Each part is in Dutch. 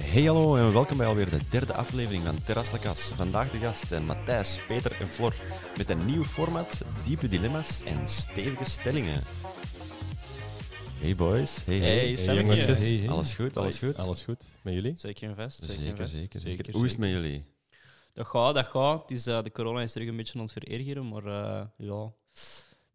Hey hallo en welkom bij alweer de derde aflevering van Terras La Cas. Vandaag de gast zijn Matthijs, Peter en Flor met een nieuw format, diepe dilemma's en stevige stellingen. Hey boys, hey hey. Hey, Hey, Sam. jongetjes. Hey, hey. Alles goed, alles goed? Alles goed? Met jullie? Zeker en vast. Zeker, en zeker, vast. zeker, zeker. Hoe is het met jullie? Dat gaat, dat gaat. Het is, eh, de corona is terug een beetje aan het verergeren, maar eh, ja,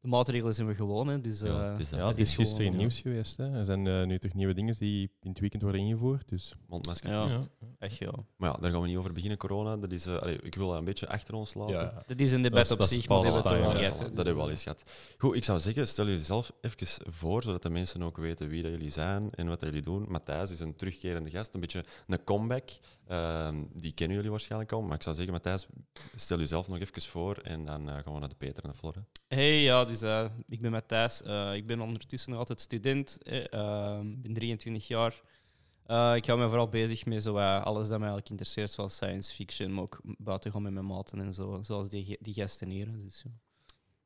de maatregelen zijn we gewoon. Hè, dus, eh, het is dat. Ja, het is is gisteren in gewoon, het nieuws geweest. Hè. Er zijn eh, nu toch nieuwe dingen die in het weekend worden ingevoerd. Dus Mondmasker. Ja. ja. echt ja. Maar ja, daar gaan we niet over beginnen, corona. Dat is, eh, allee, ik wil dat een beetje achter ons laten. Dit is een debat Dat op is- dat is zich, maar dat pas hebben we toch time, al hè. gehad. voilà, hè. dat hebben we al eens gehad. Goed, ik zou zeggen, stel jezelf even voor, zodat de mensen ook weten wie dat jullie zijn en wat dat jullie doen. Matthijs is een terugkerende gast, een beetje een comeback. Ehm, die kennen jullie waarschijnlijk al, maar ik zou zeggen, Matthijs, stel jezelf nog even voor en dan eh, gaan we naar de Peter en de Flor. hè. Hey, ja, dus eh, ik ben Matthijs. Eh, ik ben ondertussen nog altijd student. eh, ehm, Ik ben 23 jaar. Eh, ik hou me vooral bezig met zo, eh, alles dat mij eigenlijk interesseert, zoals science fiction, maar ook buiten gaan met mijn maten en zo, zoals die, ge- die gasten hier. Dus, ja.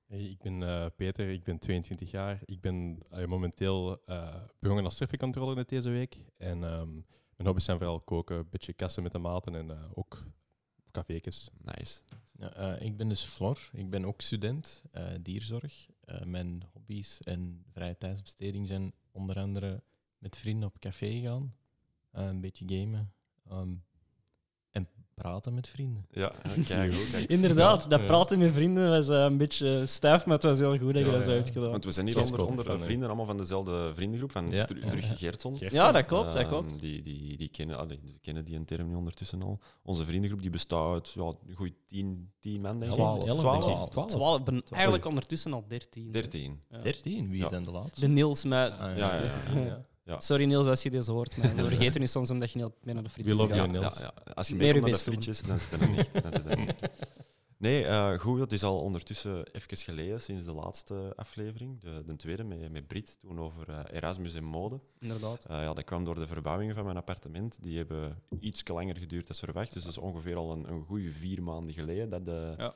Hey, ik ben eh, Peter, ik ben 22 jaar. Ik ben eh, momenteel eh begonnen als surfingcontroller net deze week. En ehm, mijn hobby's zijn vooral koken, een beetje kassen met de maten en eh, ook cafékes. Nice. Ja, eh, ik ben dus Flor, ik ben ook student eh, dierzorg. Eh, mijn hobby's en vrije tijdsbesteding zijn onder andere met vrienden op café gaan, eh, een beetje gamen ehm, en praten met vrienden. Ja, kijk goed. kijk. Inderdaad, dat Ja. praten met vrienden was eh, een beetje stijf, maar het was heel goed dat je Ja, dat zo ja. hebt gedaan. Want we zijn hier Zoals onder, Koop onder van, eh, vrienden, allemaal van dezelfde vriendengroep, van Ja, Dru- ja, Drugge ja. Geertson. ja, dat klopt, dat Ehm, klopt. Die, die, die, kennen, allee, die kennen die een term nu ondertussen al. Onze vriendengroep die bestaat uit ja, een goeie tien, tien man, denk ik. Twaalf. Elf, Twaalf? denk ik. Twaalf, ik ben eigenlijk ondertussen al 13. hè. Dertien. Ja. 13, wie Ja. zijn de laatste? De Niels, maar... Ah, Ja, ja, ja. Sorry Niels als je deze hoort, maar we vergeten nu soms omdat je niet altijd mee naar de friet We love gaat. Ja, you, Niels. ja, ja. Als je Meer je meekomt naar de best doen. frietjes, dan zit er niet. Dan zit er niet. Nee, eh, goed, dat is al ondertussen even geleden, sinds de laatste aflevering, de, de tweede met, met Brit, toen over eh, Erasmus en mode. Inderdaad. Eh, ja, dat kwam door de verbouwingen van mijn appartement. Die hebben iets langer geduurd dan verwacht. Dus dat is ongeveer al een, een goede vier maanden geleden dat, de, Ja.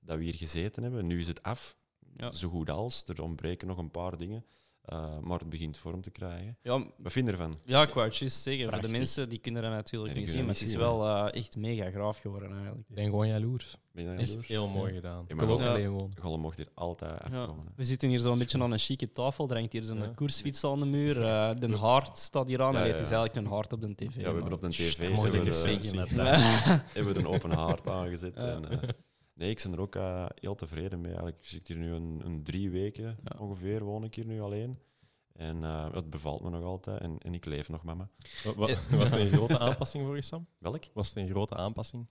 dat we hier gezeten hebben. Nu is het af, Ja. zo goed als. Er ontbreken nog een paar dingen, eh, maar het begint vorm te krijgen. Ja, m- Wat vind je ervan? ja, ik wou het juist zeggen. Voor Prachtig. de mensen die kunnen dat natuurlijk Nee, die niet zien, kunnen maar dat het is niet zien, wel eh, echt mega graaf geworden eigenlijk. Ik ben gewoon jaloers. Ben je daar Echt door? heel mooi gedaan. Ja, Ik maar wil ook Ja. alleen wonen. Gollum mocht hier altijd afkomen. hè. We zitten hier zo'n beetje aan een chique tafel, er hangt hier zo'n Ja. koersfiets aan de muur, eh, de haard staat hier aan, Ja, Allee, ja, het is ja. eigenlijk een haard op de tv. Ja, we hebben op de tv eh, dat moet hebben ik we eens de- zeggen, hebben we een open haard aangezet. Ja. En, eh, nee, ik ben er ook eh, heel tevreden mee. Eigenlijk zit ik hier nu een, een drie weken Ja. ongeveer, woon ik hier nu alleen. En eh, het bevalt me nog altijd en, en ik leef nog met me. Wa- wa- Was het een grote aanpassing voor je, Sam? Welk? Was het een grote aanpassing?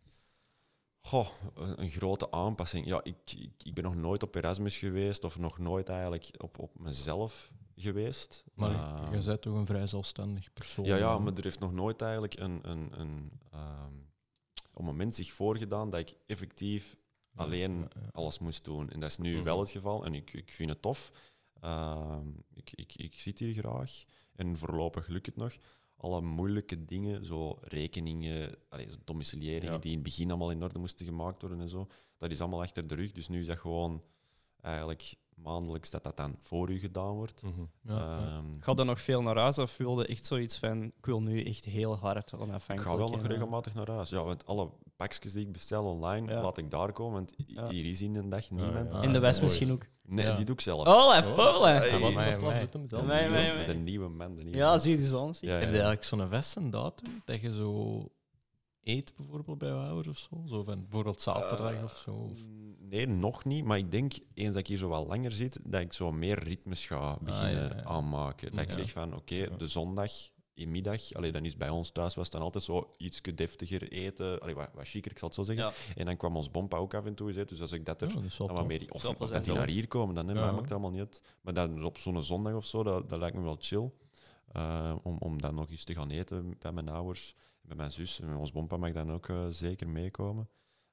Goh, eh, een een grote aanpassing. Ja, ik, ik, ik ben nog nooit op Erasmus geweest of nog nooit eigenlijk op, op mezelf geweest. Maar Eh, je bent toch een vrij zelfstandig persoon. Ja, ja, hè? maar er heeft nog nooit eigenlijk een, een, een, ehm, een moment zich voorgedaan dat ik effectief Ja, alleen eh, ja, ja. alles moest doen. En dat is nu Mhm. wel het geval en ik, ik vind het tof. Ehm, ik, ik, ik zit hier graag en voorlopig lukt het nog. Alle moeilijke dingen, zo rekeningen, allee, zo domicilieringen Ja. die in het begin allemaal in orde moesten gemaakt worden en zo, dat is allemaal achter de rug. Dus nu is dat gewoon eigenlijk maandelijks dat dat dan voor u gedaan wordt. Ja, ja. Ehm, Gaat er nog veel naar huis of wilde echt zoiets van, ik wil nu echt heel hard Ik onafhankelijk. ga wel en, nog eh, regelmatig naar huis. Ja, want alle pakjes die ik bestel online, Ja. laat ik daar komen. Want i- Ja. hier is in een dag niemand. ja. En de Ah, West mooi. misschien ook. Nee, Ja. die doe ik zelf. Oh, en Polen! Hey. was Amai, het was amai. het hem zelf? Amai, De amai, nieuwe- amai. De nieuwe man. De nieuwe Ja, man. zie je die zo'n zie. Ja, Heb je ja. eigenlijk zo'n vest en datum dat je zo eet bijvoorbeeld bij Wouwer of zo? zo van, bijvoorbeeld zaterdag Eh, of zo? Of- Nee, nog niet. Maar ik denk, eens dat ik hier zo wat langer zit, dat ik zo meer ritmes ga beginnen Ah, ja, ja. aanmaken. Dat ik Ja. zeg van, oké, Ja. de zondag in middag, allee, dan is bij ons thuis was het dan altijd zo iets deftiger eten, allee, wat, wat chiquer, ik zal het zo zeggen. En dan kwam ons bompa ook af en toe eens uit, dus als ik dat er Ja, dat is wel Dan wat tof. meer, die- of, Zo of dat plezant, die hoor. naar hier komen, dan hè, Ja. maar maakt allemaal niet uit. Maar dan op zo'n zondag of zo, dat, dat lijkt me wel chill. eh, om, om dan nog eens te gaan eten bij mijn ouders, bij mijn zus. En ons bompa mag dan ook eh, zeker meekomen.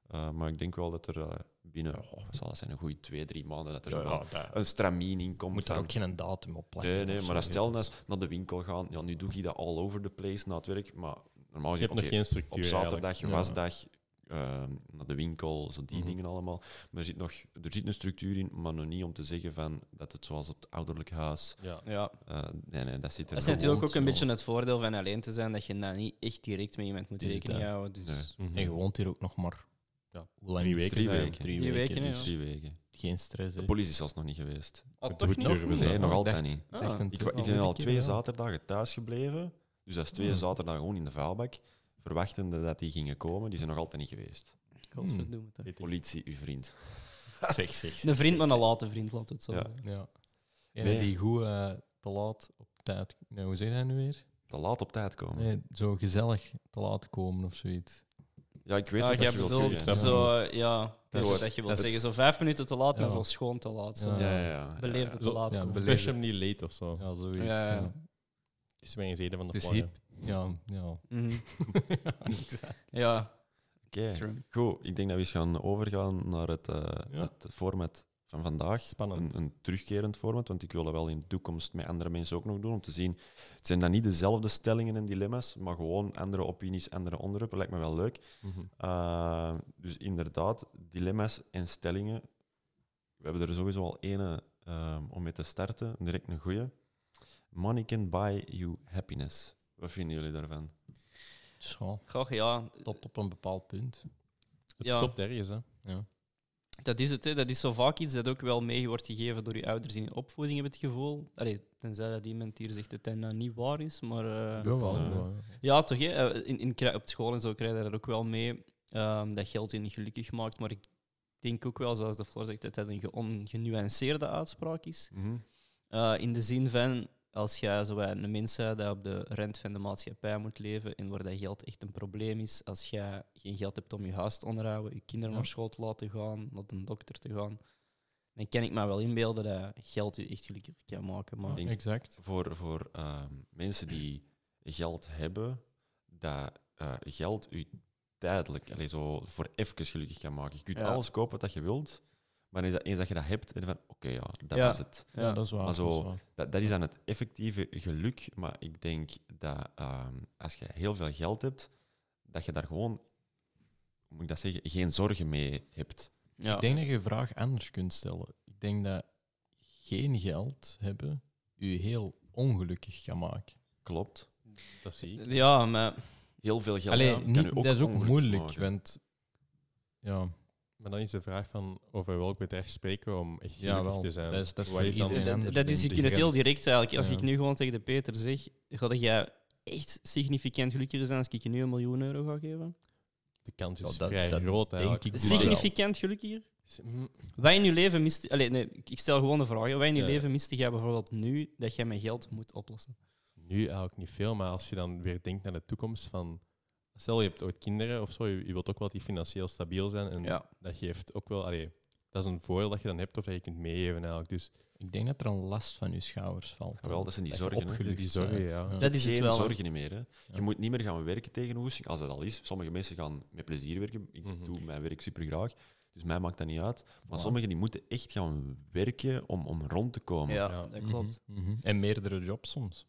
Eh, maar ik denk wel dat er eh, binnen, oh, wat zal dat zijn, een goede twee, drie maanden, dat er Ja, zo ja, dus wel daar een stramien in komt. moet daar van- ook geen datum op plakken. nee, nee, of zo, dus maar als stel dat is- dat naar de winkel gaan, ja, nu doe ik dat all over the place na het werk. Maar normaal Je hebt gezien, nog oké, geen structuur op zaterdag, eigenlijk. Ja. wasdag, ehm, naar de winkel, zo die Mhm. dingen allemaal. Maar er zit, nog, er zit een structuur in, maar nog niet om te zeggen van dat het zoals op het ouderlijk huis. Ja. Ja. eh, nee, nee, dat zit er Dat is nog. natuurlijk ook woont een wel. beetje het voordeel van alleen te zijn, dat je daar niet echt direct met iemand moet Dus rekening dat- houden. Dus Nee. Mhm. En je woont hier ook nog maar Ja. hoe lang? Drie is het? weken. Mm. Drie Ja, weken. Drie Drie weken, weken, dus Drie weken. Geen stress. hè. De politie is zelfs nog niet geweest. Ah, Het toch moet niet? durven Oeh. zijn. Nee, nog Ik altijd dacht- niet. Ah. ik dacht een Ik, tw- ik ben al een keer twee wel. zaterdagen thuis gebleven. Dus dat is twee Hmm. zaterdagen gewoon in de vuilbak. Verwachtende dat die gingen komen, die zijn nog altijd niet geweest. Godverdomme, toch. Politie, uw vriend. Zeg, zeg, zeg, Een vriend, zeg, maar een zeg. late vriend, laat het zo. Hmm. Ja. zeggen. Ja. En Nee. die goed eh, te laat op tijd. Nou, hoe zeg je dat nu weer? Te laat op tijd komen. Nee, zo gezellig te laat komen of zoiets. Ja, ik weet Ah, wat jij dat je wilt bedoelt zeggen. snap zo, eh, ja, Dat dat, is- dat dat je wilt is- zeggen, zo vijf minuten te laat, maar Ja. zo schoon te laat. Zo. Ja. Ja, ja, ja. Beleefd het te Zo- laat. ja, komen. beleefd. Flush hem niet leet of zo. Ja, zoiets. Ja, ja, ja. ja. Het is weer eens eden van de Het is plannen. hip. Ja, ja. Mhm. Ja, Oké. true. Goed, ik denk dat we eens gaan overgaan naar het, eh, Ja. het format van vandaag. Spannend. Een, een terugkerend format, want ik wil dat wel in de toekomst met andere mensen ook nog doen. Om te zien, het zijn dan niet dezelfde stellingen en dilemma's, maar gewoon andere opinies, andere onderwerpen. Lijkt me wel leuk. Mhm. Uh, dus inderdaad, dilemma's en stellingen. We hebben er sowieso al ene ehm, om mee te starten. Direct een goeie. Money can buy you happiness. Wat vinden jullie daarvan? Zo, Goh, ja, tot op een bepaald punt. Het Ja. stopt ergens, hè. Ja. dat is het. Hè. Dat is zo vaak iets dat ook wel mee wordt gegeven door je ouders in je opvoeding, heb ik het gevoel. Allee, tenzij dat iemand hier zegt dat dat nou niet waar is, maar... eh, Jawel, eh, ja. Ja, toch? Hè? Eh, In, in, kri- op school en zo krijg je dat ook wel mee. ehm, dat geld je niet gelukkig maakt. Maar ik denk ook wel, zoals de Floor zegt, dat dat een ge- ongenuanceerde uitspraak is. Mhm. Eh, in de zin van, als jij zo bij een mens bent dat op de rent van de maatschappij moet leven en waar dat geld echt een probleem is, als jij geen geld hebt om je huis te onderhouden, je kinderen Ja. naar school te laten gaan, naar de dokter te gaan, dan kan ik me wel inbeelden dat geld je echt gelukkig kan maken. Maar denk- Exact. Voor, voor ehm, mensen die geld hebben, dat eh, geld u tijdelijk, allee, zo voor even gelukkig kan maken. Je kunt Ja. alles kopen wat je wilt, maar is dat, eens dat je dat hebt, en van oké, ja, dat Ja. is het. Ja, dat is waar. Maar zo- dat is waar. Dat, dat is aan het effectieve geluk, maar ik denk dat ehm, als je heel veel geld hebt, dat je daar gewoon, hoe moet ik dat zeggen, geen zorgen mee hebt. ja. Ik denk dat je je vraag anders kunt stellen. Ik denk dat geen geld hebben u heel ongelukkig kan maken. Klopt. Dat zie ik. ja, maar Heel veel geld Alleen, kan niet, u dat is ook ongelukkig moeilijk, maken. want ja, Maar dan is de vraag van over welk bedrag spreken we om echt gelukkig Jawel, te zijn. dat is- dat is Wat dan- voor iedereen. Dat- anders Dat, dat is, bent, ik in het heel grens. direct eigenlijk. Als Ja. ik nu gewoon tegen de Peter zeg, ga jij echt significant gelukkiger zijn als ik je nu een miljoen euro ga geven? De kans is Ja, Oh, dat- vrij dat groot eigenlijk. Dus denk ik wel. Signific- Significant gelukkiger? Mm, Wij in je leven mist... Allee, nee, ik ik stel gewoon de vraag. hè. Wij in je Ja. leven miste jij bijvoorbeeld nu dat jij met geld moet oplossen? Nu eigenlijk niet veel, maar als je dan weer denkt naar de toekomst van... Stel, je hebt ooit kinderen of zo, je, je wilt ook wel die financieel stabiel zijn. En Ja. dat geeft ook wel... Allee, dat is een voordeel dat je dan hebt of dat je kunt meegeven eigenlijk. Dus ik denk dat er een last van uw schouders valt. Jawel, dat zijn die je zorgen, hè. opgelucht Die zorgen, bent. ja. Dat is geen het wel. hè. zorgen niet meer. Hè. Je Ja. moet niet meer gaan werken tegen hoesting, als dat al is. Sommige mensen gaan met plezier werken. Ik Mhm. doe mijn werk super graag, dus mij maakt dat niet uit. Maar Voilà. sommigen die moeten echt gaan werken om, om rond te komen. Ja, Ja, Ja. dat klopt. Mhm, mhm. En meerdere jobs soms.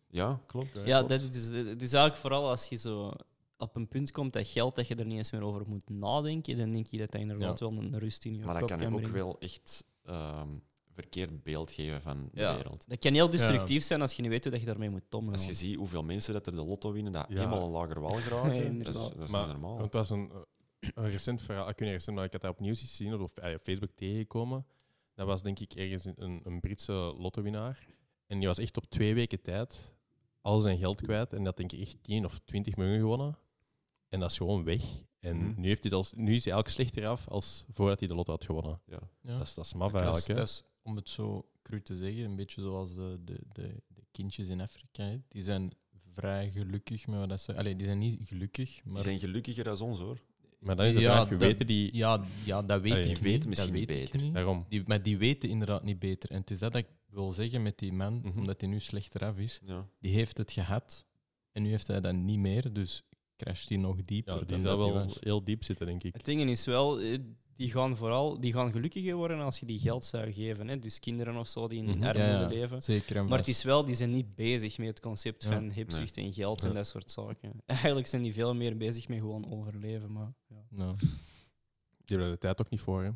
klopt. Ja, dat is, eh, het is eigenlijk vooral als je zo op een punt komt dat geld dat je er niet eens meer over moet nadenken, dan denk je dat dat inderdaad wel een rust in je Maar dat kop kan je ook brengen. wel echt ehm, verkeerd beeld geven van de Ja. wereld. Dat kan heel destructief zijn als je niet weet hoe dat je daarmee moet omgaan. Als je ziet hoeveel mensen dat er de lotto winnen, dat Ja. helemaal een lager wal geraken, Nee, dat is, inderdaad. dat is Maar- niet normaal. Want het was een, eh, een recent verhaal. Ik weet niet recent, maar ik had dat op nieuws iets gezien of op eh, Facebook tegengekomen. Dat was denk ik ergens een- een, een Britse lottowinnaar. En die was echt op twee weken tijd al zijn geld kwijt. En dat denk ik echt 10 of 20 miljoen gewonnen. En dat is gewoon weg. En Mhm. nu, heeft hij het als, nu is hij eigenlijk slechter af als voordat hij de lotto had gewonnen. Ja. Ja. Dat is, dat is maf Dat is, eigenlijk. hè. dat is, om het zo cru te zeggen, een beetje zoals de, de, de, de kindjes in Afrika. hè. Die zijn vrij gelukkig met wat dat ze... Allee, die zijn niet gelukkig, Die maar... zijn gelukkiger dan ons, hoor. Maar dan is de Ja, vraag, wie dat- weten die... Ja, ja, dat weet Allee, ik die niet. weten dat misschien weet beter. Ik niet. Daarom. Die, maar die weten inderdaad niet beter. En het is dat dat ik wil zeggen met die man, Mhm. omdat hij nu slechter af is. Ja. Die heeft het gehad en nu heeft hij dat niet meer, dus crasht hij nog dieper. Ja, die dan zou dat hij wel was. heel diep zitten, denk ik. Het ding is wel, eh, die gaan vooral die gaan gelukkiger worden als je die geld zou geven. Hè? Dus kinderen of zo die in Mhm. armoede Ja, ja. leven. Zeker en Maar het vast. is wel, die zijn niet bezig met het concept Ja. van hebzucht en geld en Ja. dat soort zaken. Eigenlijk zijn die veel meer bezig met gewoon overleven. Maar, ja. Ja. Die hebben er de tijd ook niet voor. Hè.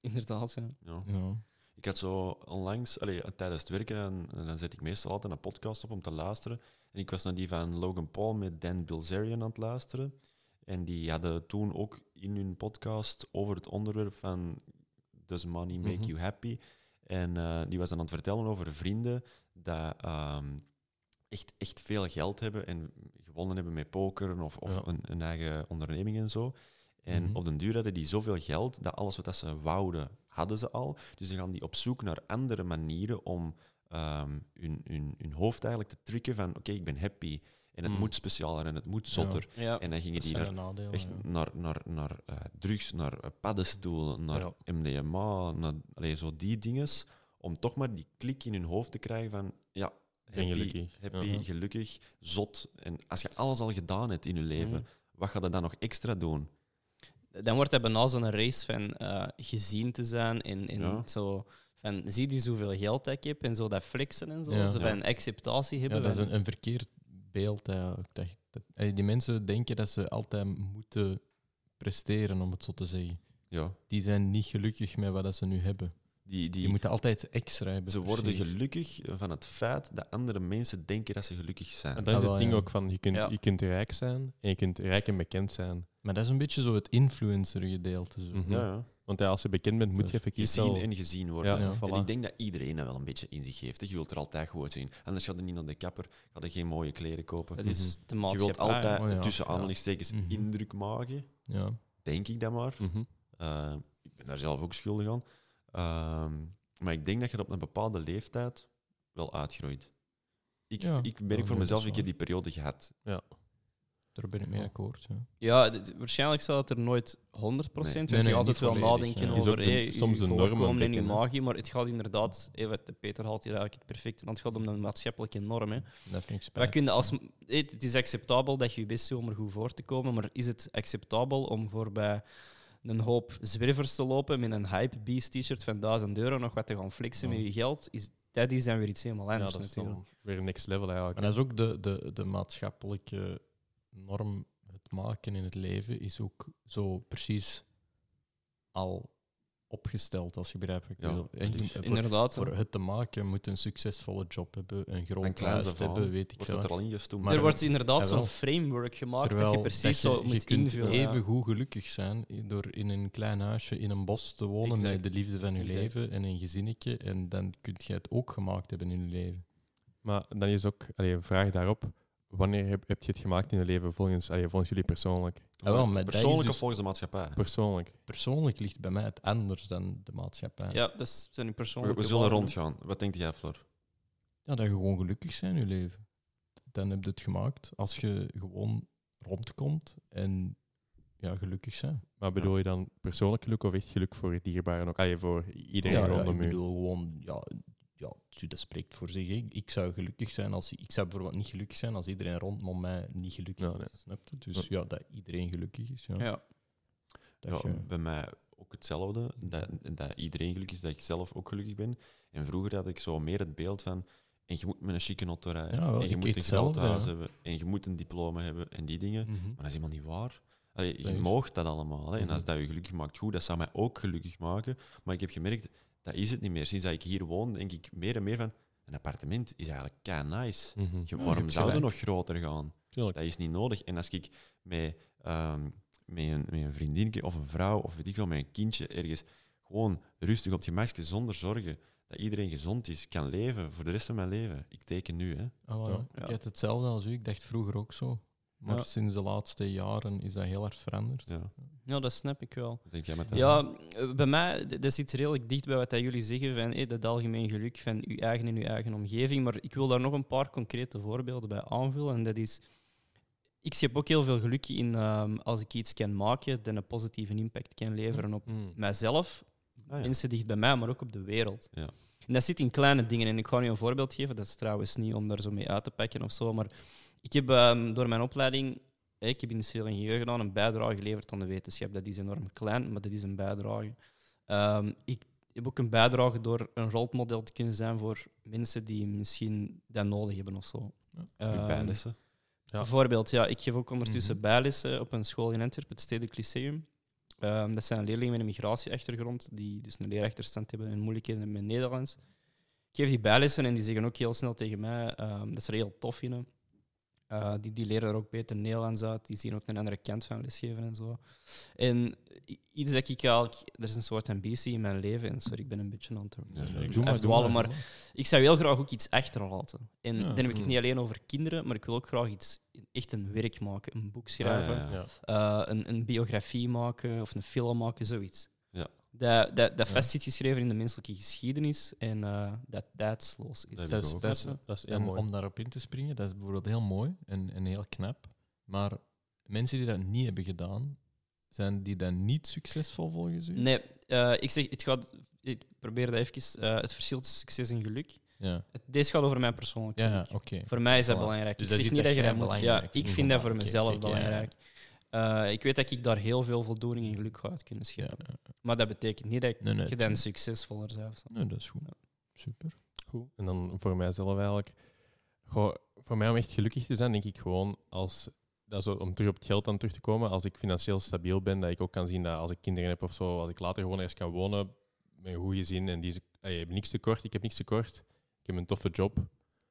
Inderdaad, ja. Ja. Ja. Ik had zo onlangs, allee, tijdens het werken, en, en dan zet ik meestal altijd een podcast op om te luisteren. En ik was naar die van Logan Paul met Dan Bilzerian aan het luisteren. En die hadden toen ook in hun podcast over het onderwerp van Does money make Mhm. you happy? En eh, die was dan aan het vertellen over vrienden dat ehm, echt, echt veel geld hebben en gewonnen hebben met pokeren of, of Ja. een, een eigen onderneming en zo. En Mhm. op den duur hadden die zoveel geld dat alles wat dat ze wouden, hadden ze al. Dus dan gaan die op zoek naar andere manieren om ehm, hun, hun, hun hoofd eigenlijk te trikken van oké, ik ben happy. En het Mm. moet specialer en het moet zotter. ja. En dan gingen Dat die zijn naar, de nadelen. echt ja. naar, naar, naar eh, drugs, naar eh, paddenstoelen, naar Ja. MDMA, naar allee, zo die dinges. Om toch maar die klik in hun hoofd te krijgen van ja, Ben happy, gelukkig. happy, Ja. gelukkig, zot. En als je alles al gedaan hebt in je leven, Mhm. wat ga je dan nog extra doen? Dan wordt hij bijna zo'n race van eh, gezien te zijn. In, in Ja. zo, van, zie die zoveel geld dat ik heb en zo dat flexen en zo. Ja. Zo Ja. van acceptatie Ja, hebben. dat is van- een, een verkeerd beeld. eigenlijk. Dat, dat- eh, die mensen denken dat ze altijd moeten presteren, om het zo te zeggen. Ja, Die zijn niet gelukkig met wat dat ze nu hebben. die, die, Die moeten altijd extra hebben. Ze per worden se. gelukkig van het feit dat andere mensen denken dat ze gelukkig En zijn. dat Ah, is wel, het ding ja. ook van, je kunt, Ja. je kunt rijk zijn en je kunt rijk en bekend zijn. Maar dat is een beetje zo het influencer-gedeelte. zo. Mhm. Ja, ja. Want ja, als je bekend bent, moet je Dus effectief wel... Gezien en gezien worden. Ja, Ja. En ik voilà. denk dat iedereen dat wel een beetje in zich heeft. hè. Je wilt er altijd goed zien. Anders gaat er niet naar de kapper, gaat er geen mooie kleren kopen. dat is de Mhm. Je wilt maatschappij. altijd Oh ja, tussen ja. aanhalingstekens Mhm. indruk maken, Ja. denk ik dat maar. Mhm. Eh, ik ben daar zelf ook schuldig aan. Ehm, maar ik denk dat je dat op een bepaalde leeftijd wel uitgroeit. Ik, Ja. ik Ja, merk voor nee, dat mezelf, is ik heb die periode gehad. Daar ben ik mee akkoord. Ja. Ja, d- waarschijnlijk zal het er nooit 100% want Nee, je nee, gaat altijd niet wel volledig, nadenken ja. Het is over ook de- hey, uw soms de normen voorkomen en uw prikken, hè. magie, maar het gaat inderdaad, hey, wat de Peter haalt hier eigenlijk het perfecte, want het gaat om een maatschappelijke norm. Hè. Dat vind ik Wij spijtig. kunnen als, hey, het is acceptabel dat je je best doet om er goed voor te komen, maar is het acceptabel om voorbij een hoop zwervers te lopen met een hype beast t-shirt van 1000 euro nog wat te gaan flexen Ja. met je geld? Is, dat is dan weer iets helemaal Ja, anders dat is natuurlijk. dan weer next level eigenlijk. Maar dat is ook de, de, de maatschappelijke norm. Het maken in het leven is ook zo precies al opgesteld, als je begrijpt wat ik Ja, wil. dat En je- is- voor- Inderdaad. Voor het te maken moet je een succesvolle job hebben, een Van groot kleins huis af aan hebben, weet ik wordt dat veel. er al ingestoomd. Maar- er wordt inderdaad jawel. zo'n framework gemaakt dat je precies dat je- zo je moet kunt invullen. ja. even goed gelukkig zijn i- door in een klein huisje in een bos te wonen Exact. met de liefde van je Exact. leven en een gezinnetje. En dan kun je het ook gemaakt hebben in je leven. Maar dan is ook, allee, een vraag daarop, wanneer heb, heb je het gemaakt in je leven volgens, allee, volgens jullie persoonlijk? Ah, wel, maar dat is Persoonlijk of dus- volgens de maatschappij? Persoonlijk. Persoonlijk ligt bij mij het anders dan de maatschappij. Ja, dat is zijn We, persoonlijke we zullen waarden. rondgaan. Wat denkt jij, Flor? Ja, dat je gewoon gelukkig zijn in je leven. Dan heb je het gemaakt als je gewoon rondkomt en ja, gelukkig zijn. Maar bedoel je dan persoonlijk geluk of echt geluk voor je dierbaren ook? Allee, voor iedereen ja, ja, rondom ik u. bedoel gewoon, ja, ja, dat spreekt voor zich. hè. Ik zou gelukkig zijn als ik zou bijvoorbeeld niet gelukkig zijn als iedereen rondom mij niet gelukkig Ja, nee. is. Snap je? Dus ja, dat iedereen gelukkig is. Ja. Ja. Dat Ja, je- bij mij ook hetzelfde. Dat, dat iedereen gelukkig is, dat ik zelf ook gelukkig ben. En vroeger had ik zo meer het beeld van... En je moet met een chique auto rijden. Ja, wel, en je ik moet eet een groot hetzelfde, huis ja. hebben. En je moet een diploma hebben en die dingen. Mhm. Maar dat is helemaal niet waar. Allee, je Dat is- moogt dat allemaal. Hè. En als Mhm. dat je gelukkig maakt, goed. Dat zou mij ook gelukkig maken. Maar ik heb gemerkt, dat is het niet meer. Sinds dat ik hier woon, denk ik meer en meer van... Een appartement is eigenlijk kei nice. Mhm. Je- Ja, je waarom hebt zouden we nog gelijk. groter gaan? Tuurlijk. Dat is niet nodig. En als ik met, ehm, met, een, met een vriendinnetje of een vrouw of weet ik veel, met een kindje ergens gewoon rustig op het gemakje zonder zorgen dat iedereen gezond is, kan leven voor de rest van mijn leven. Ik teken nu, hè. Oh, ja. Ja. Ik had hetzelfde als u. Ik dacht vroeger ook zo. Maar Ja. sinds de laatste jaren is dat heel hard veranderd. Ja, ja, dat snap ik wel. wat denk jij met dat? Ja, eh, bij mij, d- dat zit redelijk dicht bij wat dat jullie zeggen van hey, dat algemeen geluk van uw eigen en uw eigen omgeving. Maar ik wil daar nog een paar concrete voorbeelden bij aanvullen. En dat is, ik heb ook heel veel geluk in ehm, als ik iets kan maken dat een positieve impact kan leveren op Mhm. mijzelf, Ah, ja. mensen dicht bij mij, maar ook op de wereld. Ja. En dat zit in kleine dingen. En ik ga nu een voorbeeld geven. Dat is trouwens niet om daar zo mee uit te pakken of zo. Maar ik heb ehm, door mijn opleiding, eh, ik heb industrieel ingenieur gedaan, een bijdrage geleverd aan de wetenschap. Dat is enorm klein, maar dat is een bijdrage. Ehm, ik heb ook een bijdrage door een rolmodel te kunnen zijn voor mensen die misschien dat nodig hebben of zo. Ja. Ehm, Uw pijnissen. Ja. Bijvoorbeeld, ja, ik geef ook ondertussen bijlessen op een school in Antwerpen, het Stedelijk Lyceum. Ehm, dat zijn leerlingen met een migratieachtergrond, die dus een leerachterstand hebben en moeilijkheden hebben met Nederlands. Ik geef die bijlessen en die zeggen ook heel snel tegen mij, ehm, dat ze er heel tof in. hè. Eh, die, die leren er ook beter Nederlands uit, die zien ook een andere kant van lesgeven en zo. En i- iets dat ik eigenlijk, er is een soort ambitie in mijn leven, en sorry, ik ben een beetje aan het Ja, aan ik het doe maar, doe afdwalen, maar. maar ik zou heel graag ook iets achterlaten. En Ja. dan heb ik het Mm. niet alleen over kinderen, maar ik wil ook graag iets, echt een werk maken. Een boek schrijven, Ja, ja, ja. Ja. eh, een, een biografie maken of een film maken, zoiets. Ja. Dat, dat, dat Ja. vast zit geschreven in de menselijke geschiedenis en eh, dat tijdsloos is. Dat Dat ik is, ook. dat is- Dat is heel en mooi. om daarop in te springen, dat is bijvoorbeeld heel mooi en, en heel knap. Maar mensen die dat niet hebben gedaan, zijn die dan niet succesvol volgens u? Nee, eh, ik zeg, het gaat, ik probeer dat even, eh, het verschil tussen succes en geluk. Ja, Het- Deze gaat over mijn persoonlijke ja geluk. oké. Voor mij is dat Voilà. belangrijk. Dus ik dat zeg is niet iets dat je dat dat moet. jij Ja, belangrijk ik vindt. vind dat voor Oké, mezelf oké, ja, ja. belangrijk. Eh, ik weet dat ik daar heel veel voldoening en geluk uit kunnen Ja, scheppen. Maar dat betekent niet dat ik- nee, nee, je dan succesvoller bent. nee, dat is goed. Super. Goed. En dan voor mijzelf eigenlijk. Goh, voor mij om echt gelukkig te zijn, denk ik gewoon als. Dat is om terug op het geld dan terug te komen. Als ik financieel stabiel ben, dat ik ook kan zien dat als ik kinderen heb of zo, als ik later gewoon ergens kan wonen met een goed gezin en die is- eh, je hebt niks tekort, ik heb niks tekort, ik heb een toffe job,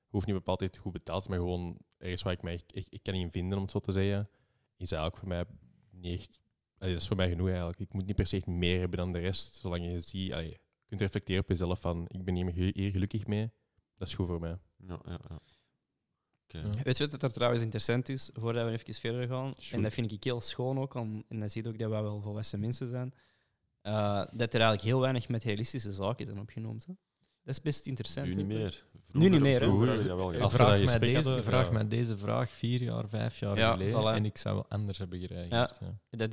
hoeft niet bepaald echt goed betaald, maar gewoon ergens waar ik mij ik, ik kan in vinden, om het zo te zeggen, is eigenlijk voor mij niet echt. allee, dat is voor mij genoeg eigenlijk. Ik moet niet per se meer hebben dan de rest, zolang je ziet. allee, je kunt reflecteren op jezelf van ik ben hier gelu- hier gelukkig mee. Dat is goed voor mij. Ja, ja, ja. Oké. Ja. Weet je wat er trouwens interessant is, voordat we even verder gaan? Shoot. En dat vind ik heel schoon ook, om- en dat ziet ook dat wij wel volwassen mensen zijn. eh, dat er eigenlijk heel weinig met realistische zaken zijn opgenoemd. Hè. Dat is best interessant. Nu hè. niet meer. Vroeger, niet meer, hè? Vroeger, ja, wel, ja. Als we dat vraag mij, gesprek deze, hadden, vraag ja. mij deze vraag vier jaar, vijf jaar Ja, geleden voilà. en ik zou wel anders hebben gereageerd. Ja. Dat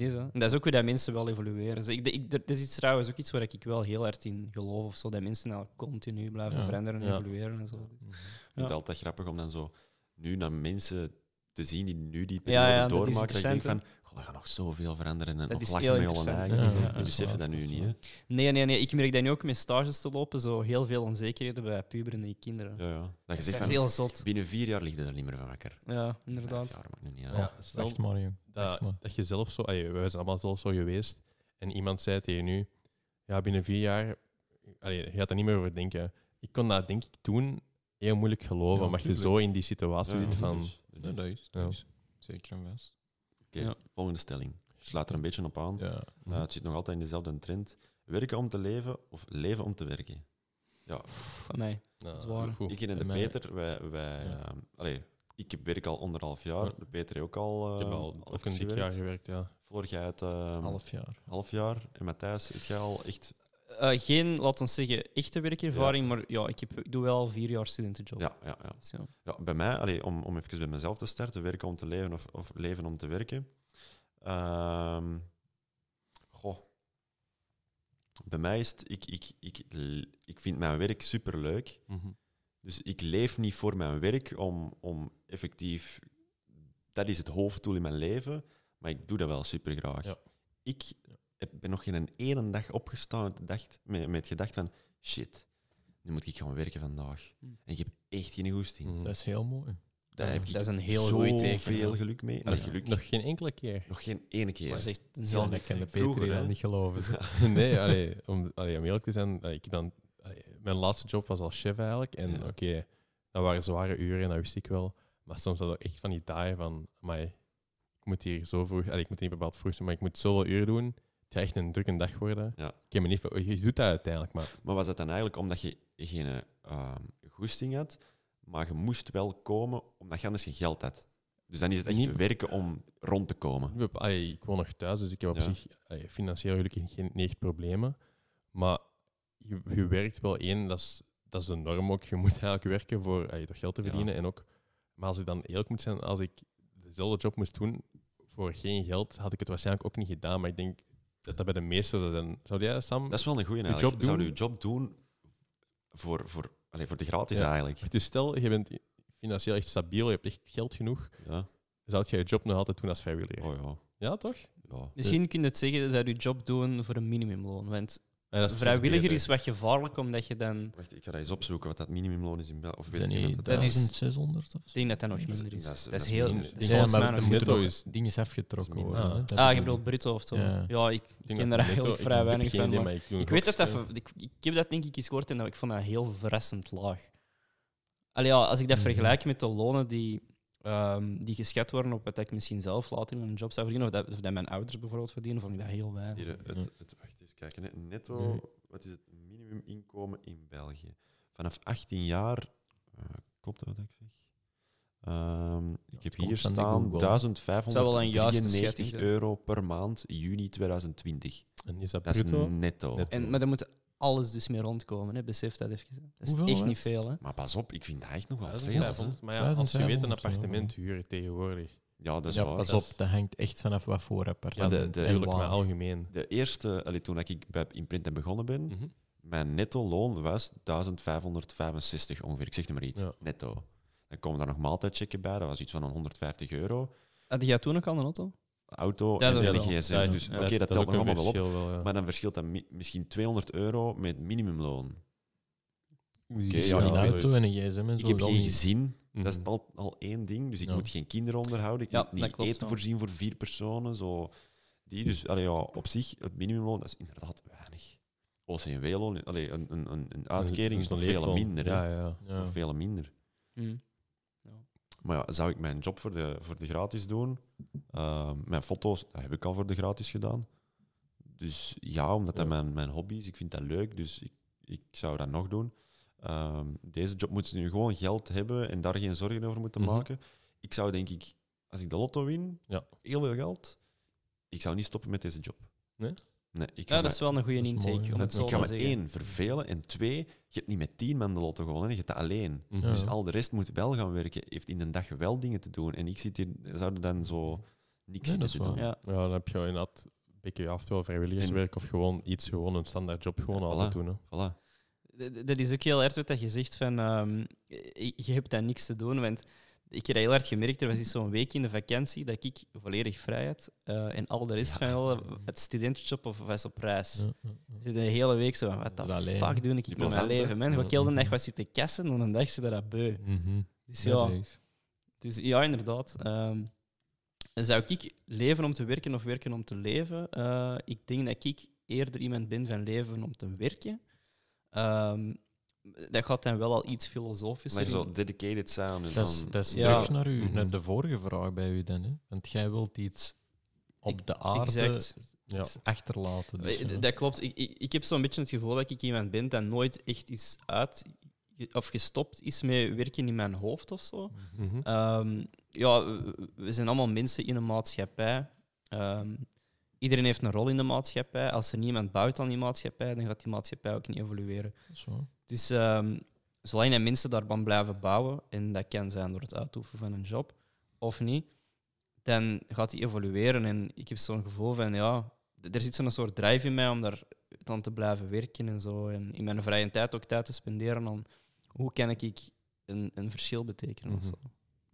is, hè. En dat is ook hoe dat mensen wel evolueren. Dus ik, ik, dat is iets, trouwens ook iets waar ik wel heel erg in geloof. Of zo, dat mensen nou continu blijven Ja, veranderen en ja. evolueren. En zo. Mhm. Ik vind Ja. het altijd grappig om dan zo nu naar mensen te zien die nu die Ja, ja, periode dat is doormaken. Dat ik denk van, interessant, goh, dat gaat nog zoveel veranderen. En Dat of is lachen heel met onze interessant, eigen. hè. Ja, We dat is beseffen waar, dat nu dat is niet. Hè. waar. Nee, nee, nee. Ik merk dat nu ook met stages te lopen. Zo heel veel onzekerheden bij puberen en kinderen. Ja, ja. Dat je dat is zegt echt van, heel zot. binnen vier jaar ligt het er niet meer van wakker. Ja, Vijf inderdaad. jaar maakt nu niet uit. Ja. Ja. stel- Echt maar, jong. Dat, Echt maar. dat je zelf zo, allee, wij zijn allemaal zelf zo geweest. En iemand zei tegen nu, ja, binnen vier jaar, allee, je gaat er niet meer over denken. Ik kon dat denk ik toen heel moeilijk geloven, Ja, omdat je tuurlijk. zo in die situatie Ja, zit van. dus- dus Nee, niet. dat is, Ja. dat is zeker een vast. Oké, Ja. volgende stelling. Ik sluit er een beetje op aan. Ja. Uh, het zit nog altijd in dezelfde trend. Werken om te leven of leven om te werken? Ja, Van mij. Nou, Zwaar. goed. ik en de en mij- Peter, wij... wij Ja. ehm, allee, ik werk al anderhalf Ja. jaar, de Peter heeft ook al... ik eh, heb al ook een even dik jaar gewerkt. gewerkt, ja. Floor, jij het ehm, half. half jaar. jaar. En Matthijs, het jij al echt... Eh, geen, laten we zeggen, echte werkervaring, maar ja, ik, heb, ik doe wel vier jaar studentenjob. Ja, ja, ja. Dus ja. ja bij mij, allee, om, om even bij mezelf te starten, werken om te leven of, of leven om te werken. Ehm, goh. Bij mij is het... Ik, ik, ik, ik vind mijn werk superleuk. Mhm. Dus ik leef niet voor mijn werk om, om effectief. Dat is het hoofddoel in mijn leven, maar ik doe dat wel super graag. Ja. Ik heb, ben nog geen een ene dag opgestaan met, de dacht- met, met het gedacht van shit, nu moet ik gaan werken vandaag. Hm. Ah, En ik heb echt geen goesting. Mhm. Dat is heel mooi. Daar heb ik Dat is een heel goed zoveel teken. veel ja. geluk mee. Nog- Allee, geluk, nog, Nog geen enkele keer. geen ene keer. Maar dat is echt een Ja, heel dat kan de Vroeger, Peter hier hè. al niet geloven. ze. nee, allee, om, allee, om eerlijk te zijn, eh, ik heb dan, allee, mijn laatste job was als chef eigenlijk. En Ja. oké, dat waren zware uren, dat wist ik wel. Maar soms had ik echt van die dagen van, maar ik moet hier zo vroeg, allee, ik moet niet bepaald vroeg zijn, maar ik moet zoveel uur doen. Het gaat echt een drukke dag worden. Ja. Ik heb me niet, ver- je doet dat uiteindelijk, maar Maar was dat dan eigenlijk omdat je geen ehm, goesting had, maar je moest wel komen omdat je anders geen geld had? Dus dan is het echt Niet- Mm. werken om rond te komen. Ik heb- allee, ik woon nog thuis, dus ik heb op Ja. zich allee, financieel gelukkig geen, niet echt problemen. Maar je, je werkt wel één, dat is, dat is de norm ook. Je moet eigenlijk werken voor allee, toch geld te Ja. verdienen. En ook, maar als ik dan eerlijk moet zijn, als ik dezelfde job moest doen voor geen geld, had ik het waarschijnlijk ook niet gedaan. Maar ik denk dat dat bij de meesten... dat dan- zou jij, Sam? Dat is wel een goeie Je eigenlijk. job Zou doen- je job doen voor, voor, allee, voor de gratis Ja. eigenlijk? Dus stel, je bent financieel echt stabiel, je hebt echt geld genoeg. Ja. Zou jij je job nog altijd doen als vrijwilliger? Oh ja. Ja, toch? ja. Misschien kun je het zeggen dat je job doen voor een minimumloon. Want Ja, dat is precies Vrijwilliger beter. is wat gevaarlijk, omdat je dan... Wacht, ik ga dat eens opzoeken wat dat minimumloon is in België. Of weet Zijn je die wat dat is? 1600 of Ik zo? denk dat dat nog Dat is- minder is. dat Dat is- is, dat is heel... minder. Dat is Ja, volgens maar mij de nog netto minder. is... Ding is afgetrokken Dat is worden. minder. hè. Dat Ah, je bedoel bedoelt Bruto of zo. Ja. Ja, ik, ik ken daar eigenlijk vrij weinig van. maar Ik weet dat dat... ver- Ik, ik heb dat denk ik eens gehoord en dat, ik vond dat heel verrassend laag. Allee, ja, als ik dat Mhm. vergelijk met de lonen die, ehm, die geschat worden op wat ik misschien zelf later in een job zou verdienen, of dat, of dat mijn ouders bijvoorbeeld verdienen, vond ik dat heel weinig. Hier, eh, het, het, wacht eens kijken. hè. Netto, Nee. wat is het minimuminkomen in België? Vanaf 18 jaar, eh, klopt dat wat ik zeg? Ehm, ik heb komt hier van de staan Google. Zou wel een juiste schatting 1593 zijn. euro per maand juni 2020. En is dat Dat is bruto? netto. Netto. En, maar daar moet alles dus mee rondkomen, hè. besef dat even. hè. Dat is Hoeveel, echt hè? niet veel. Hè. Maar pas op, ik vind dat echt nog wel veel. hè. 1500. Maar ja, als je weet een 1500 appartement huren tegenwoordig. Ja, dat is ja, waar. pas Dat op, is- dat hangt echt vanaf wat voor appartement. Ja, de- de- en Tuurlijk, waar. maar algemeen. De eerste, allee, toen ik bij Imprint en begonnen ben, Mhm. mijn netto loon was 1565 ongeveer. Ik zeg het maar iets. Ja. Netto. Dan komen daar nog maaltijdchecken bij, dat was iets van een 150 euro. Had jij Ah, toen ook al een auto? Auto Ja, en dat een wel. gsm. Ja, dus ja. oké, dat, is telt ook nog een allemaal wel op. verschil wel, ja. Maar dan verschilt dat mi- misschien 200 euro met minimumloon. Oké, ja, een ik weet- auto en een gsm en Ik zo. heb wel geen niet. gezin. Mhm. Dat is al, al één ding. Dus ik Ja. moet geen kinderen onderhouden. Ik Ja, moet niet dat klopt, eten ja. voorzien voor vier personen. Zo. Die, dus allee, ja, op zich, het minimumloon, dat is inderdaad weinig. OCW-loon, allee, een, een, een, een uitkering is Een nog veel leefloon. minder. hè. Ja, ja. Ja. Nog veel minder. Hm. Maar ja, zou ik mijn job voor de, voor de gratis doen? Ehm, mijn foto's dat heb ik al voor de gratis gedaan. Dus ja, omdat dat Ja. mijn, mijn hobby is. Ik vind dat leuk, dus ik, ik zou dat nog doen. Ehm, deze job moeten ze nu gewoon geld hebben en daar geen zorgen over moeten Mhm. maken. Ik zou denk ik, als ik de lotto win, Ja. heel veel geld, ik zou niet stoppen met deze job. Nee? Nee, ik ga Ja, me- dat is wel een goede Dat is mooi, intake, ja. om want het zo ik ga te me zeggen. één vervelen en twee, je hebt niet met tien man de lotto gewonnen, hè, je hebt dat alleen. Mhm. Dus Ja. al de rest moet wel gaan werken, heeft in de dag wel dingen te doen. En ik zit hier, zou er dan zo niks Nee, dat zitten is te waar. doen. Ja. Ja, dan heb je inderdaad een beetje af, wel vrijwilligerswerk of gewoon iets, gewoon een standaard job gewoon Ja, altijd voilà. doen. Hè. Voilà. D- d- Dat is ook heel erg wat dat je zegt van ehm, je- je hebt daar niks te doen. Want ik heb dat heel hard gemerkt. Er was eens zo'n week in de vakantie dat ik volledig vrij had. eh, en al de rest van alle, het studentenjob of was op reis. Ja, ja, ja. Ik zit de hele week zo van, wat Dat de alleen. fuck doe ik met mijn plezant, hè? leven, man. Ik heel de Mhm. dag was zitten kassen en een dag zit daar dat beu. Mhm. Dus Ja, ja, dat is- dus, ja inderdaad. Ehm, zou ik leven om te werken of werken om te leven? Eh, ik denk dat ik eerder iemand ben van leven om te werken. Ehm, dat gaat dan wel al iets filosofischer. Maar in. zo dedicated zijn. En Dat is, dan- dat is Ja. terug naar, u, Mhm. naar de vorige vraag bij u dan. Hè? Want jij wilt iets op de aarde Exact. dus Ja. iets achterlaten. Dus, Eh, d- ja. Dat klopt. Ik, ik, ik heb zo'n beetje het gevoel dat ik iemand ben dat nooit echt is uit of gestopt is met werken in mijn hoofd of zo. Mhm. Ehm, ja, we- we zijn allemaal mensen in een maatschappij. Ehm, iedereen heeft een rol in de maatschappij. Als er niemand buiten aan die maatschappij, dan gaat die maatschappij ook niet evolueren. Zo. Dus ehm, zolang dat mensen daarvan blijven bouwen, en dat kan zijn door het uitoefenen van een job of niet, dan gaat die evolueren. En ik heb zo'n gevoel van, ja, d- er zit zo'n soort drive in mij om daar dan te blijven werken en zo. En in mijn vrije tijd ook tijd te spenderen aan hoe kan ik ik een, een verschil betekenen of Mhm. zo.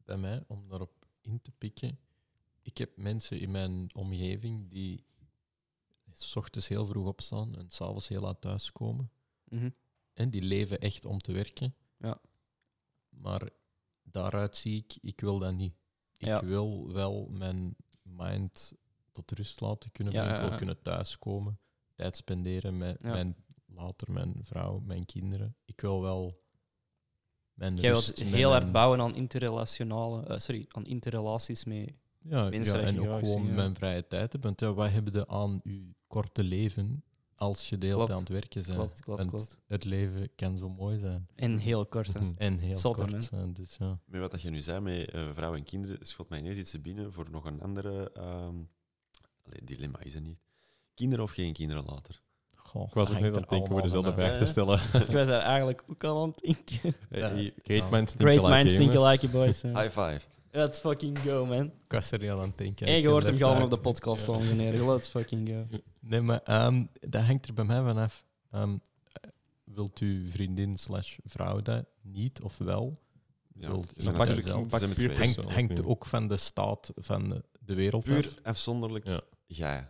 bij mij, om daarop in te pikken. Ik heb mensen in mijn omgeving die s ochtends heel vroeg opstaan en s'avonds heel laat thuiskomen. Mhm. En die leven echt om te werken. Ja. Maar daaruit zie ik, ik wil dat niet. Ik Ja. wil wel mijn mind tot rust laten kunnen Ja, brengen. ja, Ik ja. wil kunnen thuiskomen, tijd spenderen met Ja. mijn, later mijn vrouw, mijn kinderen. Ik wil wel mijn Jij wilt rust, mijn- heel hard bouwen aan interrelationale, eh, sorry, aan interrelaties mee. Ja, Mensen ja dat je en ook graag gewoon ziet, ja. mijn vrije tijd hebben. Want ja, wat hebben de aan je korte leven als je de hele Klopt. tijd aan het werken bent? Klopt, klopt, Want klopt. Het leven kan zo mooi zijn. En heel kort. hè. Mhm. En heel Zot, hè, kort hè? zijn. Dus ja. Met wat dat je nu zei met eh, vrouwen en kinderen, schot mij ineens iets te binnen voor nog een andere... ehm, allee, dilemma is het niet. Kinderen of geen kinderen later? Goh, Ah, Ik was dat ook net aan hangt er het denken om allemaal dezelfde van aan. vraag te stellen. Ik was daar eigenlijk ook al aan het denken. Hey, Ja. Great minds think Great alike, minds think jongens. alike, boys. hè. High five. Let's fucking go, man. af. Ik was er niet aan het denken. En Ik je hoort hem heb gewoon op left de uit. podcast, dames en heren. Let's fucking go. Nee, maar ehm, dat hangt er bij mij vanaf. Ehm, eh, wilt uw vriendin slash vrouw dat niet of wel? Ja, Wilt- ze dan zijn pak je natuurlijk- zelf. zijn Pak met puur twee. hangt, persoon, hangt ja. ook van de staat van de- de wereld af. Puur afzonderlijk Ja. jij.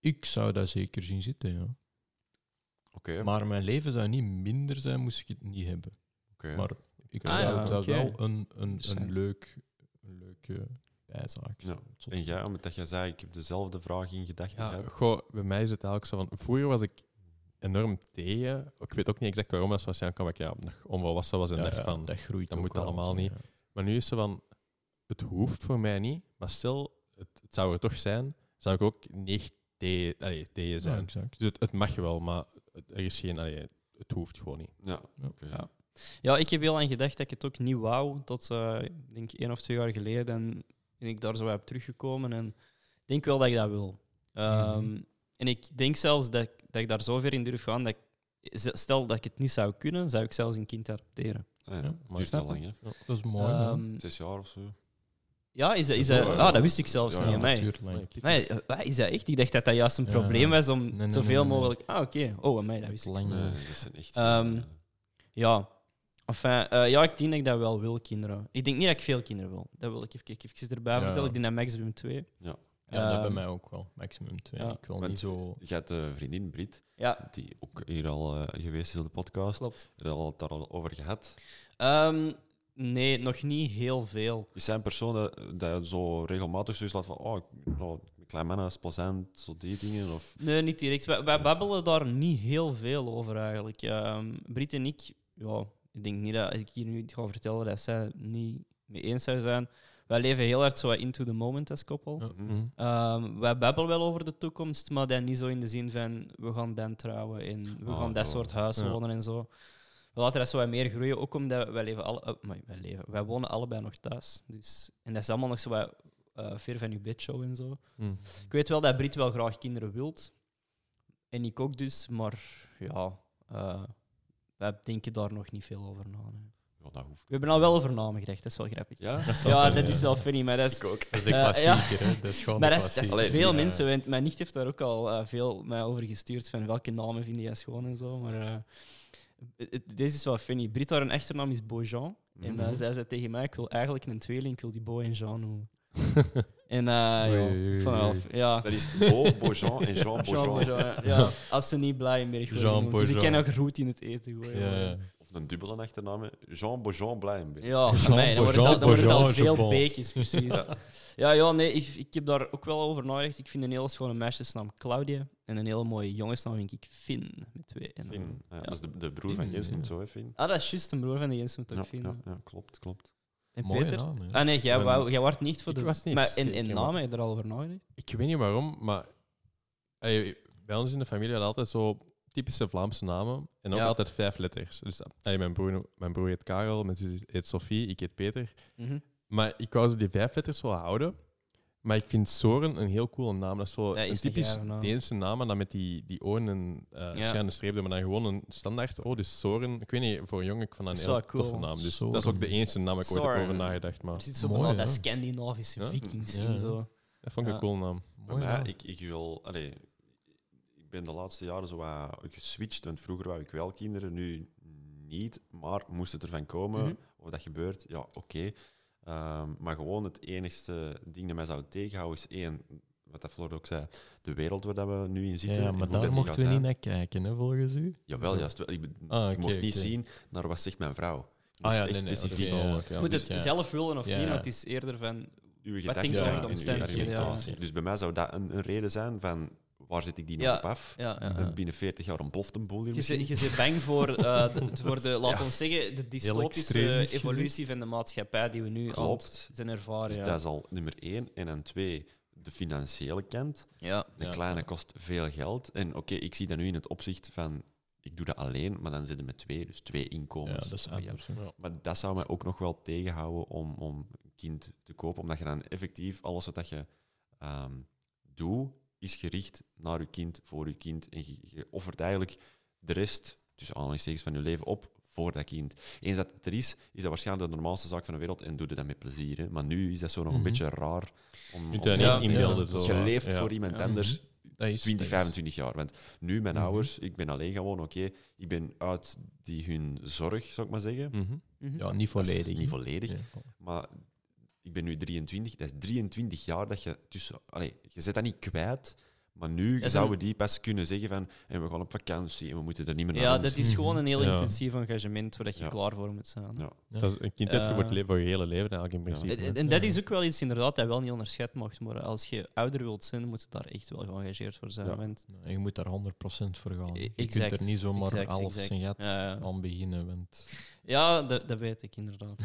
Ik zou dat zeker zien zitten, ja. Oké, Maar mijn leven zou niet minder zijn, moest ik het niet hebben. oké. Maar ik Ah, zou ja, dat oké. wel een, een, een Interessant. leuk, een leuke bijzaak Ja. vinden. Tot- En jij, omdat jij zei, ik heb dezelfde vraag in gedachten Ja, gehad. goh, bij mij is het eigenlijk zo van... Vroeger was ik enorm tegen. Ik weet ook niet exact waarom, maar zoals Jan kwam ik ja, nog onvolwassen was en Ja, dacht ja, van... dat groeit dat ook moet wel allemaal zo, niet. ja. Maar nu is ze van, het hoeft voor mij niet, maar stel, het, het zou er toch zijn, zou ik ook niet tegen allee, tegen Ja, zijn. exact. Dus het, het mag wel, maar het- er is geen, allee, het hoeft gewoon niet. Ja, Ja. oké. Ja. Ja, ik heb heel lang gedacht dat ik het ook niet wou, tot eh, ik denk één of twee jaar geleden. En ben ik daar zo heb teruggekomen en ik denk wel dat ik dat wil. Ehm, En ik denk zelfs dat, ik- dat ik daar zo ver in durf gaan dat ik, z- stel dat ik het niet zou kunnen, zou ik zelfs een kind adopteren. Ah, ja. Ja, Duurt niet snap lang, hè? Dat is mooi. hè. Ehm, Zes jaar of zo. ja, is dat, is Ja, dat, ja, ah, ja. dat wist ik zelfs Ja, niet. ja, amai. Duurt lang. Amai, eh, wat is dat echt? Ik dacht dat dat juist een Ja, probleem nee. was om nee, nee, zoveel nee, nee. mogelijk. Ah, oké. Oh, amai, dat wist ik. Lang. Nee, Ja. dat zijn echt... Ehm, eh, Ja. Enfin, eh, ja, ik denk dat ik dat wel wil, kinderen. Ik denk niet dat ik veel kinderen wil. Dat wil ik even, even erbij Ja. vertellen. Ik denk dat maximum twee. Ja. Ja, dat bij Ehm, mij ook wel. Maximum 2. ja. Ik wil Want- niet zo... Je hebt de vriendin Brit, Ja, die ook hier al eh, geweest is op de podcast. klopt. Daar al het daar al over gehad. Ehm, nee, nog niet heel veel. Is Dus zijn personen dat zo regelmatig zoiets laat van, oh, ik- nou, een klein man is plezant, zo die dingen? Of, Nee, niet direct. Wij, wij babbelen daar niet heel veel over eigenlijk. Ehm Brit en ik, ja, ik denk niet dat als ik hier nu ga vertellen dat zij het niet mee eens zou zijn. Wij leven heel hard zo wat into the moment als koppel. Ja. Mhm. Mhm. Ehm, wij babbelen wel over de toekomst, maar dan niet zo in de zin van we gaan dan trouwen en we Ah, gaan dat ja. soort huizen Ja. wonen en zo. We laten dat zo wat meer groeien, ook omdat wij leven, alle, eh, amai, wij, leven wij wonen allebei nog thuis. Dus, en dat is allemaal nog zo wat eh, ver van je bedshow en zo. Mhm. Ik weet wel dat Brit wel graag kinderen wilt. En ik ook dus, maar ja, eh, wij denken daar nog niet veel over na. nee. Ja, dat hoeft. We hebben al wel over namen gedacht, dat is wel grappig. Ja, Ja? dat is wel funny, maar dat is, ook. Dat is de Eh, ja. klassieker, hè. Dat is gewoon maar de dat is, dat is Allee, klassieker. veel Ja. mensen. want mijn nicht heeft daar ook al eh, veel mij over gestuurd van welke namen vind jij schoon en zo. Maar eh, het- het- deze is wel funny. Brit haar een achternaam is Beaujean. En eh, Mhm. zij zei tegen mij, ik wil eigenlijk een tweeling, ik wil die Beau en Jean noemen. en eh, Oei, ja, oei, oei, ik vond dat wel oei. f- ja. Dat is het Beau, Beaujean en Jean Jean Beaujean. Beaujean, ja. ja. Als ze niet blij in Jean worden. Dus ik Beaujean. kan ook roet in het eten gooien. Ja, ja. Of een dubbele achternaam, hè. Jean Beaujean Blijenberg. Ja, Jean amai, dan wordt het al, dan wordt het Beaujean, al Jean veel Beaujean. beekjes, precies. ja, ja, nee, ik, ik heb daar ook wel over nagedacht. Ik vind een hele schone meisjesnaam Claudia en een hele mooie jongensnaam vind ik Finn, met twee N'en. Finn. Ah, ja, Ja. Dat is de, de broer van Finn, Jens, ja. noemt zo, hè, Finn. Ah, dat is juist een broer van de Jens moet ook Ja, Finn. ja, ja, klopt, klopt. En Mooie Peter? naam, hè. Ah nee, jij, Ik wou, jij wordt niet voor ik de... was niet maar in, in zeker naam wat- heb je er al over nagedacht? Ik weet niet waarom, maar allee, bij ons in de familie hadden we altijd zo typische Vlaamse namen en ook Ja. altijd vijf letters. Dus allee, mijn, broer, mijn broer heet Karel, mijn zus heet Sophie, ik heet Peter. Mhm. Maar ik wou ze die vijf letters wel houden. Maar ik vind Soren een heel coole naam. Dat is zo Ja, is een een typisch gave naam. Deense naam, maar dan met die, die oren en eh Ja. schuine streep, maar dan gewoon een standaard. Oh, dus Soren. Ik weet niet, voor een jongen, ik vond dat een Dat heel is wel toffe cool. naam. Dus Soren. dat is ook de enige naam ik ooit heb over Soren. nagedacht. Maar Er zit zo Mooi, van al dat hè? Scandinavische Ja. vikings Ja. en zo. dat vond ik Ja. een coole naam. Bij Mooi, mij, ja. ik, ik wil... Allee, ik ben de laatste jaren zo wat geswitcht, want vroeger wou ik wel kinderen, nu niet, maar moest het ervan komen. Mhm. Of dat gebeurt, ja, oké. Ehm, maar gewoon het enigste ding dat mij zou tegenhouden is één, wat dat Flor ook zei, de wereld waar dat we nu in zitten. Ja, en maar hoe dat die daar mochten gaat we zijn. niet naar kijken, hè, volgens u. Jawel, Zo. juist. wel. Ik, be- Ah, je oké, mocht niet oké. zien naar wat zegt mijn vrouw. Je Ah moest ja, echt nee, nee, specifiek oké, ja. Persoonlijk, Je ja. moet Dus het ja. zelf willen of Ja, niet, ja. maar het is eerder van... uw Wat denkt gedachten u over de en uw omstandigheden, ja. argumentatie. Dus bij mij zou dat een, een reden zijn van waar zit ik die Ja, nog op af? Ja, ja, ja. En Eh, Binnen 40 jaar ontploft een boel hier Eh. Je misschien. zit- Je zit bang voor, eh, de, voor de, laten Ja. we zeggen, de extreem dystopische is gezien. evolutie van de maatschappij die we nu aan het Klopt. zijn ervaren. Dus ja. dat is al nummer één. En dan twee, de financiële kant. ja. Een Ja. kleine kost veel geld. En oké, ik zie dat nu in het opzicht van... Ik doe dat alleen, maar dan zitten we met twee. Dus twee Ja, inkomens. dat is Maar ja, anders. hè. Maar dat zou mij ook nog wel tegenhouden om, om een kind te kopen. Omdat je dan effectief alles wat dat je ehm, doet, is gericht naar je kind, voor je kind. En je, je offert eigenlijk de rest, tussen aanhalingstekens, van je leven op voor dat kind. Eens dat het er is, is dat waarschijnlijk de normaalste zaak van de wereld en doe je dat met plezier. Hè? Maar nu is dat zo nog Mhm. een beetje raar. Om, Je om kunt dat te- niet inbeelden. ja, dat zo. is Je leeft Ja. voor iemand Ja. anders Dat is 20, dat is- 25 jaar. Want nu, mijn Mhm. ouders, ik ben alleen gewoon, oké, ik ben uit die hun zorg, zou ik maar zeggen. Mhm. Mhm. Ja, niet Dat is volledig. Niet hè. volledig. Ja. Maar ik ben nu 23, dat is 23 jaar dat je tussen. Allee, je zit dat niet kwijt, Maar nu Dat is zouden een- die pas kunnen zeggen van en we gaan op vakantie en we moeten er niet meer naar Ja, om dat zien. is gewoon een heel Ja. intensief engagement waar dat je Ja. klaar voor moet zijn. Ja. Dat is, een kind heb je voor, het Eh, le- voor je hele leven eigenlijk in ja. principe. En, hè. en- en dat is ook wel iets inderdaad dat wel niet onderschat mag worden. Als je ouder wilt zijn, moet je daar echt wel geëngageerd voor zijn. Ja. want- En Je moet daar 100% voor gaan. E- Je exact, kunt er niet zomaar exact, half exact. zijn gat Ja, ja. aan beginnen. Want Ja, dat, dat weet ik inderdaad.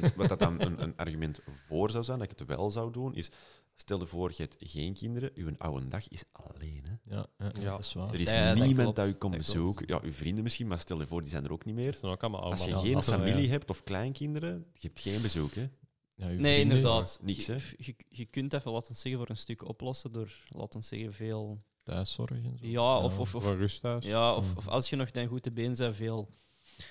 Want wat dat dan een, een argument voor zou zijn, dat ik het wel zou doen, is... Stel je voor, je hebt geen kinderen, je oude dag is alleen. Hè? ja, ja, Ja. dat is waar. Er is Ja, dat niemand klopt, dat je komt dat bezoeken. Ja, je vrienden misschien, maar stel je voor, die zijn er ook niet Dat meer. zijn ook allemaal Oh, Als je allemaal- geen allemaal- familie hebt of kleinkinderen, je hebt geen bezoek. Hè? Ja, je Nee, vrienden- inderdaad. niks, hè? Je, je, je kunt even, laten we zeggen, voor een stuk oplossen door, laten we zeggen, veel... Thuiszorg en zo. Ja, of, of, of, Voor rust thuis. ja, of, hmm. of als je nog dan goed te been bent, veel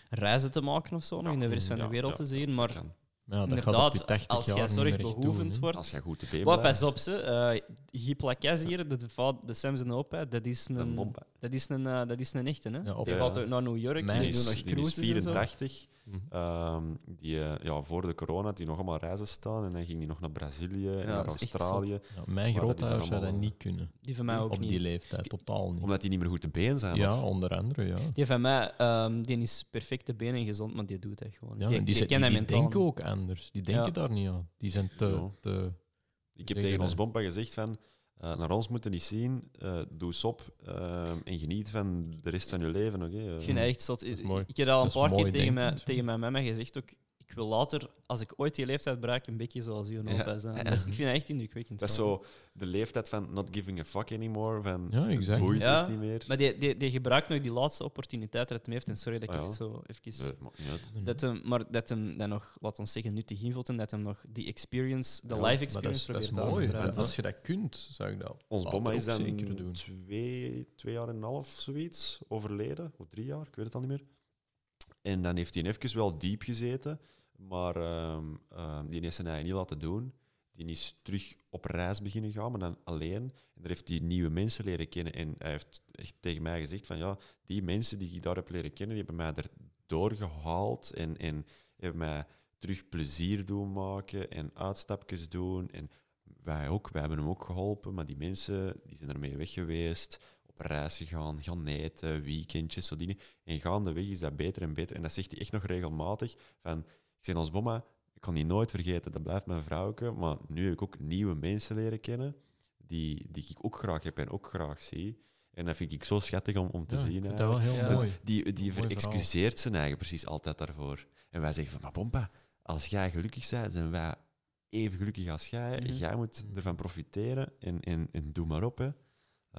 reizen te maken of zo, nog Ja, in de rest van ja, de wereld ja, te zien. Maar Kan. Maar ja, dat gaat op je inderdaad, 80 als jij jaar niet meer echt zorgbehoevend doen, hè. wordt... Als je goed te been Wat, blijft, pas op, ze. eh Hyplakes hier, de, va- de Sam zijn opa, dat is dan een, bomba. dat is een, eh, dat is een echte. Hè? Ja, op- die ja. gaat ook naar New York, Mijn Die die doen is, nog die is cruises en zo. 84. Mhm. Ehm, die eh, ja, voor de corona had die nog allemaal reizen staan en dan ging die nog naar Brazilië en dat naar is echt Mhm. Australië. Ja, mijn Maar dat is grootouders allemaal- zou dat niet kunnen. Die van mij ook op niet. die leeftijd, totaal niet. Omdat die niet meer goed te been zijn. Ja, of- onder andere, ja. Die van mij, ehm, die is perfecte benen gezond, maar die doet dat gewoon. die ja en die, die zijn- ken dat die mentaal denken niet. ook anders. Die denken Ja. daar niet aan. Die zijn te... Ja. te Ik heb Zeker, tegen hè. ons bompa gezegd van, eh, naar ons moeten niet zien, eh, doe sop ehm, en geniet van de rest van je leven. oké? Eh, Ik vind dat echt zot. is mooi. Ik heb dat al Dat een is paar keer mooi tegen mijn, denkend. tegen mijn mama gezegd ook. Ik wil later, als ik ooit die leeftijd bereik, een beetje zoals u en Ja. opa zijn. Ja. Dat is- ik vind dat echt indrukwekkend. dat is wel. zo de leeftijd van not giving a fuck anymore, van Ja, het exact. boeit Ja, echt niet meer. Maar die, die, die gebruikt nog die laatste opportuniteit dat hij heeft. En sorry dat ik Ah, ja. het zo even... Eh, maakt niet uit. Dat hem, maar dat hem dan nog, laten we zeggen, nuttig invult en dat hem nog die experience, de Ja, live Maar dat experience is, dat is probeert mooi. aan te uitgebreid, Want breiden. als je dat kunt, zou ik dat Ons later bomma is ook dan zeker doen. twee, twee jaar en een half, zoiets, overleden. Of drie jaar, ik weet het al niet meer. En dan heeft hij even wel diep gezeten. Maar ehm, ehm, die heeft zijn eigen niet laten doen. Die is terug op reis beginnen gaan, maar dan alleen. En daar heeft hij nieuwe mensen leren kennen. En hij heeft echt tegen mij gezegd van... Ja, die mensen die ik daar heb leren kennen, die hebben mij erdoor gehaald. En, en hebben mij terug plezier doen maken en uitstapjes doen. En wij ook, wij hebben hem ook geholpen, maar die mensen die zijn ermee weg geweest, op reis gegaan, gaan eten, weekendjes, zo dingen. En gaandeweg is dat beter en beter. En dat zegt hij echt nog regelmatig van, ik zeg ons bomma, ik kan die nooit vergeten, dat blijft mijn vrouwke, maar nu heb ik ook nieuwe mensen leren kennen, die, die ik ook graag heb en ook graag zie. En dat vind ik zo schattig om, om te Ja, ik zien. vind dat eigenlijk. wel heel Ja. mooi. Die, die Mooi verhaal. verexcuseert zijn eigen precies altijd daarvoor. En wij zeggen van, maar Bompa, als jij gelukkig bent, zijn wij even gelukkig als jij. Mhm. Jij moet Mhm. ervan profiteren en, en, en doe maar op. Hè. Eh,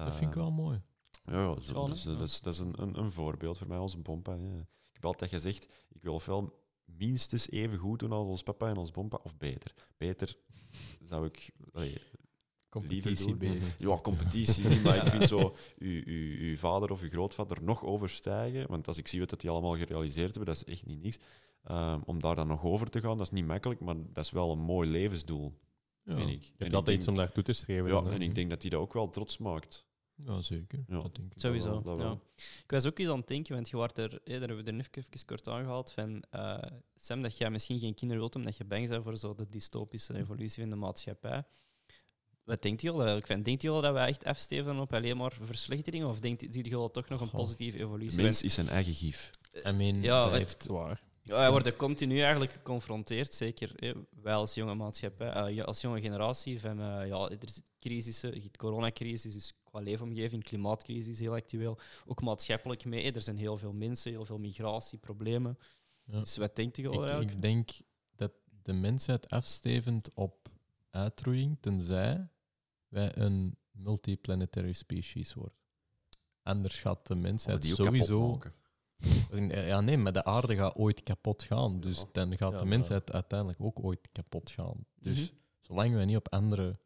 Dat vind ik wel mooi. Ja, ja, zo- Schoon, hè? dus, eh, dat is, dat is een, een, een voorbeeld voor mij, onze Bompa. ja. Ik heb altijd gezegd, ik wil ofwel minstens even goed doen als ons papa en ons Bompa, of beter. Beter zou ik... allee, Competitiebeest. ja, competitie niet, maar ik vind zo uw, uw, uw vader of uw grootvader nog overstijgen. Want als ik zie wat dat die allemaal gerealiseerd hebben, dat is echt niet niks. Ehm, om daar dan nog over te gaan, dat is niet makkelijk, maar dat is wel een mooi levensdoel, Ja. vind ik. Je En hebt altijd ik iets om denk- naartoe te streven. Ja, dan, hè. en ik denk dat hij dat ook wel trots maakt. Ja, zeker. Ja. Dat denk ik. Zo- Sowieso. Dat wel, dat ja. wel. Ik was ook eens aan het denken, want je wordt er, eh, daar hebben we er net even kort aangehaald, van eh, Sam, dat jij misschien geen kinderen wilt omdat je bang bent voor zo de dystopische evolutie van de maatschappij. Wat denkt je al eigenlijk van? Denkt je al dat wij echt afsteven op alleen maar verslechtering? Of denkt zie je al toch nog een Goh. positieve De evolutie? mens is zijn eigen gif. I mean, Ja, dat het- heeft- Zwaar. Ja, wij worden continu eigenlijk geconfronteerd, zeker hè, wij als jonge maatschappij, eh, ja, als jonge generatie, van eh, ja, er is crisissen, de coronacrisis, dus qua leefomgeving, klimaatcrisis heel actueel, ook maatschappelijk mee. hè, Er zijn heel veel mensen, heel veel migratieproblemen. Ja. Dus wat denkt je wel ik, eigenlijk? ik denk dat de mensheid afstevend op uitroeiing, tenzij wij een multiplanetary species worden. Anders gaat de Om mensheid Oh, die ook kapot sowieso... maken. Ja, nee, maar de aarde gaat ooit kapot gaan. Dus Ja. dan gaat Ja, de maar- mensheid uiteindelijk ook ooit kapot gaan. Dus Mhm. zolang wij niet op andere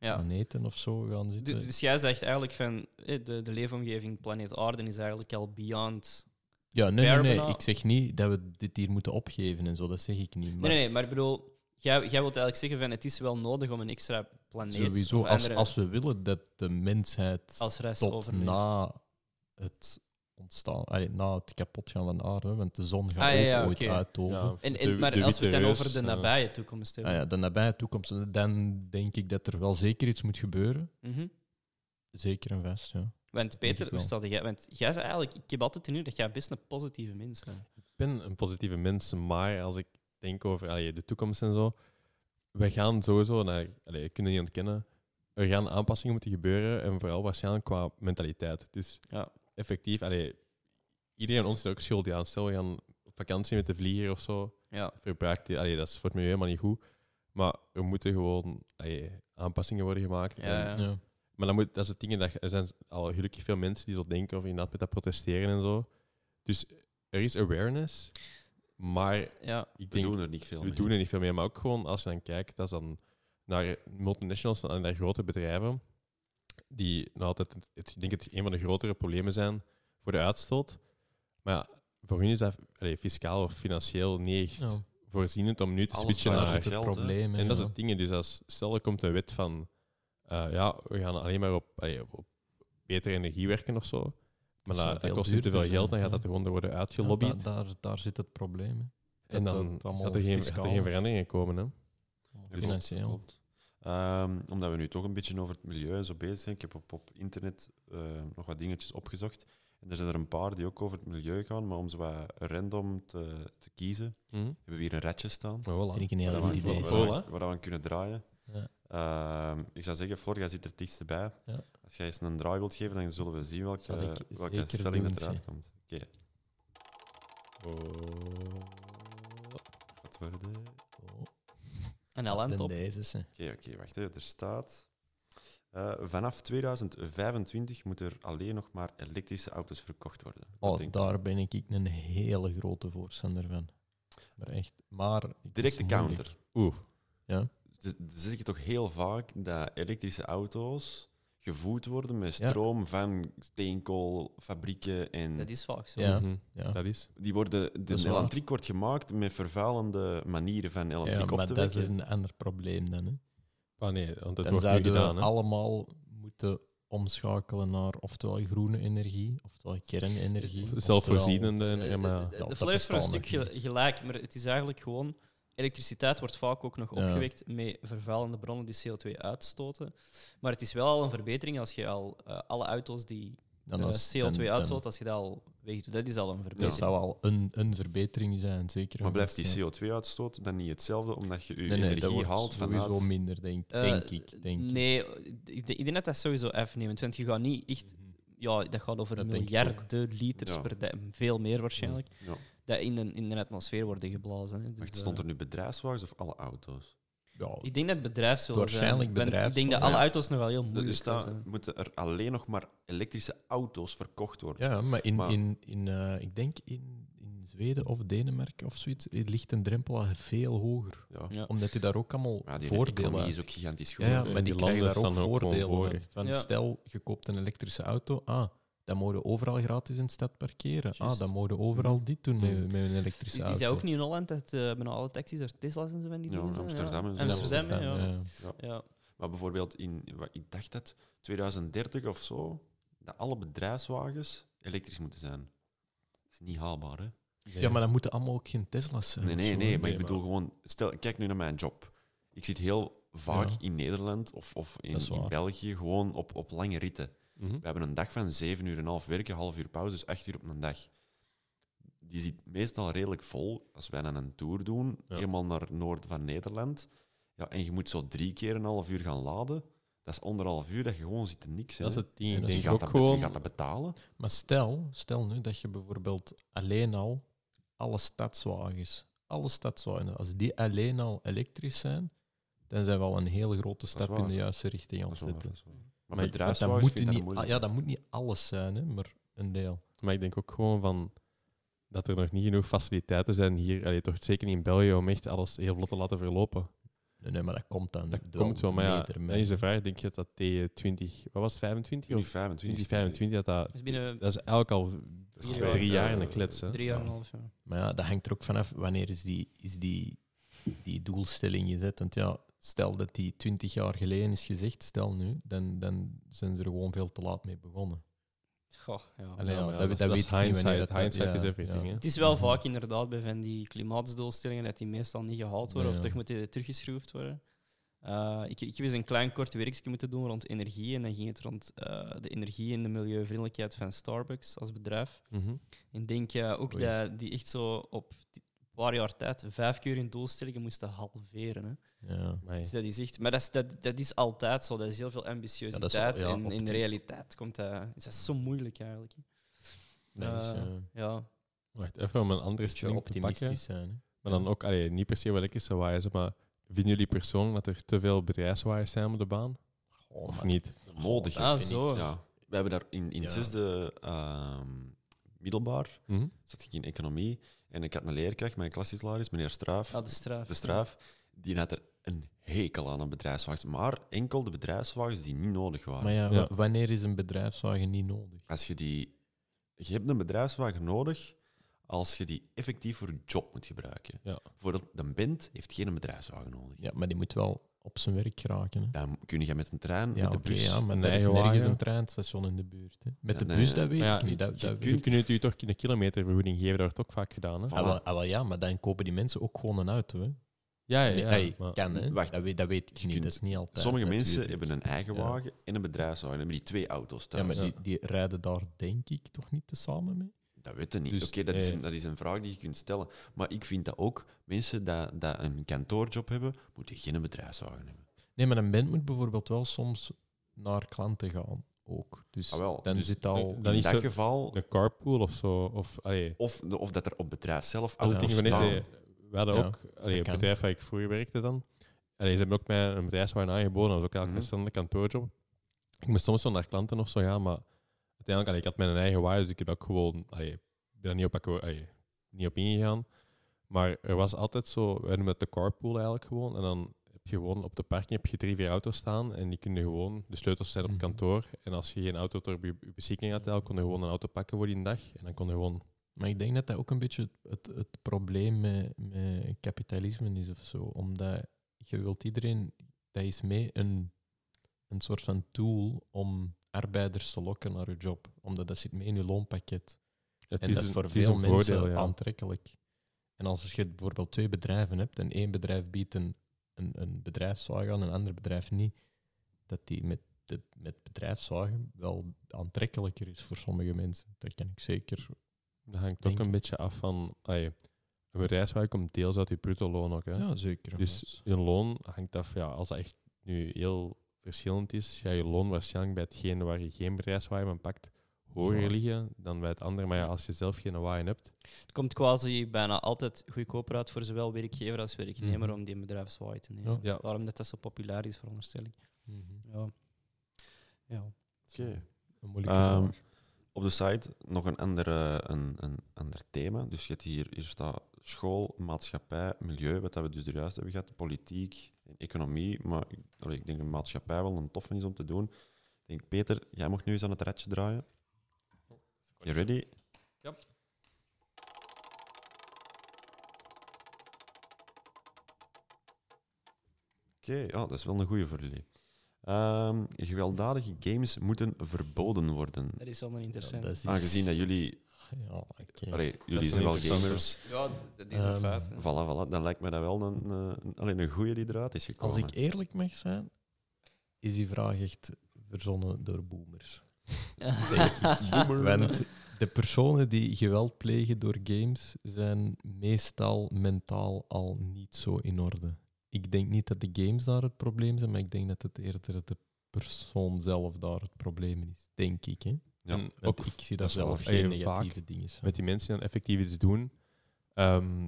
Ja. planeten of zo gaan Du- zitten... Dus jij zegt eigenlijk van hè, de, de leefomgeving planeet Aarde is eigenlijk al beyond. Ja, nee, nee, nee. Barbara- Ik zeg niet dat we dit hier moeten opgeven en zo. Dat zeg ik niet. Nee, Maar nee, nee, maar ik bedoel, jij, jij wilt eigenlijk zeggen van het is wel nodig om een extra planeet sowieso, of als, andere- als we willen dat de mensheid als rest tot overleeft. na het ontstaan, allee, na het kapotgaan van de aarde, want de zon Ah, gaat ja, ook ja, ooit oké. uitdoven. Ja, En, de- en, maar als we de het witte dan reus, over de eh, nabije toekomst Ah, hebben. ja, de nabije toekomst, dan denk ik dat er wel zeker iets moet gebeuren. Mhm. Zeker en vast, ja. Want Denk Peter, ik wel. hoe staat jij? Want jij is eigenlijk, ik heb altijd de indruk dat jij best een positieve mens bent. Ik ben een positieve mens, maar als ik denk over allee, de toekomst en zo, we gaan sowieso naar, allee, je kunt het niet ontkennen, er gaan aanpassingen moeten gebeuren en vooral waarschijnlijk qua mentaliteit. Dus Ja. effectief, allee, iedereen ons is ook schuldig aan. Stel, we gaan op vakantie met de vlieger of zo, Ja. verbruikt die, allee, dat is voor het milieu helemaal niet goed. Maar er moeten gewoon allee, aanpassingen worden gemaakt. Ja, En ja. ja. maar dan moet, dat is het ding, dat, er zijn al gelukkig veel mensen die zo denken of inderdaad met dat protesteren en zo. Dus er is awareness, maar Ja, ik We denk, doen er niet veel we mee. doen er niet veel mee. Maar ook gewoon, als je dan kijkt, dat is dan naar multinationals en naar grote bedrijven, die nou altijd, het, het- ik denk het een van de grotere problemen zijn voor de uitstoot. Maar ja, voor hun is dat allee, fiscaal of financieel niet echt Ja, voorzienend om nu te Alles switchen waar dat maar is naar het geld, hè. probleem. hè, en dat is ja. het ding. hè. Dus als, stel er komt een wet van, eh, ja, we gaan alleen maar op, allee, op- op betere energie werken of zo. Maar zou dat, dat veel kost nu te veel duurder geld, dan zijn, gaat dat ja. gewoon worden Ja, uitgelobbyd. da- daar, daar zit het probleem. hè. en dat- dan dat allemaal gaat er geen, gaat fiscaal er geen is. veranderingen komen. Hè. Klopt, Financieel. Dus klopt. Ehm, omdat we nu toch een beetje over het milieu en zo bezig zijn, ik heb op, op internet eh, nog wat dingetjes opgezocht. En er zijn er een paar die ook over het milieu gaan, maar om ze wat random te, te kiezen, Hm? Mhm. hebben we hier een ratje staan. Maar Vind voilà. ik een heel waar, goed we, idee. waar, Voilà. we- waar we aan kunnen draaien. Ja. Ehm, ik zou zeggen, Flor, jij zit er het dichtst bij. Ja. Als jij eens een draai wilt geven, dan zullen we zien Zal welke, ik welke zeker stelling doen, dat eruit zie. komt. Oké, wat worden? Oké, Oh, een en LN top. deze is, hè. oké, wacht even. Er staat... eh, vanaf 2025 moeten er alleen nog maar elektrische auto's verkocht worden. Wat Oh, denk je? daar ben ik een hele grote voorstander van. Maar echt, maar... het is Directe moeilijk. counter. Oeh. Ja. Dus dan zeg je toch heel vaak dat elektrische auto's gevoed worden met Ja. stroom van steenkoolfabrieken en Dat is vaak zo. Ja. Mhm. Ja. Dat is. die worden de is waar. elektriek wordt gemaakt met vervuilende manieren van Ja, elektriek op maar te dat is wekken. een ander probleem dan. Hè. Ah nee, want het Dan wordt nu zouden gedaan. we hè. allemaal moeten omschakelen naar oftewel groene energie, oftewel kernenergie. Of oftewel- Zelfvoorzienende. en- en- maar ja. ja, de dat Flair heeft wel een bestaat stuk nog gel- gelijk, maar het is eigenlijk gewoon... Elektriciteit wordt vaak ook nog Ja. opgewekt met vervuilende bronnen die CO2 uitstoten. Maar het is wel al een verbetering als je al eh, alle auto's die Dan eh, als- dan- CO2 dan- uitstoot, als je dat al wegdoet. Dat is al een Dat verbetering. zou al een, een verbetering zijn, zeker. Maar blijft Ja. die CO2-uitstoot dan niet hetzelfde, omdat je je Nee, nee, dat energie wordt haalt sowieso vanuit... minder, denk, Eh, denk ik. Denk ik. nee, ik denk ik denk dat dat sowieso afneemt. Want je gaat niet echt... Mhm. Ja, dat gaat over Dat denk ik miljarden liters Ja. per dag. Veel meer waarschijnlijk. Ja. Dus Dat in de, in de atmosfeer worden geblazen. Hè. Dus, Wacht, eh, stond er nu bedrijfswagens of alle auto's? Ja, Ik denk dat het bedrijf zullen Waarschijnlijk zijn. Want bedrijf Ik denk dat zullen alle zijn. auto's nog wel heel moeilijk Er zullen staat, zijn. moeten er alleen nog maar elektrische auto's verkocht worden. Ja, maar in, Maar- in, in eh, ik denk in, in Zweden of Denemarken of zoiets, eh, ligt een drempel al veel hoger. Ja. Ja. Omdat die daar ook allemaal Maar die voordelen economie uit- is ook gigantisch goed. Ja, ja, En maar die, die krijgen landen daar ook staan ook gewoon voordelen voor, van. echt. Van, Ja. Stel, je koopt een elektrische auto. Ah, dan mogen we overal gratis in de stad parkeren. Ah, Juist. dan mogen we overal dit doen met, Mm. met een elektrische Is auto. dat ook niet in Holland dat eh bijna alle taxis er Tesla's en zo van die Ja, dingen zijn? Amsterdam en zo. Amsterdam, ja. Amsterdam, ja. ja. Maar bijvoorbeeld in, wa- ik dacht dat 2030 of zo, dat alle bedrijfswagens elektrisch moeten zijn. Dat is niet haalbaar, hè? Nee. Ja, maar dan moeten allemaal ook geen Tesla's zijn. Nee, of nee, zo, nee, hè. maar ik maar- bedoel gewoon, stel, kijk nu naar mijn job. Ik zit heel vaak Ja. in Nederland of, of in, Dat is in waar. België gewoon op, op lange ritten. Mhm. We hebben een dag van 7 uur en een half werken, half uur pauze, dus 8 uur op een dag. Die zit meestal redelijk vol als wij dan een tour doen, Ja. helemaal naar het noorden van Nederland. Ja, en je moet zo drie keer een half uur gaan laden. Dat is anderhalf uur dat je gewoon zit te niks. hè. Dat is het Ja, ding. Ik dat is- Je gaat, denk ook dat, be- gewoon... je gaat dat betalen. Maar stel, stel nu dat je bijvoorbeeld alleen al alle stadswagens, alle stadswagens, als die alleen al elektrisch zijn, dan zijn we al een hele grote Dat is stap waar. in de juiste richting aan Dat het is wel waar, zetten. dat is wel waar. Maar, Maar Want dat bedrijfswagens moet, vind ik niet, dat moeilijk. ah, ja, dat moet niet alles zijn, hè, maar een deel. Maar ik denk ook gewoon van dat er nog niet genoeg faciliteiten zijn hier, allee, toch zeker niet in België, om echt alles heel vlot te laten verlopen. Nee, nee, maar dat komt dan. Dat wel komt wel, maar ja, beter dan mee. is de vraag, denk je dat tegen 20, wat was het, 25 Nu of 25. 2025, dat dat, Dus binnen dat is elk al Dat is Drie twee- jaar. drie jaar in eh, de klets. Hè. drie jaar en een half jaar. Maar ja, dat hangt er ook vanaf wanneer is die, is die, die doelstelling gezet. Want ja, stel dat die twintig jaar geleden is gezegd, stel nu, dan, dan zijn ze er gewoon veel te laat mee begonnen. Goh, ja. Allee, Ja, ja, maar ja, dat, dat, is- weet is ik niet wanneer hindsight. dat- dat- Hindsight ja, is ja. everything. hè. Het is wel vaak inderdaad bij van die klimaatsdoelstellingen dat die meestal niet gehaald worden Nee, of ja. toch moeten die teruggeschroefd worden. Eh, ik, ik heb eens een klein kort werkje moeten doen rond energie. En dan ging het rond eh, de energie en de milieuvriendelijkheid van Starbucks als bedrijf. Mhm. En ik denk eh, ook Oei. dat die echt zo op die- een paar jaar tijd vijf keer hun doelstellingen moesten halveren. Hè. Ja. Amai. Dus dat is echt, maar dat is, dat, dat is altijd zo. Dat is heel veel ambitieusiteit. ja, en op in de zich. realiteit komt dat. Is dat zo moeilijk eigenlijk? hè. Dat is, Eh, ja, Ja, Wacht, even om een andere moet je stelling te pakken. optimistisch zijn. hè. Maar dan ook, allee, niet per se wat ik is waaien, zeg maar vinden jullie persoonlijk dat er te veel bedrijfswaaiers zijn op de baan? Goh, of Oh, maar niet? Nodig. Ah, vind ik- zo. Ja. We hebben daar in, in Ja. zesde ehm, middelbaar, Mhm. zat ik in economie, en ik had een leerkracht, mijn klassitularis, meneer Struif, Ah, de straaf. de Struif, die had er een hekel aan een bedrijfswagens. Maar enkel de bedrijfswagens die niet nodig waren. Maar Ja. ja, wa- wanneer is een bedrijfswagen niet nodig? Als je die... Je hebt een bedrijfswagen nodig als je die effectief voor je job moet gebruiken. Ja. Bijvoorbeeld, de band heeft geen bedrijfswagen nodig. Ja, maar die moet wel op zijn werk geraken. Hè. Dan kun je met een trein, Ja, met oké, de bus... ja, maar een er is eigen nergens wagen. een treinstation in de buurt. Hè. Met Ja, de nee, bus, dat weet Maar ja, ik niet. Dat, je dat kunt- Je kunt nu toch een kilometervergoeding geven, dat wordt ook vaak gedaan. Hè? Van- Ah, wel, ah, wel ja, maar dan kopen die mensen ook gewoon een auto. Hè. Ja, Nee, hey, maar- kan, hè. Wacht. Dat, weet, dat weet ik Je niet. kunt- dat is niet altijd. Sommige natuurlijk. mensen hebben een eigen Ja. wagen en een bedrijfswagen. Dan hebben die twee auto's thuis. Ja, maar Ja. die, die rijden daar denk ik toch niet tezamen mee? Dat weet je niet. Dus, Oké, dat, is eh, een- dat is een vraag die je kunt stellen. Maar ik vind dat ook mensen dat, dat een kantoorjob hebben, moeten geen bedrijfswagen hebben. Nee, maar een band moet bijvoorbeeld wel soms naar klanten gaan. Ook. Dus Ah, wel. dan Dus zit al... Dan in is dat het- geval, Een carpool of zo. Of, allee, of, of dat er op bedrijf zelf als ik auto's denk van staan. net, eh, we hadden Ja, ook allee, het kan. bedrijf waar ik vroeger werkte dan. Allee, ze hebben ook mij een bedrijfswagen aangeboden. Dat was ook eigenlijk Mhm. een standaard kantoorjob. Ik moest soms wel naar klanten of zo gaan, maar uiteindelijk allee, ik had mijn eigen wagen, dus ik heb ook gewoon allee, ik ben er niet op, akkoord- allee, niet op ingegaan. Maar er was altijd zo, we met de carpool eigenlijk gewoon. En dan heb je gewoon op de parking heb je drie, vier auto's staan en die kunnen gewoon, de sleutels zijn op Mhm. kantoor. En als je geen auto ter be- beschikking had, dan kon je gewoon een auto pakken voor die dag. En dan kon je gewoon Maar ik denk dat dat ook een beetje het, het, het probleem met, met kapitalisme is of zo. Omdat je wilt iedereen, dat is mee een, een soort van tool om arbeiders te lokken naar hun job. Omdat dat zit mee in je loonpakket. Het en dat is een- voor het veel een mensen voordeel, ja. aantrekkelijk. En als je bijvoorbeeld twee bedrijven hebt en één bedrijf biedt een, een, een bedrijfswagen aan en een ander bedrijf niet, dat die met, de, met bedrijfswagen wel aantrekkelijker is voor sommige mensen. Dat kan ik zeker Dat hangt denk ook een ik. beetje af van... Allee, een bedrijfswagen komt deels uit je bruto loon ook. Hè. Ja, zeker. dus je loon hangt af, ja, als dat echt nu heel verschillend is, ga je loon waarschijnlijk bij hetgene waar je geen bedrijfswagen van pakt, hoger Ja. liggen dan bij het andere. Maar ja, als je zelf geen wagen hebt... Het komt quasi bijna altijd goedkoper uit voor zowel werkgever als werknemer Mhm. om die een bedrijfswaai te nemen. Ja. Waarom dat, dat zo populair is, veronderstel ik. Ja. Ja. Oké. Een moeilijke Ehm, vraag. Op de site nog een, andere, een, een ander thema. Dus je hebt hier, hier staat school, maatschappij, milieu, wat dat we dus er juist hebben gehad, politiek en economie. Maar ik, allee, ik denk dat maatschappij wel een toffe is om te doen. Ik denk, Peter, jij mag nu eens aan het ratje draaien. You ready? Ja. Oké, ja, dat is wel een goede voor jullie. Ehm, gewelddadige games moeten verboden worden. Dat is wel een Ja, interessant. dat is- Aangezien dat jullie Ja, oké. Allee, jullie is zijn wel wel interessant, gamers. Ja, dat is is een een Ehm, feit, feit. hè. Voilà, voilà. Dan lijkt me dat wel een, eh, alleen een goede die eruit is gekomen. Als ik eerlijk mag zijn, is die vraag echt verzonnen door boomers. Want de personen die geweld plegen door games zijn meestal mentaal al niet zo in orde. Ik denk niet dat de games daar het probleem zijn, maar ik denk dat het eerder de persoon zelf daar het probleem in is. Denk ik, hè? Ja, en Want ik zie daar dat is zelf wel- geen eh, negatieve vaak dingen van. met die mensen die dan effectief iets doen, ehm,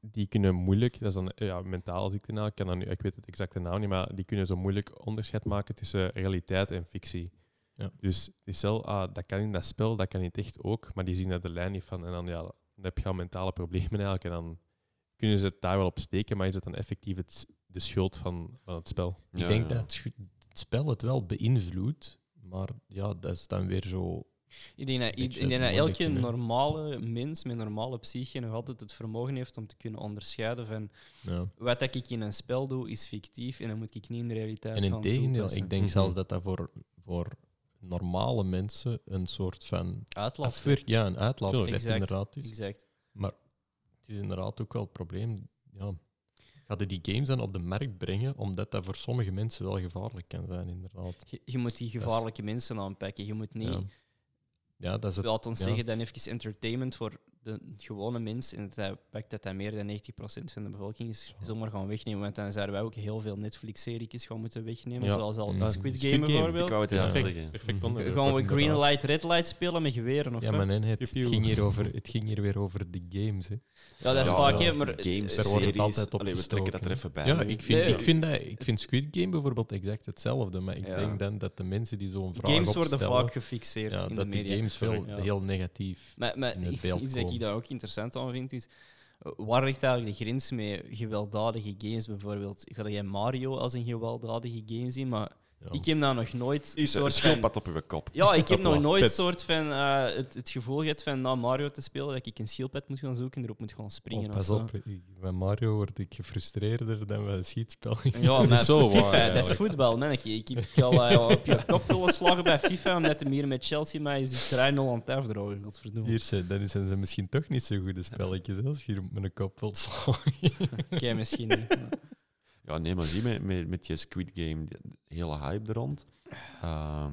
die kunnen moeilijk, dat is dan eh, ja, mentaal ziekte nou, ik, kan dan nu, ik weet het exacte naam niet, maar die kunnen zo moeilijk onderscheid maken tussen realiteit en fictie. Ja. Dus die cel, ah, dat kan in dat spel, dat kan niet echt ook, maar die zien daar de lijn niet van. En dan, ja, dan heb je al mentale problemen eigenlijk. En dan kunnen ze het daar wel op steken, maar is het dan effectief het, de schuld van, van het spel? Ik denk dat het, schu- het spel het wel beïnvloedt, maar ja, dat is dan weer zo. Ik denk dat, Beetje ik denk dat moeilijk, elke hè. normale mens met normale psyche nog altijd het vermogen heeft om te kunnen onderscheiden van Ja. wat dat ik in een spel doe is fictief en dat moet ik niet in de realiteit En in gaan tegendeel, toepassen. ik denk Mhm. zelfs dat dat voor, voor normale mensen een soort van Uitlaat. afweer, ja, een uitlaatklep Exact. inderdaad is. Exact. Het is inderdaad ook wel het probleem. Ja. Gaat je die games dan op de markt brengen, omdat dat voor sommige mensen wel gevaarlijk kan zijn, inderdaad. Je, je moet die gevaarlijke mensen aanpakken. Je moet niet, Ja. Ja, dat is het. laat ons ja. zeggen, dan even entertainment voor de gewone mens. En dat pakt dat dat meer dan 90% van de bevolking is zomaar gaan wegnemen. Want dan zouden wij ook heel veel Netflix-series gaan moeten wegnemen. Ja. Zoals al Mm. Squid Squid Game Game. Ik bijvoorbeeld. wou het juist Ja. zeggen. Perfect Mhm. onderwerp. Gaan we inderdaad. green light, red light spelen met geweren? Of Ja, wat? maar nee, nee, het, Pew, pew. ging hier over, het ging hier weer over de games. Hè. Ja, dat is Ja, vaak, zo. hè, maar eh, games, daar wordt het series, altijd op Allee, we trekken dat er gestoken, even bij. Ja, nu. ik vind, Nee. ik, vind dat, ik vind Squid Game bijvoorbeeld exact hetzelfde, maar ik Ja. denk dan dat de mensen die zo'n vraag games worden opstellen, vaak gefixeerd ja, in de dat die media. games veel, Ja. heel negatief... Maar, maar in het iets, beeld iets dat ik komen. daar ook interessant aan vind is. eh, Waar ligt eigenlijk de grens met gewelddadige games bijvoorbeeld? Ga jij Mario als een gewelddadige game zien? Maar Ja. ik heb nou nog nooit. Is er een soort van- schildpad op uw kop? Ja, ik heb nog Hopla, nooit pet. soort van, eh, het, het gevoel gehad van na Mario te spelen dat ik een schildpad moet gaan zoeken en erop moet gaan springen. Oh, of pas zo. op, ik- bij Mario word ik gefrustreerder dan bij een schietspel. Ja, maar dat is zo waar, FIFA, dat is eigenlijk. voetbal. Man. Ik, ik, ik al eh, op je kop willen slagen bij FIFA, omdat hem hier met Chelsea mij is 3-0 aan het afdrogen. Godverdomme. Hier zijn, dan zijn ze misschien toch niet zo goede spelletjes als je hier op mijn kop wilt slaan. Oké, misschien niet. Ja, nee, maar zie met, met, met je Squid Game, die hele hype er rond. Ehm,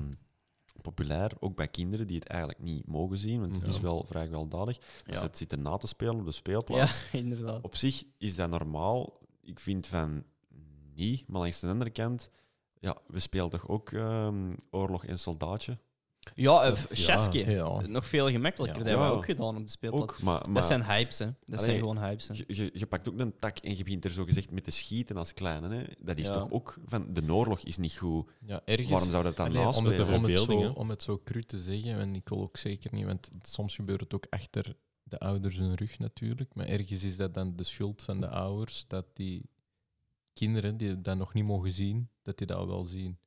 populair, ook bij kinderen die het eigenlijk niet mogen zien, want het Ja. is wel vrij gewelddadig. Dat Ja. ze het zitten na te spelen op de speelplaats. Ja, inderdaad. Op zich is dat normaal. Ik vind van niet, maar langs de andere kant, ja, we spelen toch ook ehm, oorlog en soldaatje? Ja, eh, Chasquet. Ja, Nog veel gemakkelijker. Ja. Dat hebben we Ja. ook gedaan op de speelplaats. Ook, maar, maar dat zijn hypes, hè. Dat zijn Allee, gewoon hypes, hè. je, je, je pakt ook een tak en je begint er zo gezegd mee te schieten als kleine. Hè? Dat is Ja. toch ook van de oorlog is niet goed. ja ergens... Waarom zou dat dan Allee, om, het, naspelen? om, het Verbeelding, zo, hè? om het zo cru te zeggen, en ik wil ook zeker niet, want soms gebeurt het ook achter de ouders hun rug natuurlijk, maar ergens is dat dan de schuld van de ouders, dat die kinderen die dat nog niet mogen zien, dat die dat wel zien,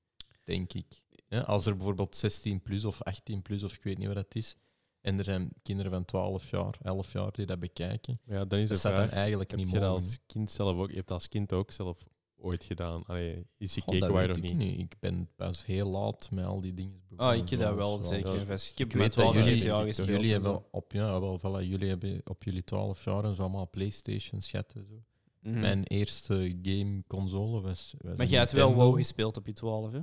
denk ik. Ja, als er bijvoorbeeld 16 plus of 18 plus of ik weet niet wat dat is, en er zijn kinderen van 12 jaar, 11 jaar die dat bekijken, dus Ja, dan is de dat zou dan vraag, eigenlijk heb niet je dat mogen. als kind zelf ook, je hebt dat als kind ook zelf ooit gedaan. Allee, is die Goh, dat keken waar je weet nog ik niet. Ik ben pas heel laat met al die dingen Ah, begonnen. ik heb dat wel Dus, zeker. ja. vast. Ik Ik heb met weet dat 12 jullie, GTA jullie gespeeld. en hebben zo. op, ja, wel, voilà, jullie hebben op jullie 12 jaar en zo allemaal Playstations gehad. en Zo. Mhm. Mijn eh, eerste gameconsole was, was Maar een jij hebt wel Nintendo. WoW gespeeld op je 12, hè?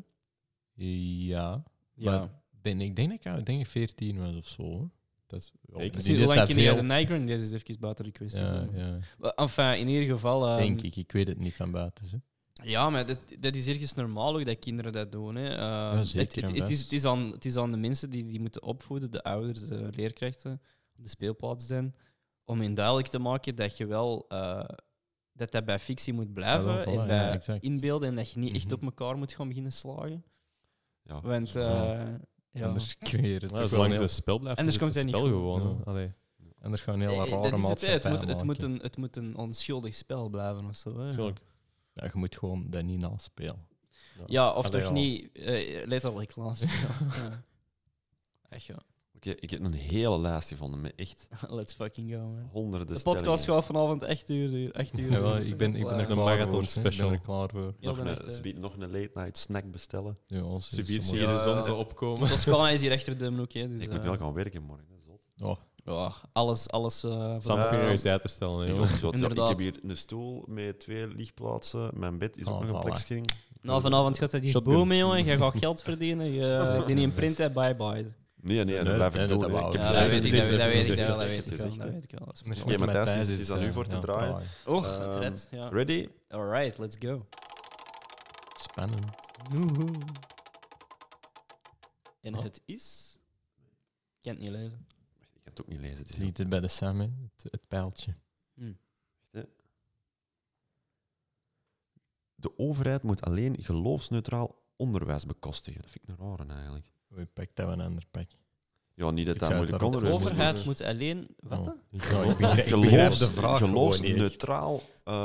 Ja, Ja. Maar- ben, ik denk dat ik, ik denk dat ik 14 was of zo. hoor. Dat is, ja, Ik die Zie, deed hoe lang dat ken jij de veel. Nightgrind? Deze is even buiten de kwestie. Ja, zo. ja, Maar Enfin, in ieder geval... ehm, denk ik, ik weet het niet van buiten. Hè. Ja, maar dat, dat is ergens normaal ook dat kinderen dat doen. Hè. Eh, zeker het, het, en het, is, vast. het, is aan, het is aan de mensen die, die moeten opvoeden, de ouders, de leerkrachten, op de speelplaats zijn, om hen duidelijk te maken dat je wel... eh, dat dat bij fictie moet blijven Ja, wel, voilà, en bij ja, exact. inbeelden en dat je niet echt Mhm. op elkaar moet gaan beginnen slagen. Ja. Want... eh, Ja. ja. Anders creëer het Ja, toch wel zolang heel- het een spel blijft, Anders is het komt hij een niet spel goed. gewoon. Ja. hè. Allee. anders gaan heel Eh, rare dat is het, hè. het, maatschappij moet, het, moet maken. een, het moet een onschuldig spel blijven of zo. Hè. Tuurlijk. Ja, je moet gewoon dat niet naspelen. Ja, of Allee, toch ja. niet eh, letterlijk laatst. ja. Echt ja. Oké, ik heb een hele lijst gevonden met echt Let's fucking go, man. honderden De podcast stellingen. gaat vanavond echt uur. duren, Echt uur. Ja, wel, duren. ik ben, ik ben er Ja. Een klaar marathon voor, hè. Ik ben special. er klaar voor. Heel de nog, nacht, een, hè. ze bieden nog een late night snack bestellen. Ja, Ze biedt sommige- hier de Ja, zon ja. te opkomen. Toscana is hier achter de hoek. hè, Dus, ik moet eh, wel gaan werken morgen. Dat is zot. ja, alles, alles. eh, voor Samen Ja. prioriteit te stellen. Ja, joh. zot. Ja, ik inderdaad. heb hier een stoel met twee lichtplaatsen. Mijn bed is ook Ah, nog een voilà. plekskring. Nou, vanavond gaat dat hier Shotgun. bomen, jongen. Je gaat geld verdienen. Je eh, die niet print hebt, bye bye. Nee, nee, dat Nee, blijf ik nee, dat doen. hè. wou Ik ik. heb Ja, Ja, dat gezegd, weet ik, ik dat, heb dat weet ik, gezegd, dat ik heb weet ik wel. gezegd, Dat hè. weet ik wel. Ja, maar Thijs, het is aan u voor te draaien. Och, Ehm, het red. Ja. Ready? Alright, let's go. Spannend. En Oh. het is. Ik kan het niet lezen. Ik kan het ook niet lezen. Het is Het heel- liet het bij de Sam, hè. het, het pijltje. Hm. De overheid moet alleen geloofsneutraal onderwijs bekostigen. Dat vind ik een rare eigenlijk. We Oh, pak dat we een ander pak. Ja, niet dat Ik dat zou het moeilijk daar De onderwijs is. overheid moet alleen. Wat? Oh. dan? Ja, ik begrijp- ik begrijp Geloofs, de vraag gewoon niet. geloofsneutraal ehm,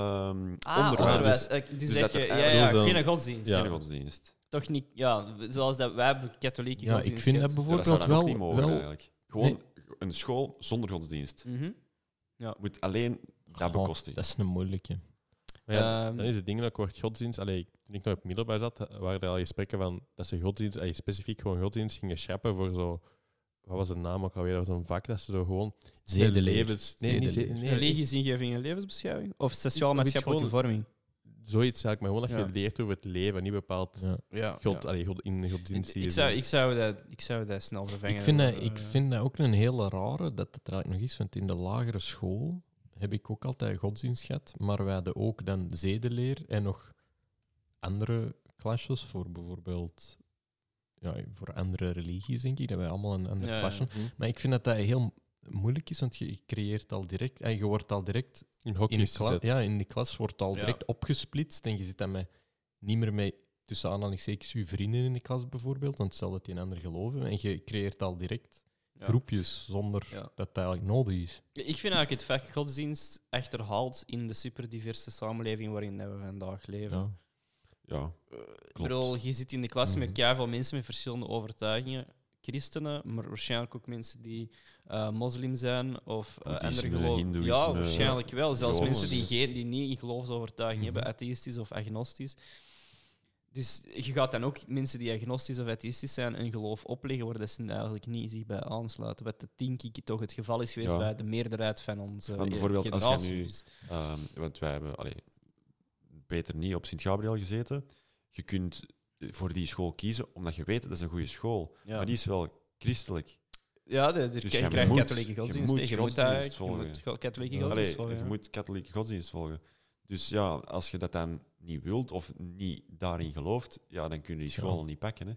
Ah, onderwijs. onderwijs. Eh, Dus, dus zeg dat je, er ja, ja, eigenlijk wel- geen godsdienst. Geen Ja. godsdienst. Toch niet, ja, zoals dat wij hebben katholieke Ja, ik godsdienst. vind dat gehad. Ja, dat zou bijvoorbeeld dan ook niet wel... mogen wel eigenlijk. Gewoon een school zonder godsdienst. Mhm. Moet alleen dat Goh, bekostigen. Dat is een moeilijke. Maar ja, Ehm. dan is het ding dat ik word godsdienst. Allee, toen ik nog op middelbaar zat, waren er al gesprekken van dat ze godsdienst, allee, specifiek gewoon godsdienst gingen schrappen voor zo. Wat was de naam ook alweer? Dat was een vak dat ze zo gewoon. Zedeleer. levens- Nee, niet Zedeleer. zedeleer. Religies, ingeving en levensbeschouwing? Of Of iets sociaal-maatschappelijke gewoon- vorming? zoiets eigenlijk, maar gewoon dat je Ja. leert over het leven, niet bepaald Ja. Ja, God, ja. allee, God in Ik, godsdienst. ik zou, ik, zou dat, ik zou dat snel vervangen. Ik vind, dat, door, ik eh, vind dat ook een hele rare, dat het er eigenlijk nog is, want in de lagere school heb ik ook altijd godsdienst gehad, maar we hadden ook dan zedeleer en nog andere klasjes voor bijvoorbeeld ja, voor andere religies, denk ik, dat wij allemaal een ander Ja, Mhm. ja. klasje. Maar ik vind dat dat heel mo- moeilijk is, want je je creëert al direct, en je wordt al direct in in de, hokjes kla- ja, in de klas wordt al Ja. direct opgesplitst en je zit dan met, niet meer met tussen aanhalingstekens je vrienden in de klas bijvoorbeeld, want stel dat die een ander geloven en je creëert al direct ja. groepjes zonder Ja. dat dat eigenlijk nodig is. Ik vind eigenlijk het vak godsdienst achterhaald in de superdiverse samenleving waarin we vandaag leven. Ja. Ja, Ik bedoel, je zit in de klas met Mhm. keiveel mensen met verschillende overtuigingen. Christenen, maar waarschijnlijk ook mensen die eh, moslim zijn of eh andere Boeddhisme, geloven. hindoeïsme, Ja, waarschijnlijk wel. Zelfs Joden. mensen die, geen, die niet in geloofsovertuiging hebben, Mhm. atheïstisch of agnostisch. Dus je gaat dan ook mensen die agnostisch of atheïstisch zijn een geloof opleggen waar dat ze eigenlijk niet zich bij aansluiten. Wat dat denk ik toch het geval is geweest Ja. bij de meerderheid van onze Want bijvoorbeeld als je generatie. nu- Dus- Ehm, want wij hebben allee, beter niet op Sint-Gabriel gezeten. Je kunt voor die school kiezen, omdat je weet dat is een goede school. ja. Maar die is wel christelijk. Ja, de, de Dus kerk je krijgt moet- katholieke je godsdienst. moet hè. Je godsdienst moet daar- volgen. Je moet go- katholieke Ja. Allee, godsdienst volgen. je ja. moet katholieke godsdienst volgen. Dus ja, als je dat dan niet wilt of niet daarin gelooft, ja, dan kun je die Ja. school niet pakken. Hè.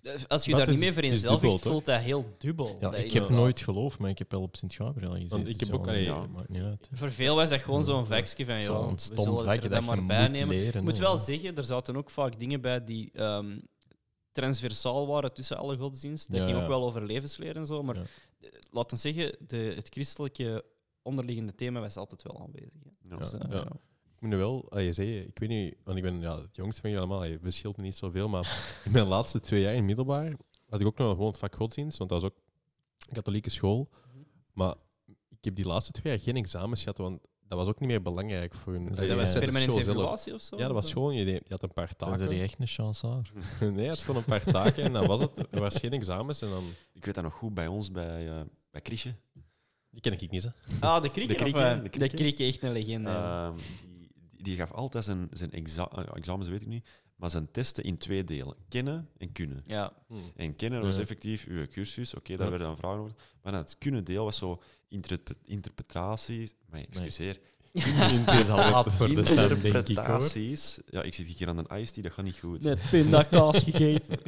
De- Als je Dat daar is- niet mee het is vereenzelvigt, dubbel, toch? voelt dat heel dubbel. Ja, Dat ik heb inderdaad. nooit geloof, maar ik heb wel op Sint-Gabriel gezeten. Want ik dus heb ook- ja, allee, ja. maakt niet uit. Voor veel was dat gewoon zo'n Ja. vakje van, Het is wel joh, een we stom zullen vakje er dan dat je maar bij moet nemen. leren. Ik moet hè. wel zeggen, er zaten ook vaak dingen bij die ehm, transversaal waren tussen alle godsdiensten. Dat Ja, ging ja. ook wel over levensleer en zo. Maar Ja. eh, laten we zeggen, de, het christelijke onderliggende thema was altijd wel aanwezig. hè. Ja. Dus, eh, ja. ja. Ik moet nu wel, ah, je zei, ik weet niet, want ik ben ja, het jongste van jullie allemaal, je verschilt me niet zoveel, maar in mijn laatste twee jaar in middelbaar had ik ook nog wel gewoon het vak godsdienst, want dat was ook een katholieke school. Maar ik heb die laatste twee jaar geen examens gehad, want dat was ook niet meer belangrijk voor hun. Dus Dat Allee, was was tijdens Permanente school zelf. evaluatie of zo? Ja, dat was gewoon, je, deed- je had een paar Dan ben taken. je echt een chansaar. Nee, het gewoon een paar taken en dan was het. Er was geen examens en dan... Ik weet dat nog goed bij ons, bij, eh bij Krisje. Die ken ik niet, hè. Ah, de krieken. De of, krieken, eh, de De krieken. krieken, echt een legende. Ehm, die, die gaf altijd zijn, zijn exa- eh, examens, weet ik niet, maar zijn testen in twee delen: kennen en kunnen. ja. Hmm. En kennen was Ja. effectief uw cursus, oké, daar Ja. werden dan vragen over. Maar dan het kunnen deel was zo interpre- interpretaties. Maar excuseer. Het is al laat Ah, voor de Sam, denk ik hoor. interpretaties. Ja, ik zit hier aan een ice die dat gaat niet goed. Net pindakaas gegeten.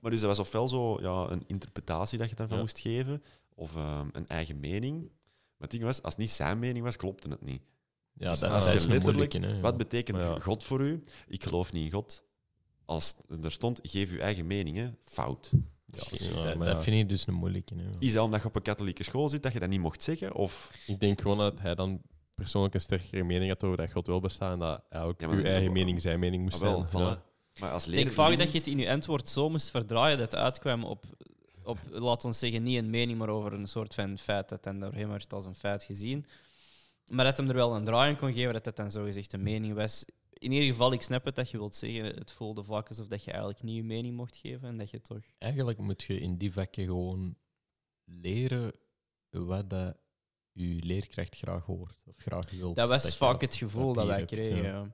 Maar dus dat was ofwel zo ja, een interpretatie dat je daarvan Ja. moest geven, of ehm, een eigen mening. Maar het ding was, als het niet zijn mening was, klopte het niet. Ja, Dus dat, als dat je is een letterlijk- moeilijke. Hè, Wat betekent Maar ja. God voor u? Ik geloof niet in God. Als er stond, geef uw eigen mening, hè. fout. ja, Ja, dat, maar ja. dat vind ik dus een moeilijke. Hè. Is dat omdat je op een katholieke school zit dat je dat niet mocht zeggen? Of Ik denk gewoon dat hij dan persoonlijk een sterkere mening had over dat God wel bestaat en dat hij ook Ja, maar- uw eigen mening zijn mening moest Ah, wel, zijn. voilà. Ja. Maar als Ik leerling... denk vaak dat je het in je antwoord zo moest verdraaien dat het uitkwam op, op laten we zeggen, niet een mening, maar over een soort van feit dat dan door hem werd als een feit gezien. Maar dat hem er wel een draai aan kon geven, dat dat dan zogezegd een mening was. In ieder geval, ik snap het dat je wilt zeggen, het voelde vaak alsof dat je eigenlijk niet je mening mocht geven en dat je toch... Eigenlijk moet je in die vakken gewoon leren wat dat je leerkracht graag hoort of graag wil. Dat was vaak het gevoel dat wij papier hebt, kregen. ja. ja.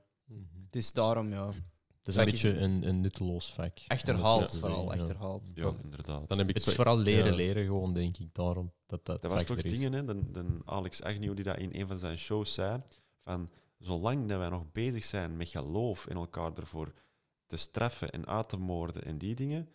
Dus daarom, ja. Mhm. Het is Vak een is beetje een- een, een nutteloos vak. om het zo Achterhaald, te vooral, zeggen, ja. achterhaald. Ja, inderdaad. Dan heb ik Het zo- is vooral leren ja. leren, gewoon, denk ik, daarom dat dat Dat was vak toch er is. dingen, hè? De, de Alex Agnew die dat in een van zijn shows zei, van zolang dat wij nog bezig zijn met geloof en elkaar ervoor te straffen en uit te moorden en die dingen,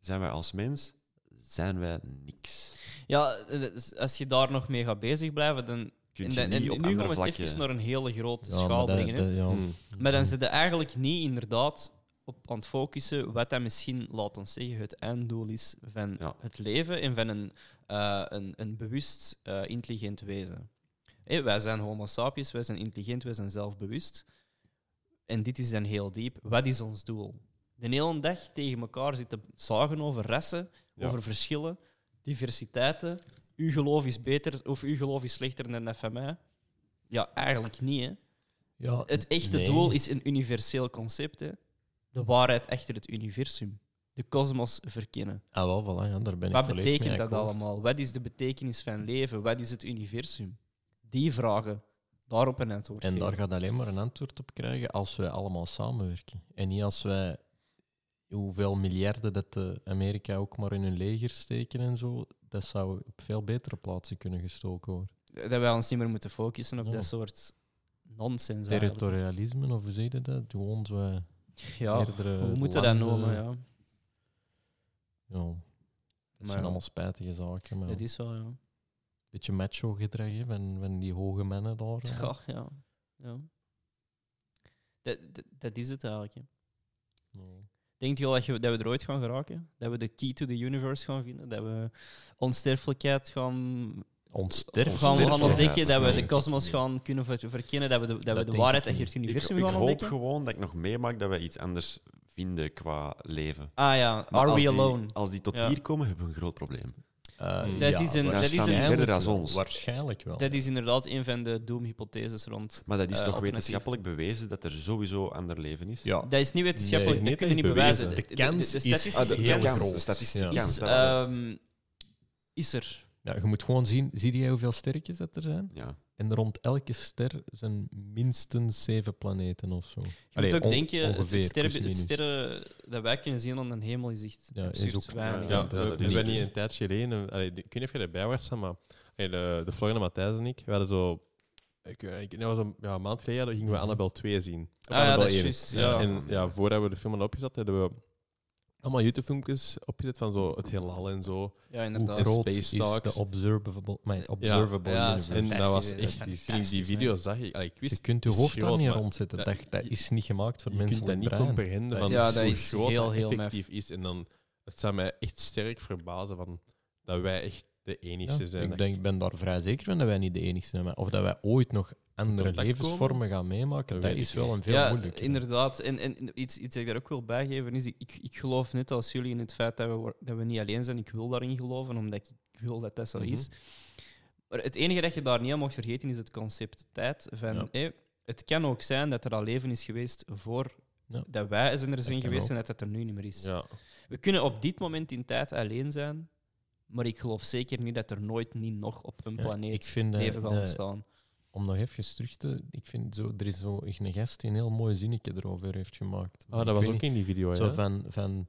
zijn wij als mens, zijn wij niks. Ja, eh, als je daar nog mee gaat bezig blijven, dan... Kun en je dan- en niet op nu gaan andere we het even vlakken... naar een hele grote Ja, schaal maar dat- brengen. hè. dat- ja. Hmm. Maar dan zitten eigenlijk niet inderdaad op aan het focussen wat dat misschien, laat ons zeggen, het einddoel is van Ja. het leven en van een, eh, een, een bewust, eh, intelligent wezen. Hé, wij zijn homo sapiens, wij zijn intelligent, wij zijn zelfbewust. En dit is dan heel diep. Wat is ons doel? De hele dag tegen elkaar zitten zagen over rassen, Ja. over verschillen, diversiteiten. Uw geloof is beter of uw geloof is slechter dan dat van mij. Ja, eigenlijk niet, hè. Ja, Het echte nee. doel is een universeel concept. Hè? De waarheid achter het universum. De kosmos verkennen. Ah, wel, voilà, ja, daar ben ik Wat volledig mee betekent dat akkoord. allemaal? Wat is de betekenis van leven? Wat is het universum? Die vragen Daarop een antwoord En geven. daar gaat alleen maar een antwoord op krijgen als wij allemaal samenwerken. En niet als wij, hoeveel miljarden dat de Amerika ook maar in hun leger steken en zo, dat zou op veel betere plaatsen kunnen gestoken worden. Dat wij ons niet meer moeten focussen op Ja. dat soort nonsens. eigenlijk. Territorialisme, of hoe zeg je dat? Gewoon zo eh, Ja, meerdere hoe moeten dat landen. noemen? Ja. Ja, dat Maar zijn ja, allemaal spijtige zaken. Maar Dat is wel, ja. Een beetje macho gedrag hè, van, van die hoge mannen daar. eh. Ja, ja. ja. Dat, dat, dat is het eigenlijk. hè. Ja. Denkt u al dat, je, dat we er ooit gaan geraken? Dat we de key to the universe gaan vinden? Dat we onsterfelijkheid gaan, Onsterfelijk. gaan, gaan Onsterfelijkheid, ontdekken? Dat we nee. de kosmos gaan kunnen ver- verkennen? Dat we de, dat we denk de ik waarheid achter niet. het Ik, universum ik gaan hoop ontdekken? gewoon dat ik nog meemaak dat wij iets anders vinden qua leven. Ah ja, Maar are als die- we Ah. alone? Als die tot Ja. hier komen, hebben we een groot probleem. Eh, Dat is een- Daar dat is staan een- die verder dan ons. Waarschijnlijk wel. Dat is inderdaad een van de doomhypotheses rond. Maar dat is Eh, toch alternatief. wetenschappelijk bewezen dat er sowieso ander leven is? ja, Dat is niet wetenschappelijk, Nee, dat kunnen we nee, niet dat is bewijzen. bewezen. De kans is statistische Ah, de, heel kans, groot. de statistische Ja. kans. is, dat was het. ehm, is er. Ja, je moet gewoon zien, zie je hoeveel sterretjes dat er zijn? ja. En rond elke ster zijn minstens zeven planeten of zo. Je moet ook denken, het- ongeveer, het, sterren, plus het minus. sterren dat wij kunnen zien aan de hemel is echt Ja, is absurd ook- weinig. Ja, Ja, dat- we, dat we is zijn niet. hier een tijdje geleden, eh, allee, ik weet niet of je erbij was, Sam, maar allee, de, de Florian Matthijs en ik, we hadden zo, ik, weet- ik, nou, zo'n ja, een maand geleden hadden- Mhm. gingen we Annabel 2 zien. Of Ah, ja, Annabel dat is 1. juist. Ja. En ja, voordat we de film hadden opgezet, hadden we allemaal YouTube-filmpjes opgezet van zo het heelal en zo. ja, Hoe inderdaad. groot Ah, Space is Dogs. de observable, mijn observable Ja, universe? En dat was Fantastisch, echt, hè? die, toen ik die Fantastisch, video hè? zag, ik, allee, ik wist... Je kunt je het is hoofd daar groot, niet maar rond zetten. dat- Dat, dat je- is niet gemaakt voor je mensen kunt dat niet comprehenden van Ja, dat hoe is groot heel, dat heel effectief is. En dan, het zou mij echt sterk verbazen van, dat wij echt de enigste zijn. ik dat- denk, ik ben daar vrij zeker van dat wij niet de enigste zijn. maar Of dat wij ooit nog andere contact levensvormen komen? gaan meemaken, Dat dat weet is ik wel een veel ja, moeilijker. inderdaad. En, en en iets, iets dat ik daar ook wil bijgeven is, ik, ik, ik geloof net als jullie in het feit dat we, wor- dat we niet alleen zijn. Ik wil daarin geloven, omdat ik ik wil dat dat zo Mhm. is. Maar het enige dat je daar niet aan mocht vergeten is het concept tijd. Van, Ja. hé, het kan ook zijn dat er al leven is geweest voor Ja. dat wij zijn er zijn kan geweest ook. en dat het er nu niet meer is. Ja. We kunnen op dit moment in tijd alleen zijn, maar ik geloof zeker niet dat er nooit niet nog op een Ja, planeet ik vind eh, dat- leven gaat dat- ontstaan. Om nog even terug te... Ik vind zo, er is zo een gast die een heel mooi zinnetje erover heeft gemaakt. Ah, Ik dat was weet ook niet, in die video, Zo ja. van, van...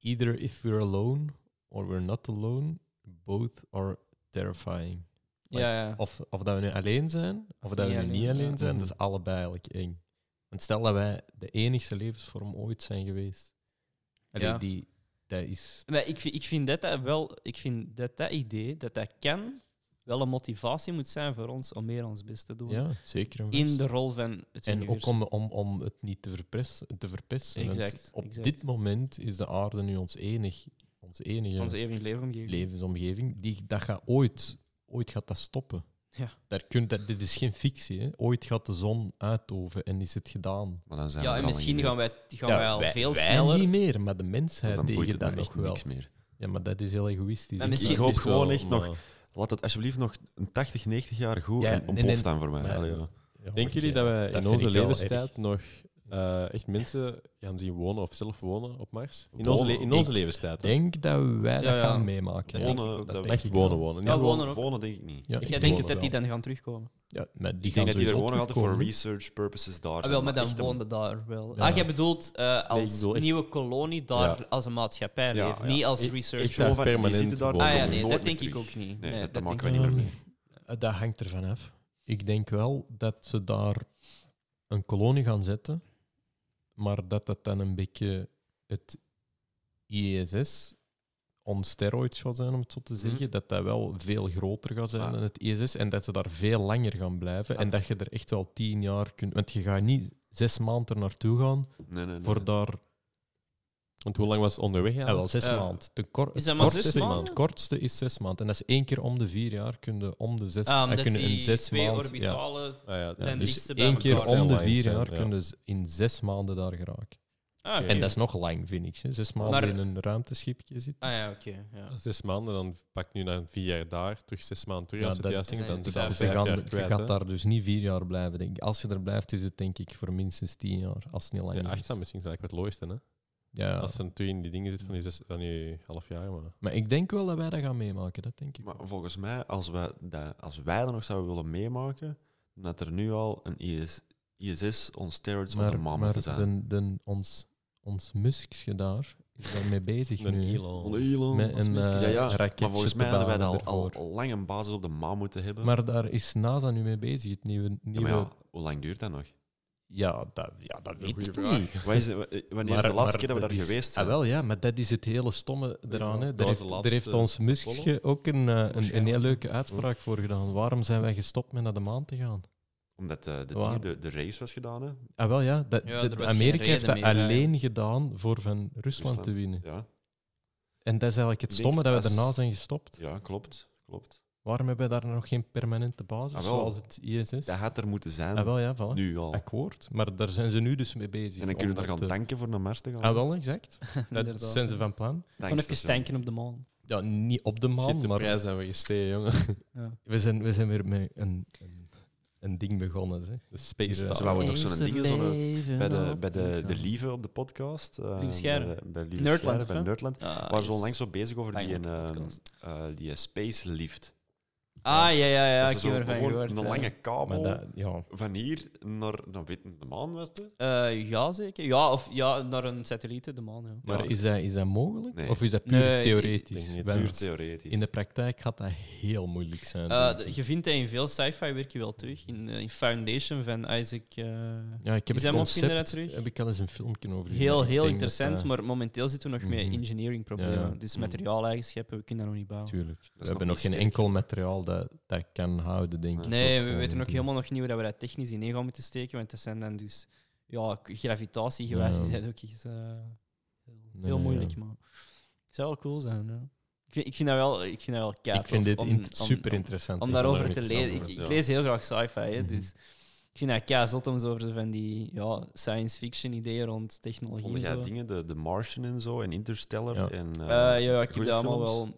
Either if we're alone or we're not alone, both are terrifying. like, ja, ja. Of, of dat we nu alleen zijn, of dat we niet nu niet alleen, alleen ja. Mm. zijn, Mhm. dat is allebei eigenlijk eng. Want stel dat wij de enigste levensvorm ooit zijn geweest. Allee, Ja. die, dat is... Maar ik, vind- ik vind dat dat wel, ik vind dat dat idee, dat dat kan, wel een motivatie moet zijn voor ons om meer ons best te doen. Ja, zeker. en vast. In de rol van het En ook universum. om, om, om het niet te verpesten. Te verpesten want Exact, op exact. dit moment is de aarde nu ons enig, onze enige onze eeuwig leven omgeven. levensomgeving. Die, dat gaat ooit, ooit gaat dat stoppen. Ja. Daar kun, dat, dit is geen fictie. Hè. Ooit gaat de zon uitoven en is het gedaan. Maar dan zijn we ja, er en al misschien niet meer. gaan wij, gaan Ja, wij al wij- veel wij sneller. niet meer, maar de Want mensheid Dan boeit tegen het dat me nog echt wel. niks meer. Ja, maar dat is heel egoïstisch. Maar hè. misschien- Ik hoop Het is gewoon wel, echt nog- maar- Laat het alsjeblieft nog een 80, 90 jaar goed Ja, en nee, ontploft nee, dan voor mij. maar- Allee, ja. Ja, Denken oké, jullie dat wij in vind onze ik wel levenstijd erg. nog eh, echt mensen gaan zien wonen of zelf wonen op Mars? In Wonen? onze, le- in onze Ik levenstijd. Ik hè? denk dat wij dat Ja, ja. gaan meemaken. Wonen, denk ik ook. dat denk echt ik wonen wel. wonen. Ja, niet gewoon- wonen ook. Wonen denk ik niet. Ja, ik ik denk woon dat die wel. dan gaan terugkomen. Ah, Ja, maar die Ik gaan denk dat die er sowieso gewoon nog altijd terugkomen, voor hè. research purposes daar Ah, zijn, wel, maar dan echt om- woonde daar wel. Ja. Ah, jij bedoelt eh, als ik bedoel echt- nieuwe kolonie daar Ja. als een maatschappij Ja, leven, ja. niet als Ik- research. ik Gewoon Ja, van, permanent die zitten daar wonen. komen ah ja, we nee, nooit dat meer denk ik terug. ook niet. Nee, dat, dat denk maken ik wij niet meer niet. mee. Eh, Dat hangt ervan af. Ik denk wel dat ze daar een kolonie gaan zetten, maar dat dat dan een beetje het ISS on steroids gaat zijn, om het zo Mhm. te zeggen. Dat dat wel veel groter gaat zijn Maar- dan het ISS en dat ze daar veel langer gaan blijven. En Dat- dat je er echt wel tien jaar kunt... Want je gaat niet zes maanden er naartoe gaan Nee, nee, nee. voor daar... Want hoe lang was het onderweg? Ja, wel, eigenlijk? zes eh, maanden. De kor- is dat maar kortste, zes maanden? het kortste is zes maanden. En dat is één keer om de vier jaar kunnen om de zes... Ah, eh, omdat kunnen die in zes twee maand- ja. orbitalen... Ah, ja, Ja, Dan dus- liefst dus ze bij één keer elkaar. om de Heel vier lang jaar zijn, ja. kunnen ze in zes maanden daar geraken. Ah, oké. En dat is nog lang, vind ik. hè. Zes maanden Maar- in een ruimteschipje zitten. Ah ja, oké. ja. Zes maanden, dan pak nu naar vier jaar daar, terug zes maanden terug. Ja, als het dat- juist ging, dan dat zit zijn dat Dus vijf je, vijf gaat, jaar je kwijt. gaat hè? daar dus niet vier jaar blijven, denk ik. Als je er blijft, is het denk ik voor minstens tien jaar. Als het niet Ja, langer acht is. dan misschien is eigenlijk wat het looiste. Hè? Ja. Als ze natuurlijk in die dingen zit van die, zes, van die half jaar. Maar... Maar ik denk wel dat wij dat gaan meemaken, dat denk ik. Maar volgens mij, als wij, dat, als wij dat nog zouden willen meemaken, Omdat er nu al een IS, ISS on steroids op de Maar, mama te maar zijn. den, den, ons, ons muskje daar is daarmee bezig Een nu. Elon. Allee, Elon. Met Ons een mens- eh, ja, ja. raketje Maar volgens te mij hadden wij bouwen dat al, ervoor. al lang een basis op de maan moeten hebben. Maar daar is NASA nu mee bezig. Het nieuwe... ja, nieuwe... maar Ja, ja, hoe lang duurt dat nog? dat, ja, dat weet goeie ik vraag. niet. Wat is, eh, wanneer is de laatste keer dat we daar is- geweest zijn? Ah, wel, ja, maar dat is het hele stomme Ja, eraan. Hè. dat was Daar, heeft, de daar laatste heeft ons muskje ook een, eh, een, een heel Waarschijnlijk. leuke uitspraak voor gedaan. Waarom zijn wij gestopt met naar de maan te gaan? Omdat eh, de, Waar? dingen, de, de race was gedaan. Hè? Ah, wel ja, dat, Ja, dat- er was geen Amerika heeft reden dat meer, alleen gedaan voor van Rusland, Rusland. te winnen. Ja. En dat is eigenlijk het Ik stomme denk dat we als- daarna zijn gestopt. ja, klopt. klopt. Waarom hebben we daar nog geen permanente basis, Ah, wel. zoals het ISS? Dat had er moeten zijn, Ah, wel ja, voilà. nu al. Akkoord. Maar daar zijn ze nu dus mee bezig. En dan kunnen we daar om gaan dat te- tanken voor naar Mars te gaan. Ah, wel, exact. Dat Inderdaad. zijn ze van plan. Gewoon Tankstation. even tanken op de maan. Ja, niet op de maan, Shit, de maar prijs zijn we gestegen, jongen. we zijn, we zijn weer met een, een, een ding begonnen. Hè. De space Ze station. wouden toch zo'n Deze ding, zo'n, eh, leven Bij de, op bij de, moet de gaan. Lieve op de podcast. eh, Lieve Scheire. bij de- Bij Lieve Nerdland, Scheire, of bij zo? Nerdland. Ah, We waren zo yes. langs zo bezig over die, Fijn, een, eh, podcast. eh, die eh, Space Lift. Ah, ja, ja, ja. Dat Ik is heb zo ervan gewoon gehoord. eh. een ja. lange Maar kabel dat, ja, van hier naar, naar weet, de maan, was het? dus? Eh, ja, zeker. Ja, of ja, naar een satelliet, de maan. Ja. Maar is, dat, is dat mogelijk? Nee. Of is dat puur Nee, ik- theoretisch? ik denk niet. Want Puur theoretisch. in de praktijk gaat dat heel moeilijk zijn. Eh, denk de- ik. je vindt dat in veel sci-fi werk je wel terug. In, eh, in Foundation van Isaac. eh, ja, ik heb is het hem ook inderdaad concept, terug? heb ik al eens een filmpje over gezien, heel maar ik heel denk interessant, dat, eh, maar momenteel zitten we nog Mhm. met engineering problemen. Ja, ja. Dus Mhm. materiaaleigenschappen, we kunnen dat nog niet bouwen. Tuurlijk. nog We hebben nog niet geen sterk. enkel materiaal dat dat kan houden, denk ik. Nee, we Ook, eh, weten ook natuurlijk. helemaal nog niet hoe dat we dat technisch in gaan moeten steken, want dat zijn dan dus... Ja, k- gravitatiegewijs Ja. is dat ook echt eh, heel, Nee, heel ja. moeilijk, maar... Het zou wel cool zijn, ja. Ik vind, ik vind dat wel, ik vind dat wel kei Ik vind tof dit om- in- om- super om- interessant. om Ik daarover zou te niks lezen. aan Ik, doen. ik ja. lees heel graag sci-fi, hè, Mhm. dus ik vind dat kei zot om zo over van die ja, science fiction ideeën rond technologie. Oh Vond en jij zo. dingen, de, de Martian en zo, en Interstellar? Ja. En, eh, Eh, ja, ja, ik heb goeie dat allemaal films?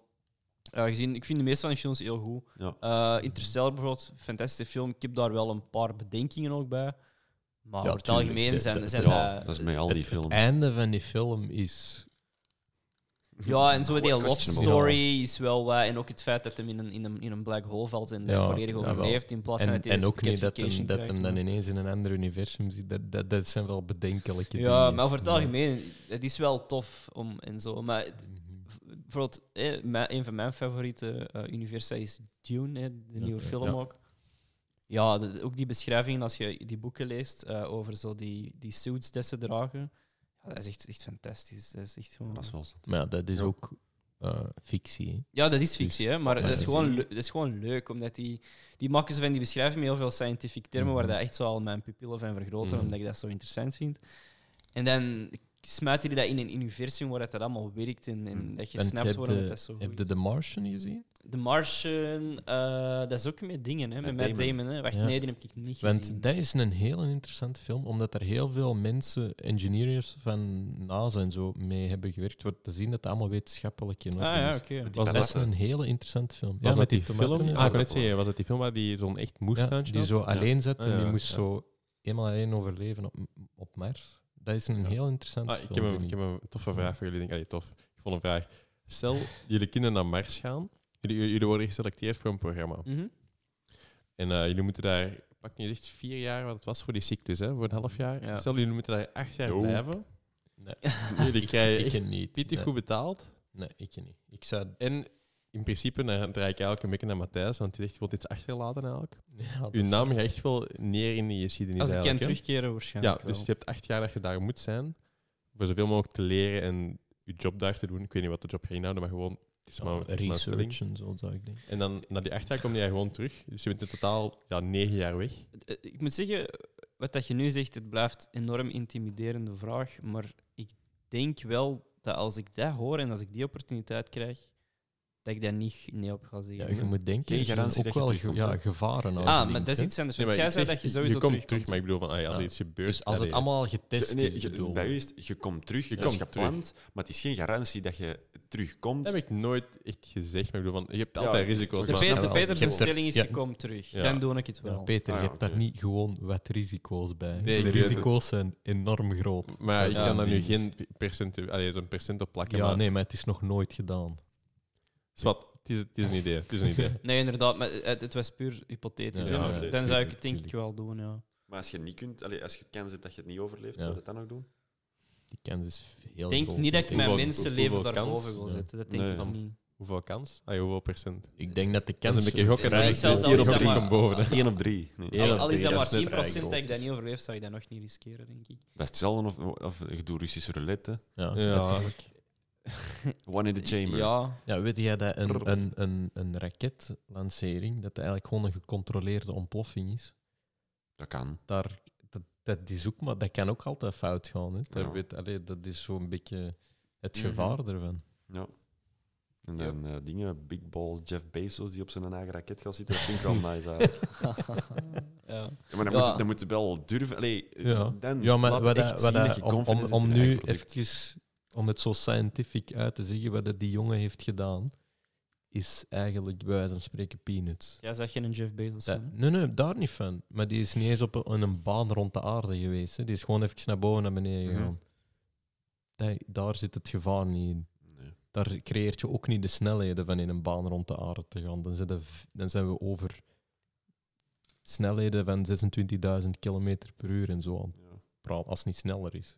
wel eh, gezien. Ik vind de meeste van die films heel goed. Ja. Eh, Interstellar bijvoorbeeld, fantastische film. Ik heb daar wel een paar bedenkingen ook bij. Maar Ja, over het tuurlijk, de- algemeen zijn, de- zijn eh, ja, dat- dat is met al Het- die films. Het einde van die film is... Ja, en zo die Quite love questionable. story is wel wat. En ook het feit dat hij in een, in een, in een black hole valt en Ja, volledig jawel. overleeft. In plaats van En, dat hij en een ook niet dat hem, spaghettification dat krijgt, hem maar- dan ineens in een ander universum zit. Dat, dat, dat zijn wel bedenkelijke dingen. Ja, maar over het Ja. algemeen, het is wel tof om en zo. Maar het- Mhm. v- bijvoorbeeld, eh, mijn- een van mijn favoriete eh, universa is Dune, hè, de Ja, nieuwe ja, film ja. ook. Ja, dat- ook die beschrijvingen, als je die boeken leest eh, over zo die, die suits dat ze dragen. Ja, dat is echt, echt fantastisch. Dat is echt gewoon... Dat is wel Maar ja, dat is Ja. ook eh, fictie. hè. Ja, dat is fictie, hè? maar Maar dat dat is, is- gewoon, le- dat is gewoon leuk, omdat die, die maken zo van die beschrijving met heel veel scientific termen, waar Mhm. dat echt zo al mijn pupillen van vergroten, Mhm. omdat ik dat zo interessant vind. En dan smijten die dat in een universum waar dat, dat allemaal werkt en, en Mhm. dat je Want snapt hebt waarom de- dat dat zo goed Heb is. je The Martian gezien? De Martian, eh, dat is ook met dingen, hè? met Matt Matt Damon. Damon. hè? Wacht, Ja. nee, die heb ik niet gezien. Want dat is een heel interessante film, omdat er heel veel mensen, engineers van NASA en zo, mee hebben gewerkt. Wordt te zien dat het allemaal wetenschappelijk in ah orde ja, is. oké. die Dat is panatten. een hele interessante film. Was dat die, tomaten film? en Ah, ik zo. wou net zeggen, was dat die film waar die zo'n echt Ja, moestuintje die had? zo alleen zat en Ah, ja, die moest ja. zo eenmaal alleen overleven op, op Mars. Dat is een Ja. heel interessante Ah, ik, heb film. een, ik vind heb een toffe vraag voor jullie. Ik Denk, allee, tof. Ik vond een vraag. Stel, jullie kinderen naar Mars gaan. Jullie, jullie worden geselecteerd voor een programma. Mhm. En eh, jullie moeten daar, pak niet echt vier jaar wat het was voor die cyclus, hè, voor een half jaar. Ja. Stel, jullie moeten daar echt jaar Doe. blijven. Nee. Jullie krijgen ik echt ken niet. pittig nee. goed betaald. Nee, ik ken niet. Ik zou... En in principe dan draai ik eigenlijk een beetje naar Matthijs, want die zegt, je wilt iets achterlaten eigenlijk. Ja, dat Uw is- naam gaat echt wel neer in die geschiedenis Als ik kan eigenlijk, hè. terugkeren, Ja, waarschijnlijk. dus wel. je hebt acht jaar dat je daar moet zijn voor zoveel mogelijk te leren en je job daar te doen. Ik weet niet wat de job ging inhouden, maar gewoon het is Ja, maar, het is maar een stelling. Oh, research en zo, zou ik denken. En dan na die acht jaar kom je daar gewoon terug. Dus je bent in totaal ja, negen jaar weg. Eh, Ik moet zeggen, wat dat je nu zegt, het blijft een enorm intimiderende vraag. Maar ik denk wel dat als ik dat hoor en als ik die opportuniteit krijg, dat ik daar niet nee op ga Ja, zeggen. je moet denken, Geen er zijn garantie ook dat je wel terugkomt, ge- ja, hè? gevaren. ah, maar overlinkt, dat is hè. iets anders. Nee, want maar jij zei ik zeg, dat je sowieso je komt terug, terugkomt. maar ik bedoel van, ah ja, als er Ja. iets gebeurt... Dus als het allee, allemaal getest Nee, is, je- bedoel bij ik. u is het, je komt terug, je Je komt komt gepland, maar het is geen garantie dat je terugkomt. Dat heb ik nooit echt gezegd, maar ik bedoel van, je hebt Ja, altijd ik- risico's. De, maar- Pe- Ja, Dus de wel, Peters' je hebt er- stelling is, ja. je komt terug. Ja. Dan doe ik het Ja, wel. Peter, Ah, ja, je hebt daar oké. niet gewoon wat risico's bij. Nee, ik de weet het. risico's zijn enorm groot. Maar ik Ja, kan daar nu die is- geen percent, allee, zo'n percent op plakken. Ja, maar nee, maar het is nog nooit gedaan. Zwat, het is, het is een idee. Het is een idee. Nee, inderdaad, maar het, het was puur hypothetisch. Ja, hè, maar tuurlijk, dan zou ik het denk tuurlijk. ik wel doen, ja. Maar als je niet kunt, allee, als je kans hebt dat je het niet overleeft, Ja. zou je dat dan ook doen? Die kans is heel Ik denk groot. niet dat ik mijn Hoeveel- mensenleven hoeveel daarboven kans? wil Ja. zetten. Dat denk Nee. ik niet. Hoeveel kans? Ah, hoeveel procent? Ik denk dat de Dat kans is een beetje gokken. vrij Ik zou groot zelfs is. niet zeggen, maar- boven. hè. 1 op 3. Ja. Al, al is dat Ja, maar dat is 10% vrij dat groot. ik dat niet overleef, zou ik dat nog niet riskeren, denk ik. Dat is hetzelfde of, of ik doe Russische roulette. hè. Ja, Ja. natuurlijk. One in the chamber. Ja, Ja, weet jij dat een, een, een, een raketlancering, dat eigenlijk gewoon een gecontroleerde ontploffing is? Dat kan. Daar, dat, dat, is ook, maar dat kan ook altijd fout gaan. Hè? Daar Ja. weet, allee, dat is zo'n beetje het Mhm. gevaar ervan. Ja. En dan eh, dingen, Big Balls, Jeff Bezos die op zijn eigen raket gaat zitten, dat vind ik wel nice eigenlijk. ja. Ja, maar dan, Ja. moet, dan moet je wel durven. Allee, eh, Ja. dan Ja, maar Dus laat wat, echt dat- zien dat wat dat- je om, om, confident om bent in je nu eigen product. eventjes om het zo scientific uit te zeggen, wat dat die jongen heeft gedaan, is eigenlijk bij wijze van spreken peanuts. Jij zag geen Jeff Bezos Dat- van, hè? nee, nee, daar niet van. Maar die is niet eens op een, in een baan rond de aarde geweest. Hè. Die is gewoon even naar boven en naar beneden Mhm. gegaan. Dat- daar zit het gevaar niet in. Nee. Daar creëert je ook niet de snelheden van in een baan rond de aarde te gaan. Dan, zit er v- dan zijn we over snelheden van 26.000 km per uur en zo aan het Ja. praten, als het niet sneller is.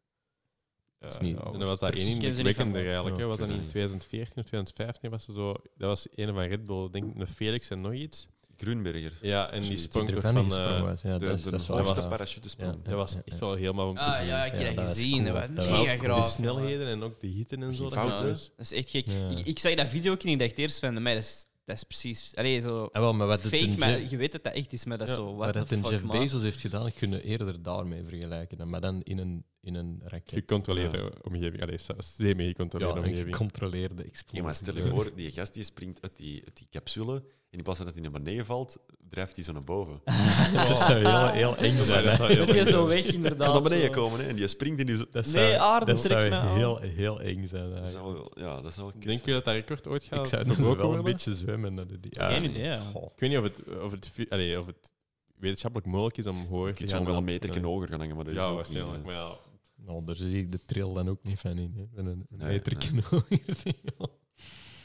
is Ja, niet- ja, En dat was daar is- één ken ze niet van indrukwekkender hoor. eigenlijk. Ja, hè. was dat ik niet in weet 2014 of 2015? Was er zo, dat was een van Red Bull, denk ik, een Felix en nog iets. Groenberger. Ja, en die Zoiets. sprong Die toch ervan van... gesprongen eh, was. Ja, de dat is- de dat is wel hoogste waar. parachutesprong. Ja. dat was echt wel helemaal om te Ah zien. ja, ik heb Ja, dat dat is gezien. cool. Dat Dat was was mega cool. De graaf. snelheden en ook de hitte en zo. Geen dat fouten. was- Dat is echt gek. Ja. Ik, ik zag dat video ook en ik dacht eerst van, maar dat, is, dat is precies... Allee, zo Ah, wel, maar wat doet fake, een maar Jeff- je weet dat dat echt is, maar dat is Ja, zo... Wat What dat the een fuck, Jeff man. Bezos heeft gedaan, kunnen we eerder daarmee vergelijken. dan- Maar dan in een, in een raket. Gecontroleerde Ja. omgeving. Allee, sa- semi-gecontroleerde Ja, een omgeving. gecontroleerde explosie. Ja, maar stel je voor, die gast die springt uit die, uit die capsule en in plaats van dat hij naar beneden valt, drijft hij zo naar boven. dat zou heel, heel eng Dat zijn. zou- dat zou hè. heel Dat je eng zo zijn. weg, inderdaad. Kan naar beneden zo. komen hè, en die springt in die zo... Dat Nee, zou, aarde, dat trek nou. zou mij aan. heel, heel eng zijn. Dat eigenlijk. zou wel- ja, dat zou wel kut Eh, Denk je dat dat record ooit gaat Ik zou dus verbroken wel een worden? beetje zwemmen naar de die- ja. Geen idee, ja. Goh. Ik weet niet of het, of het, fi- allee, of het wetenschappelijk mogelijk is om hoger Je te kunt gaan. zo wel dan- een meter eh, Ja, hoger gaan hangen, maar dat is Ja, ook niet... waarschijnlijk. eh. Maar ja, Nou, daar zie ik de trail dan ook niet van in. Hè. Met een Nee, meter nee. hoger.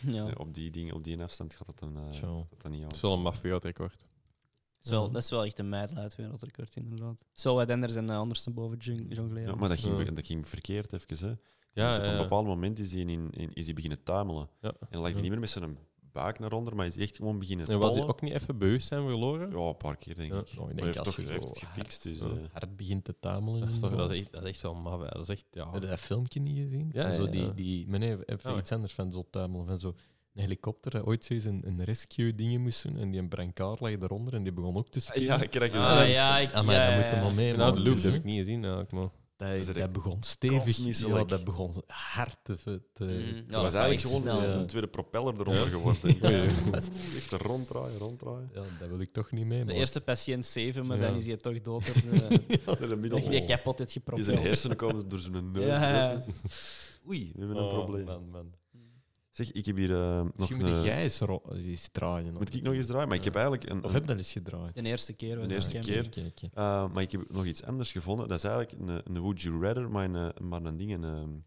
Ja. Ja, op, die ding, op die afstand gaat dat dan, eh, Zo. gaat dat niet het is aan. wel een mafioot-record. Dat is wel, Ja. dat is wel echt een meidlaat wereldrecord, inderdaad. Het is wel wat anders en eh, anders dan boven jong- jongleren. Ja, maar dat ging, Ja. dat ging verkeerd even. Hè. Ja, dus op een ja. bepaald moment is hij, in, in- is hij beginnen tuimelen. Ja. En dan lag hij Ja. niet meer met zijn buik naar onder, maar hij is echt gewoon beginnen En was hij tollen. ook niet even bewustzijn verloren? Ja, een paar keer denk Ja. ik. Nou, maar ik denk hij heeft als toch je hij heeft het zo gefixt. hard- Dus, Ja. eh, Hard begint te tamelen. nou, Dat is, toch, en dat, zo. is echt, dat is echt wel maf. hè. Dat is echt, ja. Heb je dat filmpje niet gezien? Ja, Van zo ja, die, ja. die, maar nee, even Ah, iets anders van zo tuimelen. Van zo een helikopter dat ooit zo eens een, een rescue dingen moest doen en die een brancard lag eronder en die begon ook te spelen. ja, ik krijg Ah, het. ja, ik... Ah, maar ja, dat ja, moet hem al ja. mee. nou, de man. loop Dus, heb hè, ik niet gezien eigenlijk, maar... Dat, Dat is dat echt begon stevig. kosmisselijk. Ja, dat begon zo hard te... te Mm, dat was gaat eigenlijk echt gewoon snel. dat is ja. een tweede propeller eronder geworden. Ja. Echt ronddraaien, ronddraaien. Ja, dat wil ik toch niet mee, De man. eerste patiënt 7, maar Ja. oh. dan is hij toch dood. door de- Dat is een Dat je die middel. kapot hebt Die gepropt. zijn hersenen komen door zijn neus. Ja. Dat is- Oei, we hebben een Oh, probleem. Man, man. Hmm. Zeg, ik heb hier eh, nog Misschien moet een... jij eens, ro- eens draaien. Moet ik nog eens draaien? Maar ik heb eigenlijk een... Of heb je dat eens gedraaid? Ah, De eerste keer. was De eerste dat. keer. Oké, oké. Eh, maar ik heb nog iets anders gevonden. Dat is eigenlijk een, een Would You Rather, maar een, maar een ding, een, ehm, een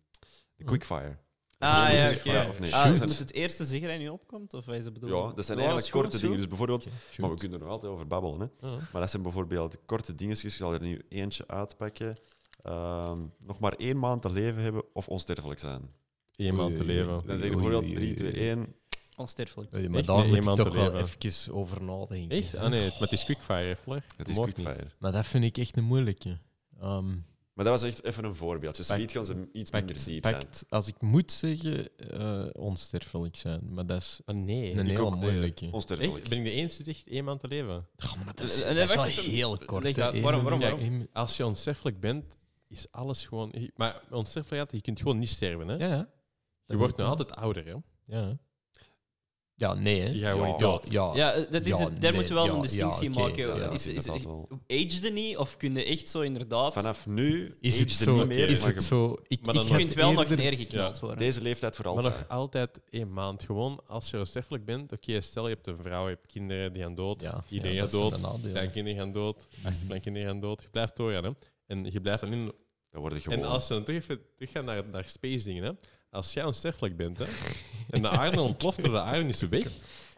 quickfire. Ah, Dus ja, dat is- oké. ja, of nee, Ah, shoot. moet het eerste zeggen dat je nu opkomt? Of wat is het bedoeld? Ja, dat zijn Ja, eigenlijk is goed, korte is dingen. goed. Dus bijvoorbeeld, Shoot. maar we kunnen er nog altijd over babbelen. Hè. Ah. Maar dat zijn bijvoorbeeld korte dingetjes. Ik zal er nu eentje uitpakken. Ehm, nog maar één maand te leven hebben of onsterfelijk zijn. Eén maand te Oei, oei, leven. oei. Dan zeg ik Oei, bijvoorbeeld 3, oei, 2, oei. 1. Onsterfelijk. Oei, Eh, maar Echt? daar Nee, moet ik iemand toch te wel leven. even over nadenken. Echt? zeg. Ah nee, het- maar het is quickfire, Fleur. Het is Mag quickfire. Maar dat vind ik echt een moeilijke. Ehm, Maar dat was echt even een voorbeeldje. Dus Pak- niet gaan ze iets minder pakt, diep zijn. pakt- als ik moet zeggen, eh, onsterfelijk zijn. Maar dat is niet. Ah nee. een Ik heel ook, nee. moeilijke. Onsterfelijk. Echt? Ben ik de enige die echt één maand te leven? Oh, maar dat is, Eh, eh, dat is wel wacht even. heel kort. Leg hè. uit. Eén Waarom, waarom, minuut, waarom? één- Als je onsterfelijk bent, is alles gewoon... Maar onsterfelijkheid, je kunt gewoon niet sterven, hè? Ja, ja. je Dat wordt moet, nu hè. altijd ouder, hè? Ja. Ja, nee, hè. Je Ja, gaat gewoon Ja. dood. ja. Ja, eh, dat is Ja, het. daar nee, moeten we wel ja, een ja, distinctie oké, maken. ja, Ja, is, dat is, is is, wel. age je niet of kun je echt zo inderdaad... Vanaf nu Is het age er zo? niet meer. is maar het je- zo? Ik, Maar ik dan je had kunt wel nog eerder- neergeknald worden. Deze leeftijd voor Maar altijd. nog altijd één maand. Gewoon als je onsterfelijk bent. Oké, stel je hebt een vrouw, je hebt kinderen die gaan dood. Ja, Iedereen ja, Mhm. gaat dat zijn dood. de nadelen. Kleinkinderen gaan dood. Achterkleinkinderen gaan dood. Je blijft doorgaan. Hè? En je blijft alleen Dat worden gewoon... En als ze dan terug, even- teruggaan naar, naar space dingen, hè. Als jij onsterfelijk bent, hè, en de aarde ontploft en de aarde is weg,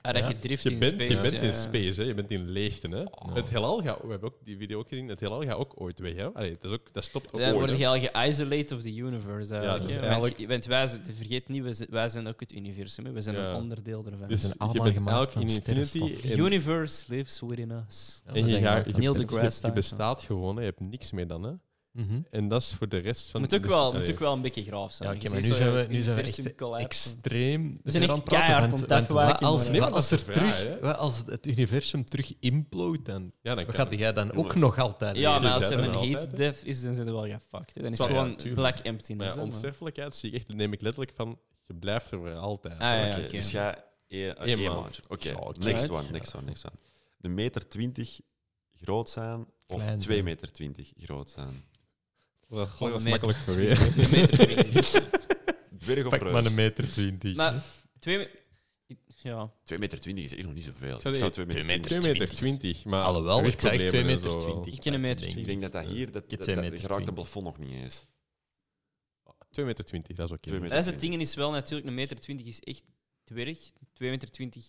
Ah, dat Ja. je drift je in bent, space. je bent ja, in ja. space, hè. je bent in leegte. Hè. Oh. Het heelal gaat, we hebben ook die video ook gezien, het heelal gaat ook ooit weg. Hè. Allee, het is ook, dat stopt ook Dan ooit. word hè. je al geisolated of the universe. Eigenlijk. dus hè. Want- eigenlijk- Want, wij, zijn- vergeet niet, wij zijn, wij zijn ook het universum. hè. Wij zijn Ja. een onderdeel ervan. Dus zijn je allemaal bent gemaakt elk van in sterrenstof. infinity. The en- universe lives within us. Ja, En we je, zijn gaat- gemaakt je, van Neil je- sterren. deGrasse je Tyson. bestaat gewoon, hè. je hebt niks meer dan. Hè. Mhm. En dat is voor de rest van... Moet ook dus- wel, moet allee. ook wel een beetje graaf zijn. Ja, oké, Je maar ziet nu zo zijn het we- nu zijn we universum echt collapsen. Extreem. We zijn eraan echt praten, keihard want- aan het want wat afwijken, Als, maar- wat Nee, als, maar er dat is de vraag, terug, hè. wat als het universum terug implode, dan Ja, dan wat kan gaat jij dan ook Ja. nog altijd Ja, maar Die als zijn er er een altijd, heat hè. death is, dan zijn we wel gefucked. hè. Dan is het Zal- ja, gewoon tuurlijk. black emptiness. Maar ja, hè, maar- onsterfelijkheid zie ik echt, neem ik letterlijk van, je blijft er voor altijd. Ah, ja, Oké, oké. Dus jij... één- eh, Eén één maand. maand. Oké, Ja, oké. next Right. one, next one, next one. Een meter twintig groot zijn of Klein twee zijn. meter twintig groot zijn? Dat Gewoon is een meter- makkelijk voor je. Een meter twintig. Dwerg of Pak maar een reus? meter twintig. Maar twee... me- Ja, Twee meter twintig is echt nog niet zoveel. Ik zou zou zeggen, twee twee meter meter. 20. 2 meter 20, maar... Alhoewel, ik zeg gewichtproblemen 2 en meter zo wel. 20. Ik ken een meter Ik denk dat dat hier... Dat, Je dat, twee dat, meter geraakt het 20. plafond nog niet eens. 2 meter 20, dat is oké. Twee meter dat is het 20. ding is wel natuurlijk, een meter twintig is echt dwerg. Twee meter twintig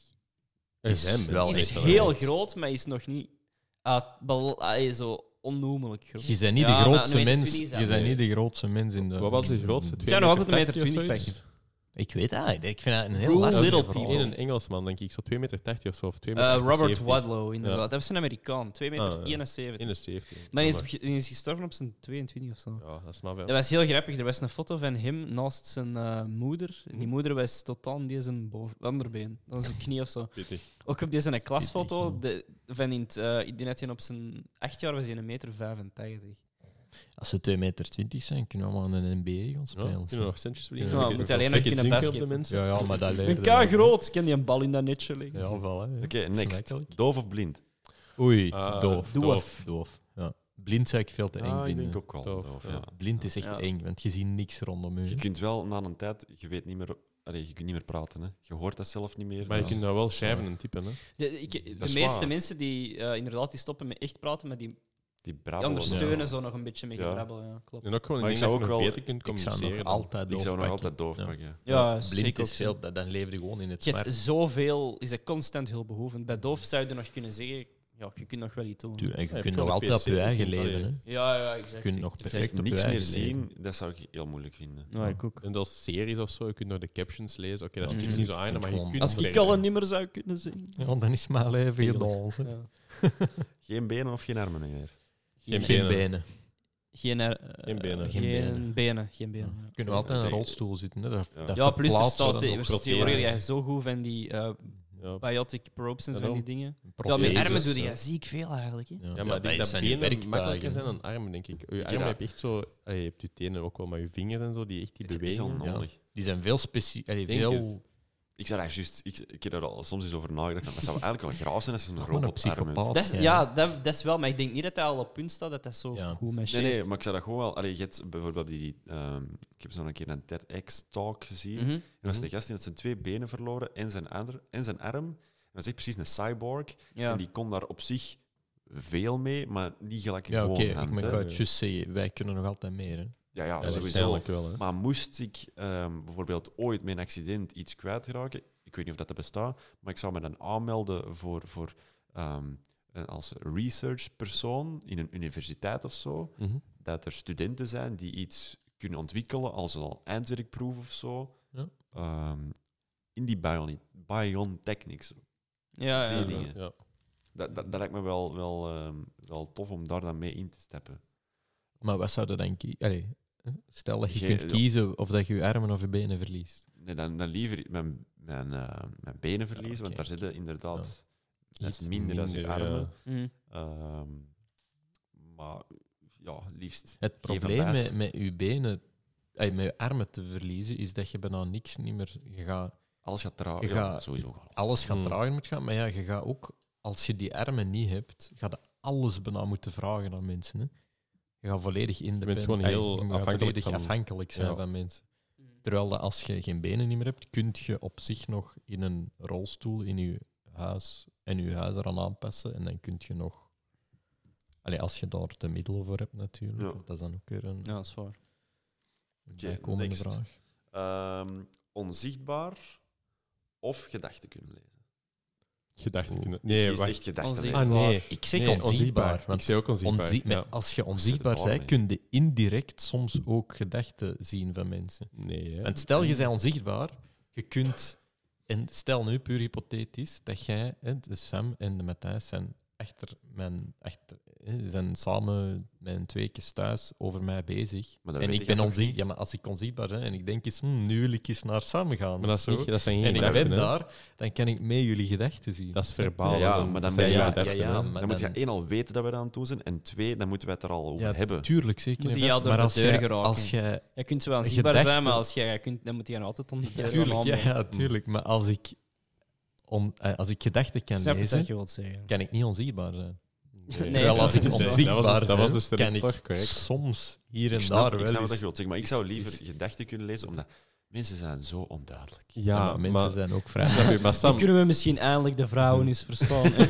Er zijn wel mensen is echt wel heel groot. groot, maar is nog niet uit bal- ah, zo onnoemelijk groot. Eh, Je bent niet Ja, de maar grootste een meter mens. 20 is dat. Je bent Nee. niet de grootste mens in de. Wat was de grootste? Ik zou nog altijd een meter 2,80 twintig of zoiets? pakken. Ik weet dat. Ik vind dat een heel Rule lastig. little verhaal. people. In een Engelsman, denk ik, zo 2 meter 80 of zo. Of 2 Eh, meter Robert 78. Wadlow, inderdaad. Dat was een Amerikaan, 2 meter Ah, ja. 71. In de 70. Maar hij is, ge- hij is gestorven op zijn 22 of zo. Ja, dat snap Dat ik. was heel grappig. Er was een foto van hem naast zijn eh, moeder. Die moeder was totaal aan deze boven, onderbeen. Dat was een knie of zo. Pittig. Ook op deze klasfoto, man. de, van in het, eh, ik denk dat hij op zijn 8 jaar was hij een meter 85. Als ze 2 meter 20 zijn, kunnen we allemaal aan een NBA gaan Ja, spelen. kunnen we zo. nog centjes verdienen? Ja, Ik we weet moeten niet alleen of nog dat kunnen zeker zinken op de mensen. Ja, ja, maar dat leerde Een K groot, kan die een bal in dat netje liggen. Ja, voilà. hè. Oké, Smakelijk. next. Doof of blind? Oei, Ah, doof. doof. Doof. Ja. Blind zou ik veel te eng Ah, ik vinden. denk ook wel. Doof, doof, ja. ja. Blind is echt Ja. eng, want je ziet niks rondom Je je. kunt wel na een tijd, je weet niet meer, allee, je kunt niet meer praten. Hè. Je hoort dat zelf niet meer. Maar je dus- kunt nou wel schrijven en typen, hè. De, ik- de is meeste waar. mensen die eh, inderdaad die stoppen met echt praten, maar die die brabbelen. ondersteunen ja. zo nog een beetje met Ja. gebrabbel. Ja, klopt. En ook gewoon Maar ik ik zou zou ook ook wel wel- beter kunt Ik zou nog communiceren. altijd Ik doof zou nog pakken. altijd doof Ja. pakken. Ja, blind zeker is ook veel, zo. dan, dan leef je gewoon in het Je zwart. hebt zoveel, is dat constant hulpbehoevend. Bij doof zou je er nog kunnen zeggen, ja, je kunt nog wel iets doen. Tuurlijk, en Ja, je je kunt kan nog een altijd op PC je eigen doen, leven. allee. hè. Ja, ja, exact. Je kunt nog Dus echt perfect op je niks meer eigen leven. zien, dat zou ik heel moeilijk vinden. Ja, ik ook. En als series of zo, je kunt nog de captions lezen. Oké, dat Mm. Ja. is natuurlijk niet zo aan, maar je Gewoon- kunt Als ik leren. al een nummer zou kunnen zien. Ja, dan is mijn leven gedaan. hè. Ja. Geen benen of geen armen meer. Geen Geen benen. benen. Geen, eh, Geen benen. Geen, Geen benen. benen. Geen benen. ja. Kunnen we altijd in een Tegen- rolstoel zitten. Hè? Dat, Ja. dat Ja, plus er verplaatst staat dan de- nog er prothese. theorie dat je zo goed van die eh, Ja. biotic probes en zo van die Daarom. dingen. Ja, protheses. met armen doe ja. je ziek veel eigenlijk. Hè? Ja, maar ik denk is dat, zijn benen werktuigen. makkelijker zijn dan armen, denk ik. Je armen dat- heb je echt zo... allee, je hebt je tenen ook wel, maar je vingers en zo, die echt die Het is echt bewegen. onnodig. Die zijn veel specifiek. Denk Veel Ik zou daar juist, ik, ik heb daar al soms eens over nagedacht, maar het zou eigenlijk wel graaf zijn als je zo'n Gewoon een robot arm hebt. psychopaat. Dat is, ja, dat, dat is wel, maar ik denk niet dat dat al op punt staat dat dat zo Ja. goed matcheert. Nee, nee, maar ik zou dat gewoon wel... Allee, je hebt bijvoorbeeld die... ehm, ik heb zo een keer een TEDx-talk gezien. Mhm. En dat was een gast die had zijn twee benen verloren en zijn, ander, en zijn arm. En dat is echt precies een cyborg. Ja. En die kon daar op zich veel mee, maar niet gelijk een Ja, oké. gewoon Ik hand. moet hè. wel- het juist zeggen, wij kunnen nog altijd meer. Hè? Ja, ja, Ja, sowieso. waarschijnlijk wel, hè. Maar moest ik ehm, bijvoorbeeld ooit met een accident iets kwijtraken, ik weet niet of dat er bestaat, maar ik zou me dan aanmelden voor, voor, ehm, eh, als researchpersoon in een universiteit of zo, Mhm. dat er studenten zijn die iets kunnen ontwikkelen als een eindwerkproef of zo. Ja. Ehm, in die bioni- biontechnics. ja, ja. die dingen. Ja. Dat, dat, dat lijkt me wel, wel, ehm, wel tof om daar dan mee in te stappen. Maar wat zou je dan kiezen? Stel dat je Geen- kunt kiezen of dat je je armen of je benen verliest. Nee, dan, dan liever mijn, mijn, eh, mijn benen verliezen, want oké. daar zitten inderdaad iets Dat is minder dan je minder, armen. ja. Mhm. Ehm, maar ja, liefst. Het probleem vandaag. met, met je benen, ey, met je armen te verliezen, is dat je bijna niks niet meer je gaat. Alles gaat trouwen. Je Ja, gaat- sowieso. gewoon. Alles gaat Hmm. trager moet gaan, maar ja, je gaat ook, als je die armen niet hebt, ga je alles bijna moeten vragen aan mensen. Hè? Je gaat volledig independent. gewoon ey, heel je gaat afhankelijk volledig van- afhankelijk zijn ja. van mensen. Terwijl dat als je geen benen niet meer hebt, kun je op zich nog in een rolstoel in je huis en je huis eraan aanpassen en dan kun je nog Allee, als je daar de middelen voor hebt natuurlijk. Ja. Dat is dan ook weer een Ja, dat is waar. Oké, bijkomende next. vraag. Ehm, onzichtbaar of gedachten kunnen lezen? Gedachten Oeh. kunnen... Nee, Kies wacht. echt gedachten Onzicht- lezen. Ah, nee. Ik zeg Nee, onzichtbaar. Ik Want zei ook onzichtbaar. onzie- ja. met- als je onzichtbaar Zit het bent, daar kun je indirect soms ook gedachten zien van mensen. Nee, hè. Want stel, je bent onzichtbaar, je kunt... En stel nu, puur hypothetisch, dat jij, hè, de Sam en de Matthijs zijn achter mijn... Achter, hè, zijn samen mijn twee keer thuis over mij bezig. Maar dat En weet ik jij ben toch onzichtbaar. niet? Ja, maar als ik onzichtbaar ben en ik denk eens, hm, nu wil ik eens naar Sam gaan. Maar dat, is of zo, niet, dat zijn geen En ik gedachten, ben hè. daar, dan kan ik mee jullie gedachten zien. Dat is verbaal. Ja, ja, maar dan zijn ben je- geen ja, gedachten, ja, ja, hè. maar- Dan moet je dan- één al weten dat we eraan toe zijn. En twee, dan moeten we het er al over Ja, hebben. Tuurlijk, zeker. Moet en die vast, jou door maar de als deur jij- geraken? Als jij Je kunt wel zichtbaar Gedachten. zijn, maar als jij, jij kunt, dan Hmm. moet je altijd onder de Tuurlijk, ja, ja, Ik tuurlijk. Maar als ik, on- eh, als ik gedachten kan snap lezen, wat je wilt zeggen. kan ik niet onzichtbaar zijn. Nee, Terwijl als ik dat is- dat was- onzichtbaar dat was ben, dus de kan reflex, ik correct. soms hier en Ik snap, daar ik wel snap wat eens- je wilt zeggen, maar ik is- zou liever is- gedachten kunnen lezen, omdat mensen zijn zo onduidelijk. Ja, Ja, maar mensen maar... zijn ook vrij. Snap je, maar Sam, Kunnen we misschien eindelijk de vrouwen eens verstaan? hè?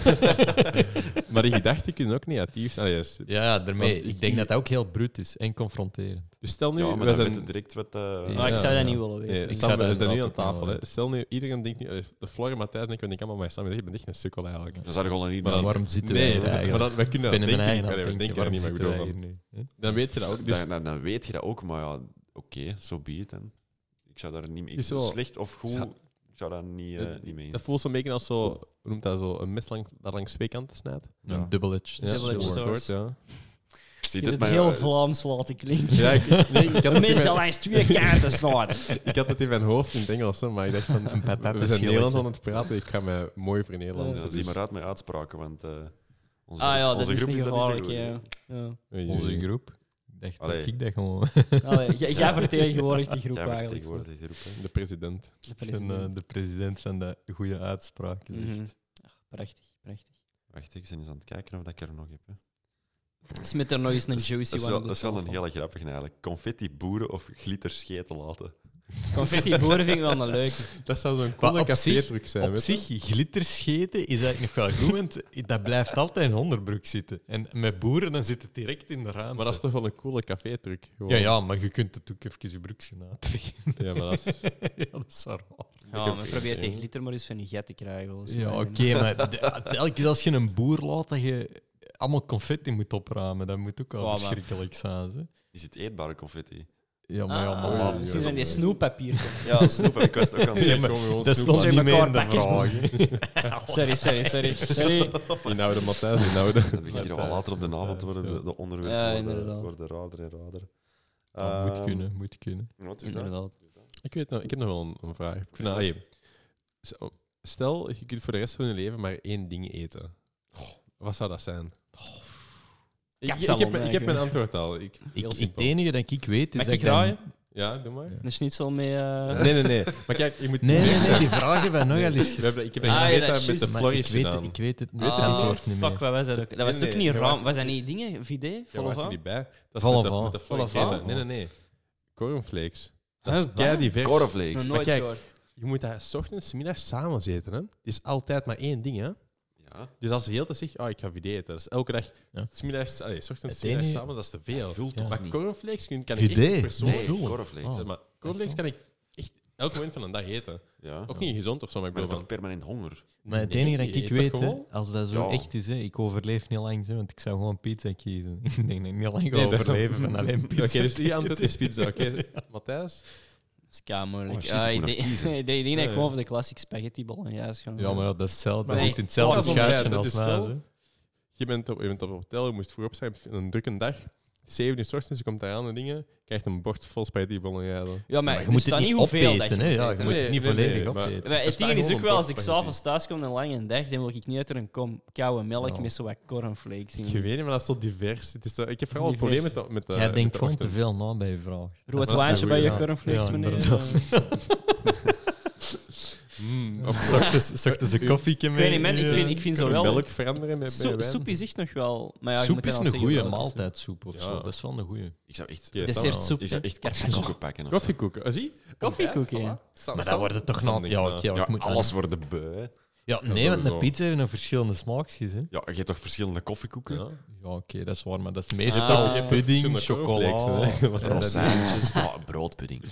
maar die gedachten kunnen ook negatief zijn. Allee, yes. Ja, ja, daarmee. Want Ik ik- denk dat dat ook heel bruut is en confronterend. Dus stel nu, ja, maar we dan zijn, weet je direct wat... eh, Maar ik zou Ja, dat ja. niet willen weten. nee, Ik Sam, zou dat we zijn nu inderdaad aan ook wel tafel. Hè. willen. Stel nu, iedereen denkt niet, eh, de Flor en Matthijs denken, ik allemaal, maar Sam, je bent echt een sukkel eigenlijk. Dan zou je gewoon niet Maar meer zien. waarom zitten wij Nee, hier eigenlijk? maar dat, wij kunnen dat Binnen mijn denken, eigen niet, hand allee, we denken, denken daar waarom niet, maar ik zitten wij bedoel, van- hier nu? dan weet je dat ook. Dus dan, dan, dan weet je dat ook, maar ja, oké, zo be it dan. Ik zou daar niet mee... Is zo- Slecht of goed, Zou- ik zou daar niet, eh, Dat- niet mee dat voelt zo'n beetje als zo, hoe noemt dat zo, een mes lang, dat langs twee kanten snijdt. Ja. Een double-edged Ja, Double-edged zo'n sword. sword. soort, ja. Zie heb dit het maar... heel eh, Vlaams laten klinken. ja ik, nee, ik, had De het in meeste mijn, lijst twee kaarten snart. ik had het in mijn hoofd in het Engels, hoor, maar ik dacht van, Een patat we is zijn heel Nederlands aan lekker. het praten, ik ga me mooi voor dus Nederlands. Ja, dus. zie maar uit met uitspraken, want eh, onze, Ah ja, dat onze is groep niet is daar gevaarlijk. zo ja. goed in. Ja. Onze groep. Ik dacht, dat Allee. ik dat gewoon. Allee, jij- Jij vertegenwoordigt die groep Jij eigenlijk. vertegenwoordigt die groep. hè. De president. De En, president. eh, de president van de goede uitspraken zegt. Mhm. Ach, Prachtig, prachtig. Wacht, ik ben eens aan het kijken of dat ik er nog heb. Hè. Smit er nog eens een Dat is- juicy dat is one wel, op de dat is wel een tafel. hele grappige eigenlijk. Confetti boeren of glitterscheten laten. Confetti boeren vind ik wel een leuke. Dat zou zo'n Maar coole op zich- café-truc zijn. Op weet je. zich, glitterscheten is eigenlijk nog wel goed, want dat blijft altijd in onderbroek zitten. En met boeren, dan zit het direct in de ruimte. Maar dat is toch wel een coole café-truc. gewoon. ja, ja, maar je kunt het ook even je broekje aantrekken. Ja, maar dat is... ja, dat is waar. Ja, heb maar geen probeer idee. tegen glitter maar eens van je get te krijgen. wel eens Ja, oké, krijgen. maar de- elke keer als je een boer laat, dat je allemaal confetti moet opruimen, dat moet ook wel Ja, maar- verschrikkelijk zijn. Ze. Is het eetbare confetti? Ja, maar ja, Ah, maar... laat- Misschien ja, zijn die ja. snoeppapier. Ja, snoep heb ik was het ook aan het Ja, denken. maar komen we ons Dat snoep stond aan. niet Zeg maar, meer in de bakjes vraag. Sorry, sorry, sorry. sorry. Inhouden, Matthijs, inhouden. Dat begint hier al later op de avond te worden. De, de onderwerpen Ja, worden, inderdaad. worden raarder en raarder. Dat Ah, moet Ehm, kunnen, moet kunnen. ja, het is dat. Inderdaad. Ik, weet nog, ik heb nog wel een, een vraag. Ik vind dat- allee, s- stel, je kunt voor de rest van je leven maar één ding eten. Wat zou dat zijn? Ik, ik, Kapsalon, heb, mijn- ik heb mijn eigenlijk. antwoord al. Ik, heel Ik, het simpel. enige dat ik weet is Mag dat ik ik dan- draaien? Ja, doe maar. Een schnitzel met... eh, Nee, nee, nee. Maar kijk, je moet... Nee, nee, nee, Nee, die vragen wij nogal eens we hebben, ik heb een Ah, ja, ah, dat is met de juist. Maar Floris ik, weet, gedaan. ik weet het niet. Weet het het ah, antwoord niet Fuck, meer. wat was dat ook? Dat was Nee, ook nee, niet je raam. wacht. Was dat niet dingen? Vide? Jij waart er Volova? niet bij. Dat is Vol met de- van. met de Vol Floris van. gedaan. Nee, nee, nee. Cornflakes. Dat is Huh, kei divers. Cornflakes. Nooit kijk, gehoord. Je moet dat 's ochtends, 's middags, samen zitten. Hè? Het is altijd maar één ding. Hè? Ja. Dus als je heel te zegt, oh, ik ga video eten. Dat is elke dag, Ja. 's middags, allee, 's ochtends, Het 's middags, enige- s'avonds, dat is te veel. Vult Ja. toch Maar niet? cornflakes kun- kan ik Vidé? echt persoonlijk... Nee, vullen. cornflakes. Oh. Maar cornflakes kan ik echt elk moment van de dag eten. Ja. Ook niet gezond of zo, maar ik Maar je bedoel hebt toch permanent honger? van- Maar het Nee, enige je dat ik eet dat weet, hè, gewoon. als dat zo Ja. echt is, hè, ik overleef niet lang, zo, want ik zou gewoon pizza kiezen. ik denk dat ik niet lang ga Nee, dat- overleven van alleen Oké, pizza. dus die antwoord te is eten. pizza. Oké, Matthijs? Dat is kei moeilijk. Oh, shit, ik Ah, ik moet nog denk- kiezen. ik denk dat Ja, ik ja. gewoon voor de classic spaghetti bolognese ga. Ja, maar ja, dat is hetzelfde. Maar dat nee, zit in hetzelfde dat is schuitje onbereid, als dat is mij. wel- zo. Je bent op, je bent op het hotel, je moest voorop zijn, een drukke dag. 7 uur 's ochtends, je komt daar aan de dingen, krijgt een bord vol spaghetti bolognese. Ja, maar, Maar je er moet staat het niet hoeveel opeten, dat hè. moet Ja, je eten. moet Nee, het niet nee, volledig nee, maar- opeten. Maar Er het staat ding is gewoon ook een wel, bord als ik spaghetti. s'avonds thuis kom een lange dag, dan wil ik niet uit een kom koude melk Ja. met zo wat cornflakes Je in. weet niet, maar dat is zo divers. Het is zo- ik heb vooral een Divers. probleem met de, met de Jij met denkt de gewoon te ochtend. veel na bij je vraag. Rood was wijntje een bij goeie, je ja. cornflakes, Ja, meneer. inderdaad. Eh, Mm, Of of zochtens zochtens een koffieke Ik mee. eh. weet niet, man. Ik vind, ik vind zo wel... eh, melk veranderen met bij Soep, wijn. soep is echt nog wel... Maar ja, je moet dan Soep is al een zeggen goede welke soep. maaltijdsoep of Ja. zo. Dat is wel een goede. Ik zou echt, Oké, Sam, Dessertsoep. ik zou echt Ja, koffiekoeken pakken. of zo. Koffiekoeken, Ah, zie? Koffiekoeken, Ontbijt, ja. voilà. Sam- Maar Sam- dan wordt het toch Sam nog. denkt Ja, na. oké, Ja, ik moet alles wordt de beu. hè. Ja, Ja, nee, want sowieso. een pizza heeft nog verschillende smaakjes. Hè? Ja, je hebt toch verschillende koffiekoeken? Ja. Ja, oké, dat is waar, maar dat is Ah. meestal Je hebt pudding, verschillende chocola. cornflakes, hè. wat dan ook. Rozijntjes. Ja, een Ah, broodpudding.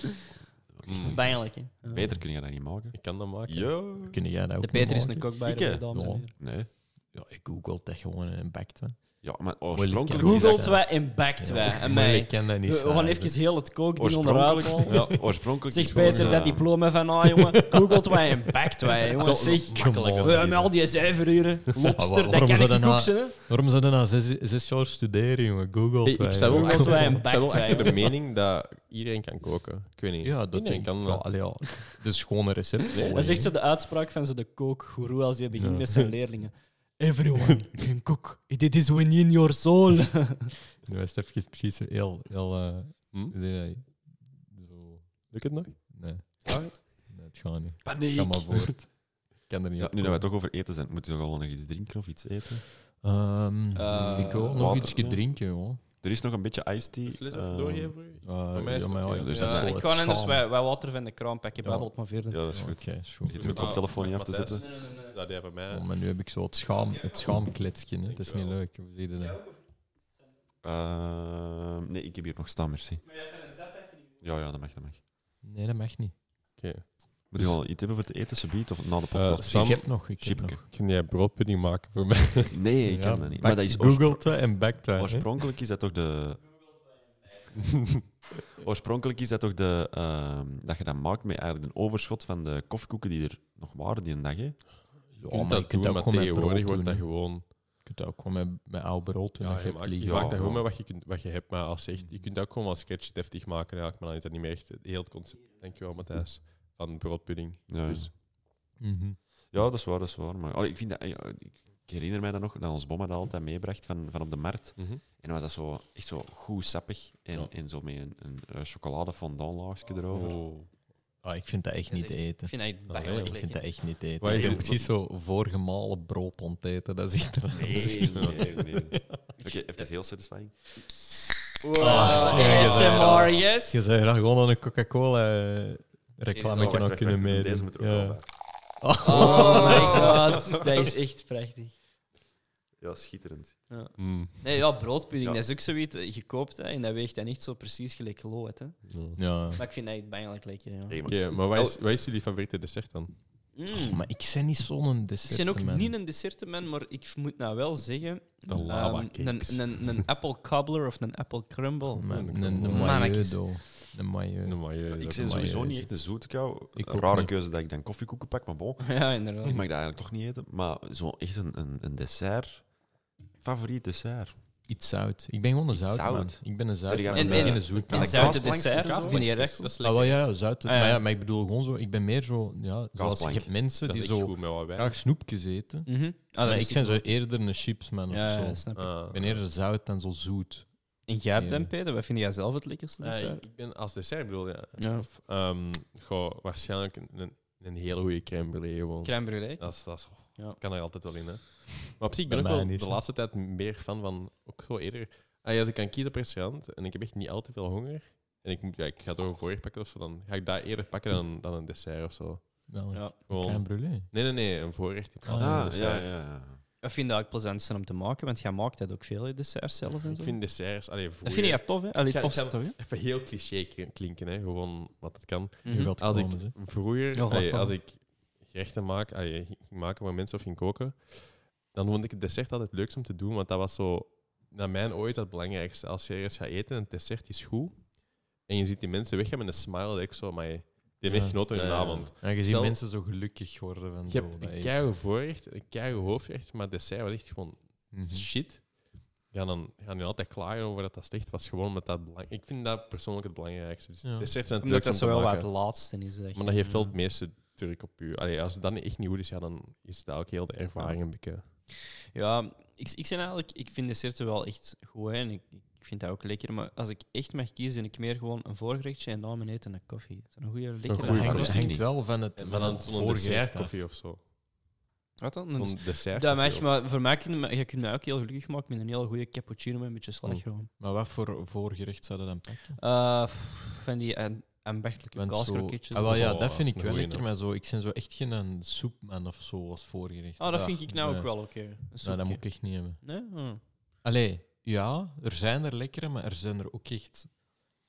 Mm. Pijnlijk, hè? Ja. Beter kun je dat niet maken. Ik kan dat maken. Ja. Kun jij dat ook De Peter is maken? een kok bij Ik, de hè? dames en Ja. heren. Nee. Ja, ik google dat gewoon en bakt hè. Ja, maar oorspronkelijk Moeilijk, is dat- Googelt wij en backt Ja. wij. En Maar mij. ik ken dat niet. dus. We, we gaan samen. even heel het kookding onderuit Oorspronkelijk, halen. ja, oorspronkelijk Zeg is gewoon, Peter, dat eh, diploma van ah, jongen. Googelt wij en backt wij, jongen. Zo Zeg, makkelijk we dat hebben is, al die zuiveruren. waarom Lobster, dat zou kan dat ik ook nou- zo. Waarom zou dat na zes, zes jaar studeren, jongen? Google. Ik, ik sta wel, Google ik sta wij en wel bakt wij, achter de jongen. mening dat iedereen kan koken. Ik weet niet. Ja, dat iedereen denk ik. kan wel. dat. Allee, ja. Dus gewoon een recept. volgen, Dat is echt hè. zo de uitspraak van zo de kookgoeroe als hij begint Ja. met zijn leerlingen. Everyone can cook. It is within your soul. Nu is het even precies zo heel... heel eh, Hm? hoe zeg je dat? Zo... Lukt het nog? Nee. Ah. Nee, het gaat niet. Paniek. Ga maar voort. Ik kan er niet Ja, op nu dat we komen. toch over eten zijn, moet je toch wel nog iets drinken of iets eten? Ehm, Eh, ik wil nog water. iets drinken, joh. Er is nog een beetje iced tea. De fles even ehm, doorgeven voor u? Eh, Bij mij is ja, het maar oké. ja, Dus dat ja, is wel ik het ga anders schaam. wij, wij water van de kraanpak. Je Ja. babbelt maar verder. Ja, dat is goed. Oké, is goed. Je hebt mijn koptelefoon niet af te Matthijs. zetten. Nee, nee, nee, nee. Dat deed bij mij. Oh, maar nu heb ik zo het, schaam, het schaamkletsje. hè. Het is niet leuk. Hoe zie je dat? Ehm, nee, ik heb hier nog staan, merci. Ja, ja, dat mag, dat mag. Nee, dat mag niet. Oké. Moet Dus- je wel iets hebben voor het eten, subiet, of na de Eh, podcast? Sam- ik heb nog. Ik heb Chipke. nog. Kun jij broodpudding maken voor mij? nee, ik Ja, ken dat niet. bak- Maar dat is oorspro- Googelt hè, en bakt Eh, wij, hè. oorspronkelijk is dat toch de... oorspronkelijk is dat toch de... ehm, dat je dat maakt met eigenlijk een overschot van de koffiekoeken die er nog waren die een dag, hè? Je maar kunt je dat kunt doen, dat maar gewoon met tegenwoordig brood wordt dat doen, gewoon... Je kunt dat ook gewoon met, met oud brood doen. Ja, dat je je hebt maakt, je liggen. maakt dat gewoon Ja. met wat je, kunt, wat je hebt, maar als je echt... Je kunt dat ook gewoon als sketch deftig maken, eigenlijk, maar dan is dat niet meer echt het heel het concept. Dankjewel, Matthijs. Van broodpudding. Ja, ja. Dus Mhm. Ja, dat is waar, dat is waar. Maar allee, ik, vind dat, ja, ik ik herinner mij dat nog, dat ons bomma dat altijd meebracht van, van op de markt. Mhm. En dan was dat zo, echt zo goed sappig. En, Ja. en zo met een, een eh, chocolade fondantlaagje erover. Oh. Ah, ik vind dat echt niet te eten. Ik vind Oh, dat echt Nee, belachelijk, Ik hè. vind dat echt niet te eten. Waar Ik je- heb precies zo voorgemalen brood onteten. Dat is echt Nee, nee, nee. Oké, even heel satisfying. Wow, Oh, Ah, nee, je zei dat. ASMR, yes. Je zou daar gewoon aan een Coca-Cola-reclame Oh, wacht, wacht, wacht, wacht, kunnen meedoen. Deze moet er ook Ja. wel bij. Oh my god, dat is echt prachtig. Ja, schitterend. Mm. Nee, ja, broodpudding, Ja. dat is ook zoiets eh, gekoopt hè, en dat weegt dan echt zo precies gelijk lood. Hè. Ja. Maar ik vind dat echt bijna lekker. Ja. Hey, maar- Oké, maar wat is, wat is jullie favoriete dessert dan? Mm. Oh, Maar ik ben niet zo'n dessert. Ik ben ook niet een dessertenman, maar ik moet nou wel zeggen... De lava ehm, cakes. Oh, een, een, een apple cobbler of een apple crumble. Een een Mannetjes. mailleudo. Een Nee, mailleudo. maar je- dat- ik ben maar sowieso je- niet echt een zoete kou. Ik Een ook rare niet. keuze dat ik dan koffiekoeken pak, maar bon. Ja, inderdaad. Ik mag dat eigenlijk toch niet eten. Maar zo echt een, een, een dessert. Favoriet dessert. Iets zout. Ik ben gewoon een Iets zout, man. zout. Ik ben een zout. Zou je man. gaan Ik een, ben eh, geen zoet. een man. kaas- En zoute kaasplankjes dessert, of zo? vind je dat Kaasplankjes, goed? is Ah, lekker. wel, ja, ja, zout. Ah, ja. maar, ja, maar ik bedoel gewoon zo... Ik ben meer zo... Ja, zoals je Kaasplank. hebt mensen Dat is die echt zo goed met wat wij. graag snoepjes eten. Mhm. Ah, dat maar ik is ben zo goed. eerder een chipsman of Ja, zo. ja, snap ik. Ah. Ik ben eerder zout dan zo zoet. En jij, Ben Ja. Peter, wat vind jij zelf het lekkerste? Nee, dessert? ik- ik ben als dessert bedoel je. Ja. Of, ehm, goh, waarschijnlijk een, een, een hele goede crème brûlée gewoon. Crème brûlée. Dat, is, dat is- Ja. kan er altijd wel in. Hè. Maar op zich ben ik Bij wel mij niet, de hè. laatste tijd meer fan van ook zo eerder. Ah, ja, als ik kan kiezen op restaurant en ik heb echt niet al te veel honger en ik, moet, ja, ik ga toch een voorrecht pakken of zo, dan ga ik dat eerder pakken dan, dan een dessert of zo. Wel, Ja. Gewoon- Crème brûlée. nee, nee, nee, een voorrecht in plaats van een Ah, ja, dessert. ja, ja. Ik vind dat ook plezant zijn om te maken, want jij maakt dat ook veel, hè, desserts zelf en zo. Ik vind desserts, allee, dat vind vroeger- ik tof, hè? Allee, Ik ga- tof, ik ga- toch? hè? even heel cliché kri- klinken, hè, gewoon wat het kan. Mhm. Je gaat Als komen, ik ze. vroeger, Ja, allee, lachen. als ik gerechten maak, allee, ging maken waar mensen of ging koken, dan vond ik het dessert altijd het leukst om te doen, want dat was zo, naar mijn ooit het belangrijkste. Als je ergens gaat eten en het dessert is goed, en je ziet die mensen weggaan met een smile, dat ik zo, maar die hebben echt Ja. genoten van hun Ja, ja, ja. avond. Ja, je ziet Zelf- mensen zo gelukkig worden van Je zo. hebt dat een eten. keigoed voorrecht, een keigoed hoofdrecht, maar het dessert was echt gewoon Mhm. shit. Ja, dan gaan die altijd klagen over dat dat slecht was, gewoon omdat dat belangrijk... Ik vind dat persoonlijk het belangrijkste. Dus Ja. desserts zijn het Omdat leukst om dat zo te wel wat maken. het laatste is. Mhm. Echt. Maar dat geeft wel het meeste druk op u. Allee, als het dan echt niet goed is, ja, dan is dat ook heel de ervaring een beetje. Ja, ik, ik, ben eigenlijk, ik vind desserten wel echt goed hè, en ik, ik vind dat ook lekker. Maar als ik echt mag kiezen, ik meer gewoon een voorgerechtje en na mijn eten een koffie. Dat is een goede lekkere Dat goeie hangt, hang- dat verrassing hangt niet. wel van het, Maar van dan het zo'n dessert voorgerecht af. koffie of zo. Wat dan? Een- Zo'n dessert. Dat mag, maar voor mij kun je, me- je kunt mij ook heel gelukkig maken met een heel goede cappuccino met een beetje slagroom. Maar wat voor voorgerecht zou dat dan pakken? Eh, pff, van die eh, ambachtelijke Want Oh. zo, kaaskroketjes. ah, wel, ja, Oh, dat vind dat is ik een wel goeie lekker, maar zo, ik ben zo echt geen een soepman of zo als voorgerecht. Ah, dat vind ik nou nee. ook wel oké. Een Nou, soepje. dat moet ik echt niet hebben. Nee? Hm. Allee, ja, er zijn er lekkere, maar er zijn er ook echt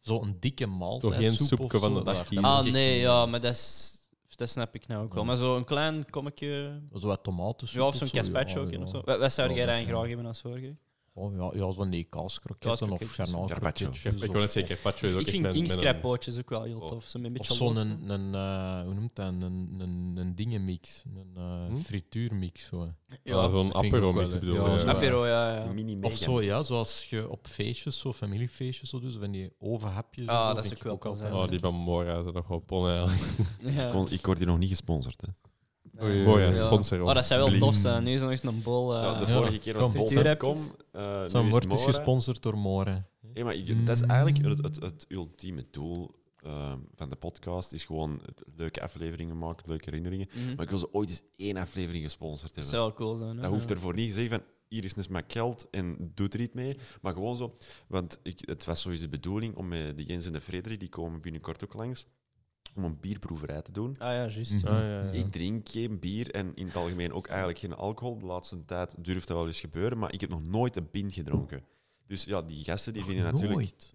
zo'n dikke maaltijd. Toch geen soep soepje of van zo, de dag dat- dat hier. moet Ah ik echt nee, niet ja, hebben. maar dat, is, dat snap ik nou ook wel. Ja. Maar zo'n klein kommetje... Zo wat tomatensoep. Oh, Ja, of zo'n zo, ja, caspacho ook in ja. of zo. Wat, wat zou Ja, jij dat dan kan. graag hebben als voorgerecht? Oh, ja, ja, van die kaaskroketten of Kaaskrokketjes. garnaalkrokketjes. Ik wil net zeker, Pacho is ook ik echt vind met- met een- kingscrappootjes ook wel heel Oh. tof. Zo met een Of beetje zo'n, lood. een, een, eh, hoe noemt dat, een, een, een dingenmix, een eh, Hm? frituurmix. Zo. Ja, Ja, zo'n vind ik apero ook wel, mix hè. bedoel Ja, eh, je. zo'n apero. apero, ja. ja. Mini Of zo, ja, zoals je op feestjes, zo, familiefeestjes, zo, dus, van die ovenhapjes. en Ah, zo, dat vind is ook ik wel plezant, Oh, die van Mora zijn nog wel ponnen eigenlijk. Ja. Ik word hier nog niet gesponsord. Hè. Ja. Mora, Ja. sponsor ons. Oh, dat zou wel Bling. tof zijn. Nu is er nog eens een bol. eh, Ja, de Ah, ja. vorige keer was Kom. bol.com. eh, nu Zo'n is wordt het is Mora. gesponsord Mm. door Moren. Hey, maar ik- dat is eigenlijk het, het, het ultieme doel ehm, van de podcast. Is gewoon het- leuke afleveringen maken, leuke herinneringen. mhm. Maar ik wil ze ooit eens één aflevering gesponsord Dat hebben. zou wel cool zijn. hè. Dat hoeft Ja. ervoor niet gezegd van hier is een smak geld en doet er iets mee. Maar gewoon zo. Want ik, het was sowieso de bedoeling om met de Jens en de Frederik, die komen binnenkort ook langs, om een bierproeverij te doen. Ah ja, Mm. juist. Mhm. Ik drink geen bier en in het algemeen ook eigenlijk geen alcohol. De laatste tijd durft dat wel eens gebeuren, maar ik heb nog nooit een pint gedronken. Dus ja, die gasten die vinden natuurlijk... Nooit.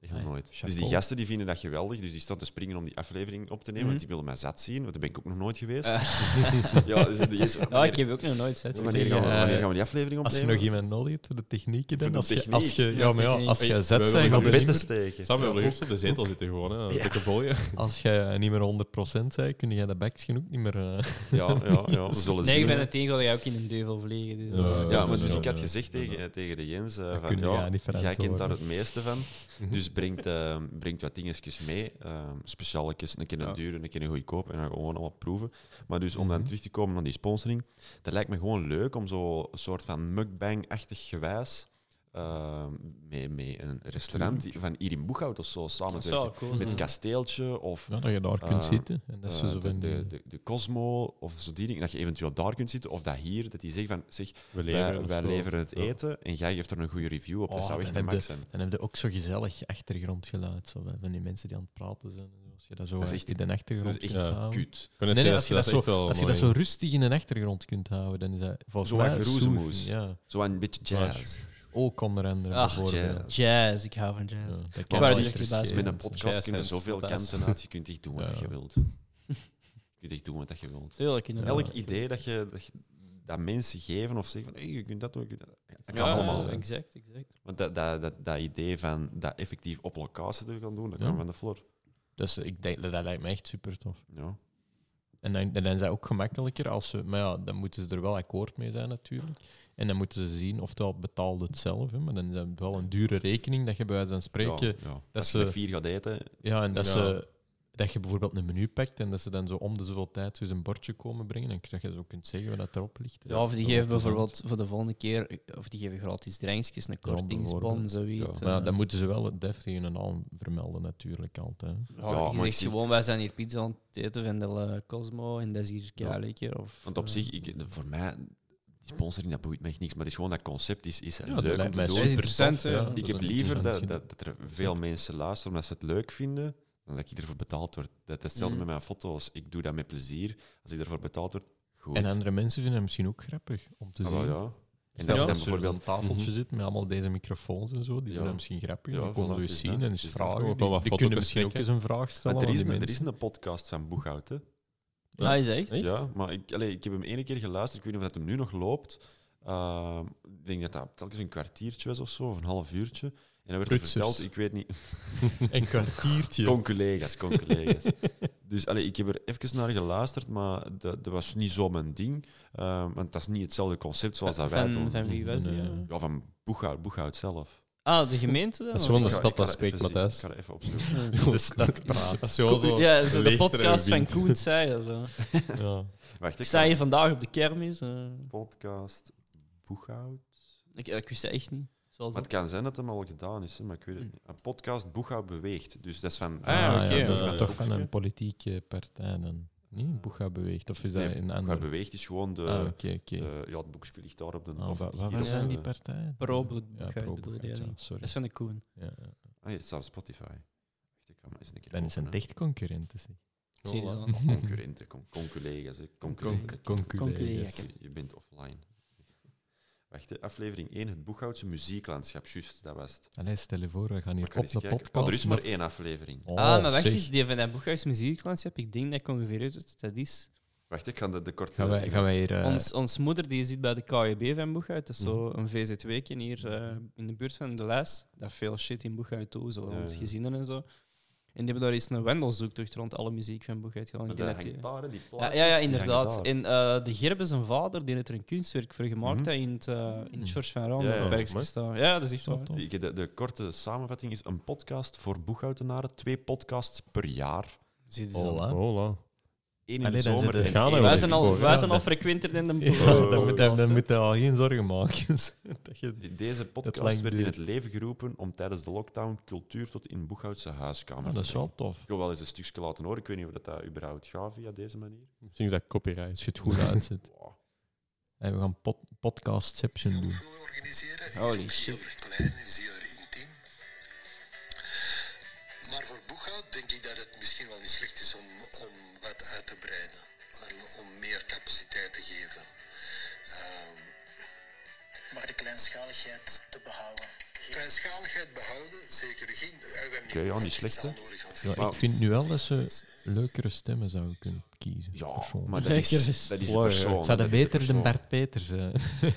Echt nog Nee, nooit. chapeau. Dus die gasten die vinden dat geweldig, dus die staan te springen om die aflevering op te nemen, Mhm. want die willen mij zat zien, want daar ben ik ook nog nooit geweest. Eh. Ja, dus die is, Ja, ik wanneer, heb ook nog nooit zet. wanneer gaan we, Ja. wanneer gaan we die aflevering opnemen? eh, Als je nog iemand nodig hebt voor de technieken, dan Voor de als je, techniek. als je, Ja, ja, maar ja, techniek. als je we zet willen bent, Om nog dan bed best- te niet steken. Sam wil Ja, eerst op de zetel zitten gewoon, hè. Een Ja. dikke vol, ja. meer- als je niet meer 100% bent, kun je dat bakje ook niet meer... eh, Ja, ja, ja, we zullen Nee, zien. ik ben het tegen dat jij ook in een duivel vliegen. Dus, Ja, eh, Ja, dat maar is dus wel, ik had ja. gezegd tegen, tegen de Jens, eh, van, kun je ja, daar niet jij kent daar verantwoorden. het meeste van, dus brengt, eh, brengt wat dingetjes mee, ehm specialetjes, een keer een Ja. duur, een keer een goedkoop, en dan gewoon al wat proeven. Maar dus om Mhm. dan terug te komen naar die sponsoring, dat lijkt me gewoon leuk om zo'n soort van mukbang-achtig gewijs ehm met, met een restaurant die- van hier in Boeghout of zo samen Dat te zou wel werken. cool Met zijn. het kasteeltje of Ja, dat je daar kunt Eh, zitten. En dat is eh, zo de, van... de, de, de Cosmo of zo die dingen, dat je eventueel daar kunt zitten of dat hier, dat die zegt van zeg, We wij, leveren. wij of zo. leveren het Ja. eten en jij geeft er een goede review op. dat Oh, zou echt dan een heb max zijn. Dan heb je ook zo gezellig achtergrondgeluid. Zo, hè, van die mensen die aan het praten zijn. en zo. Als je dat zo Dat is echt oh echt- in de Dat achtergrond is echt kunt houden. kut. Ik wou net Nee, nee, zeggen, als je dat, is echt zo, wel als je dat mooi. zo rustig in de achtergrond kunt houden, dan is dat volgens Zo mij wat geroezemoes. soothing, Ja. Zo een beetje jazz. Ook onder andere Ach, bijvoorbeeld. jazz. Jazz, ik hou van jazz. Ja, dat Maar kan die- echt die- Ja, Met verschillend een zijn. podcast kunnen is zoveel fantastisch. kanten uit. Je kunt echt doen wat Ja. je wilt. Je kunt echt doen wat je wilt. Tuurlijk, inderdaad. Elk idee dat, je, dat, je- dat mensen geven of zeggen van hey, je kunt dat doen, je kunt dat, dat kan Ja, allemaal ja, zijn. Exact, exact. Want dat, dat, dat, dat idee van dat effectief op locatie te gaan doen, dat Ja. kan van de floor. Dus ik denk, dat dat lijkt me echt super tof. Ja. En dan, dan zijn ze ook gemakkelijker als ze... Maar ja, dan moeten ze er wel akkoord mee zijn natuurlijk. En dan moeten ze zien, oftewel betaalde het zelf, hè, maar dan is dat wel een dure rekening dat je bij wijze van Ja, spreken ja. dat Als je ze- met vier gaat eten, Ja, en dat, Ja. Ze, dat je bijvoorbeeld een menu pakt en dat ze dan zo om de zoveel tijd zo eens een bordje komen brengen. En dat je zo kunt zeggen wat dat erop ligt. Ja, of die geven Dat is wel bijvoorbeeld voor de volgende keer, of die geven gratis drankjes, een kortingsbon, bijvoorbeeld. zoiets. plezant. Maar ja, Eh, dan moeten ze wel het deftig hun naam vermelden natuurlijk altijd. ja, Ja, maar je ik zegt zie- gewoon, wij zijn hier pizza aan het eten van de La Cosmo en dat is hier Ja. ja. lekker. Of, want op eh, zich, ik, voor mij, die sponsoring, dat boeit me echt niks. Maar het is gewoon dat concept is, is dat leuk om lijkt mij te Dat doen. is supertof, interessant, hè. dat Ik is heb een liever dat, interessant dat, dat er veel mensen luisteren omdat ze het leuk vinden, dan dat ik ervoor betaald word. Dat is hetzelfde Mm. met mijn foto's. Ik doe dat met plezier. Als ik ervoor betaald word, goed. En andere mensen vinden het misschien ook grappig om te Ah, zien. wel, ja. En dat je En dat je dan bijvoorbeeld een bijvoorbeeld... tafeltje Mhm. zit met allemaal deze microfoons en zo, die Ja. zijn misschien grappig. Ja, die kunnen voilà, zo het eens is zien dat. en Het eens is dat. vragen. Ook wel Die, wat die foto's kunnen misschien ook bespreken. eens een vraag Want stellen. er, aan is die een, er is mensen. een podcast van Boeghout, hè. Ah, is dat echt? Echt? Ja, maar ik, allee, ik heb hem één keer geluisterd. Ik weet niet of dat hem nu nog loopt. Ehm, ik denk dat dat telkens een kwartiertje was of zo, of een half uurtje. En dan werd er Prutsers. verteld, ik weet niet... Een kwartiertje. Con-collega's, con-collega's. dus allee, ik heb er even naar geluisterd, maar dat, dat was niet zo mijn ding. Ehm, want dat is niet hetzelfde concept zoals dat wij van, doen. Van wie was Nee, die? nee, ja? nee. Ja, van Boeghout, Boeghout zelf. Ah, de gemeente dan? Dat is gewoon de Ik ga- stad ik ga dat spreekt, even zien. Matthijs. Ik ga dat even opzoeken. De stad praat. Zo, zo. Ja, zo de leegtere podcast van wind. Koet zei zo. Ja. Wacht, Ik ik sta ga- hier vandaag op de kermis. eh. Podcast Boeghout. ik, ik wist dat echt niet. Zoals Maar het dat. Hmm. kan zijn dat hem al gedaan is, hè, maar ik weet het niet. Een podcast Boeghout beweegt. Dus dat is van... Ah, ja, oké. dat is Ja, dan ja, toch van boekje. een politieke partij dan. Nee, Boega beweegt. Of is dat Nee, een Boeghout andere? beweegt is gewoon de... Ah, oké, oké. de- ja, het boekje ligt daar op de... Ah, of wa- wa- hier Wat op zijn die de- partijen? Pro Boeghout Pro bedoelde Boeghout, jij ja, niet. Dat Sorry. is van de Koen. Ja, ja. Ah, hier staat op Spotify. Wacht, ik ga Kom eens een keer Dan is een openen. echt concurrent. Zeg. Zie je Voilà. dan? Of concurrenten, con- conculega's. hè. Concurrenten. Concu- Conculega's. Je- Je bent offline. Wacht, hè. aflevering 1, het Boeghoutse muzieklandschap. Juist, dat was het. Allee, stel je voor, we gaan hier Maar ik ga op eens de kijken. podcast... Maar er is maar met- één aflevering. Oh, ah, maar weg zeg. is die van dat Boeghuis Muzieklandschap. Ik denk dat ik ongeveer uit wat dat is. Wacht, ik ga de, de korte... Gaan wij, gaan wij hier... eh, ons, ons moeder die zit bij de KJB van Boeghuis. Dat is zo een VZW-ken hier eh, in de buurt van de Lijs. Dat veel shit in Boeghuis toe, zo Ja, rond ja. gezinnen en zo. En die hebben daar eens een wendelzoektocht rond alle muziek van Boeghuis gedaan. Maar Ik denk dat dat die- hangt daar, hè, die Ja, plaatjes, ja, ja, die hangen inderdaad. daar. En eh, de Gerbe, zijn vader, die heeft er een kunstwerk voor gemaakt dat in het, eh, in het George van Raan Ja, ja, ja, mooi. staan. Ja, dat is echt wel. Ik- De, de korte samenvatting is een podcast voor boeghoudenaren. Twee podcasts per jaar. Zie je Oh, zo. Hola. Hola. Eén in Allee, de dan zomer zitten- en Gaan één- we Wij Ja, zijn ik al, hoor, wij ja, zijn al dat- frequenter dan de Ja, Oh, dan, moet, dan, podcasten. dan moet je al geen zorgen maken. dat je Deze podcast lang werd in duurt. het leven geroepen om tijdens de lockdown cultuur tot in Boeghoutse huiskamer Ah, te dat is brengen. wel tof. Ik wil wel eens een stukje laten horen. Ik weet niet of dat, dat überhaupt gaat via deze manier. Misschien is dat copyright. Als je het goed uitzet. Wow. En we gaan pod podcastception doen. Zelf organiseren is Holy ook heel erg klein en is heel erg intiem. Maar voor boekhoud denk ik dat het misschien wel niet slecht is om, om wat uit te breiden. En om meer capaciteit te geven. Ehm, maar de kleinschaligheid te behouden. Kleinschaligheid behouden, zeker geen. Oké, ja, niet slecht, hè? Ja, ik vind nu wel dat ze leukere stemmen zouden kunnen kiezen. Ja, Persoon. maar dat is, Lekker dat is is de Wow, persoon. Ik zou dat dat is de beter dan persoon. Bart Peters. eh.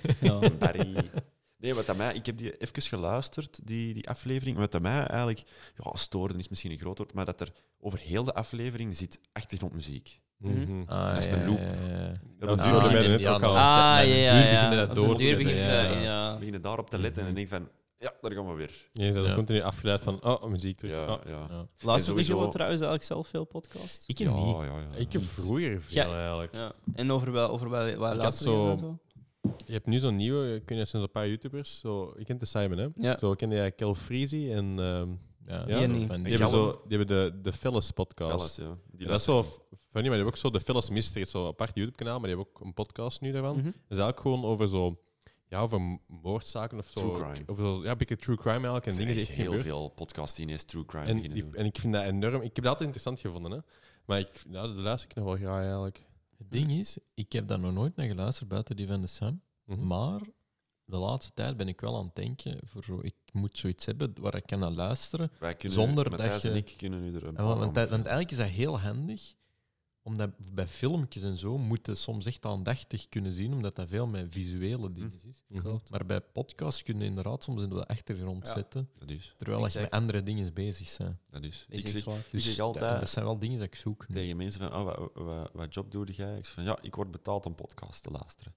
Een Barry. Nee, wat aan mij, ik heb die even geluisterd, die, die aflevering. Wat aan mij eigenlijk, ja, storen is misschien een groot woord, maar dat er over heel de aflevering zit achtergrondmuziek. Mhm. Ah, Dat is een loop. Ja, ja, ja. Dat we Ah, duurde mij ja, ja, net ja, ook ja. al. Ah, Op de- ja, op de ja. ja. duur beginnen dat Op door de te duur zetten, begint, ja. eh, ja. beginnen daarop te letten en denk van, ja, daar gaan we weer. Je bent Ja. continu afgeleid van, oh, muziek terug. Ja, Oh. ja. Luisterde sowieso- je trouwens eigenlijk zelf veel podcasts? Ik ja, niet. ja, ja, ja. Ik heb vroeger veel Ja. eigenlijk. Ja. En over wel, over wel, waar had luisterde zo- je dan zo? Je hebt nu zo'n nieuwe, kun je sinds een paar YouTubers, zo, je kent de Simon, hè? Ja. Zo kende jij Kel Freezy en ehm, Ja, Ja, zo niet. van die, die- hebben zo, die hebben de, de Phyllis podcast. Alles, ja. Die En dat is luisteren. wel f- funny, maar die hebben ook zo de Phyllis Mystery, zo'n apart YouTube-kanaal, maar die hebben ook een podcast nu daarvan. Mhm. Dat is eigenlijk gewoon over zo, ja, over m- moordzaken of zo. True crime. Of zo ja, een beetje true crime eigenlijk en Er zijn dingen die echt echt heel gebeuren. veel podcasts die ineens true crime En, beginnen die- doen. en ik vind dat enorm. Ik heb dat altijd interessant gevonden, hè. Maar ik, vind- ja, dat luister ik nog wel graag eigenlijk. Het ding is, ik heb daar nog nooit naar geluisterd buiten die van de Sam. Hm? Mhm. Maar de laatste tijd ben ik wel aan het denken, voor zo, ik moet zoiets hebben waar ik kan naar luisteren. Wij kunnen, zonder dat Matthijs je- en ik kunnen nu er een Ja, paar want, want, dat- want aanbevelen. eigenlijk is dat heel handig, omdat bij filmpjes en zo moet je soms echt aandachtig kunnen zien, omdat dat veel met visuele Hm. dingen is. Mhm. Klopt. Maar bij podcasts kun je inderdaad soms in de achtergrond Ja. zetten, Dat is, terwijl dat je met Exact. andere dingen bezig bent. dat is. Is ik echt zeg, waar. ik Dus zeg dat- altijd dat zijn wel dingen dat ik zoek. nu. tegen mensen van, ah, wat, wat, wat job doe jij? Ik zeg van, ja, ik word betaald om podcasts te luisteren.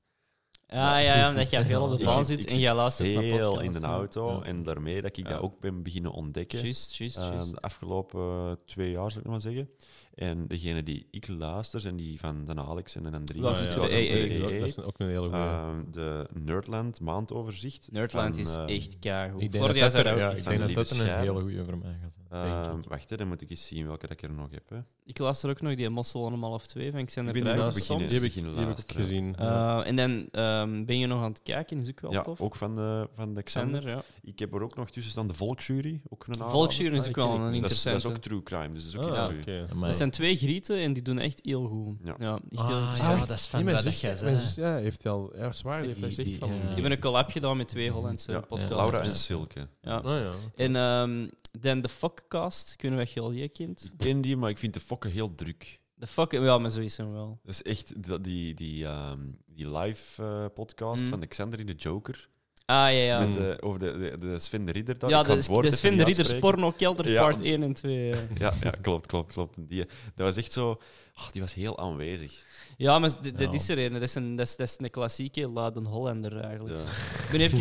Ah, ja, ja, omdat jij veel op de Ik baan zit- zit ik en jij luistert naar podcasts. Heel in de auto. Ja. En daarmee dat ik Ja. dat ook ben beginnen ontdekken. Juist, juist, eh, juist. de afgelopen eh, twee jaar, zou ik nog maar zeggen. En degene die ik luister, zijn die van de Alex en de Andries. Dat Ah, is ja, de dat is AA. natuurlijk ook- Dat is ook een hele goede. Ehm, de Nerdland maandoverzicht. Nerdland van, is ehm, echt keigoed. Ik denk dat Florida dat zou er, dat ja, ook ik van denk de dat dat er lieve een scherm. hele goede voor mij gaat zijn. denk ehm, ik. wacht, hè, dan moet ik eens zien welke dat ik er nog heb. Hè. Ik luister ook nog die Mossel om half twee van Ik Xander ben nu Vrijdag ook soms. beginnen, Die heb ik- beginnen Die heb ik ook luisteren. gezien. Eh, en dan ehm, ben je nog aan het kijken, is ook wel Ja, tof. ook van de, van de Xander. Xander, ja. Ik heb er ook nog tussen staan de Volksjury. Ook een aanrader. Volksjuren is Ah, ook die wel ken ik een niet. Dat is, dat interessante. is ook true crime, dus dat is ook Ah, iets ja, voor u. oké. Amai. Dat zijn twee grieten en die doen echt heel goed. Ja. Ja, echt heel Ah, interessant. ja, dat is van Nee, mijn waar dat zus- jij mijn zei. zus, ja, heeft hij al ja, zwaar. Die heeft Die- echt echt die, van. ja. Die hebben een collab gedaan met twee Hollandse eh, Ja, podcasts. Laura en Silke. Ja. Oh, ja. En ehm, dan de Fuckcast, kunnen we echt heel je kind. Ik ken die, maar ik vind de fokken heel druk. De Fuck, ja, maar zo is hem wel. Dus echt dat- die, die, ehm, die live eh, podcast Mm. van de Xander in de Joker. Ah, ja, ja. Met, eh, over de, de, de Sven de Ridder daar. ja, Ik ga de, het woord de even Sven de niet Ridders uitspreken. Porno Kelder Ja. part 1 en 2. ja. Ja, ja, klopt, klopt, klopt. Die, eh, dat was echt zo... ah, die was heel aanwezig. Ja, maar d- d- dat Ja. is er een. Dat is een, dat is, dat is een klassieke Laden Hollander eigenlijk. Ja. Ik ben even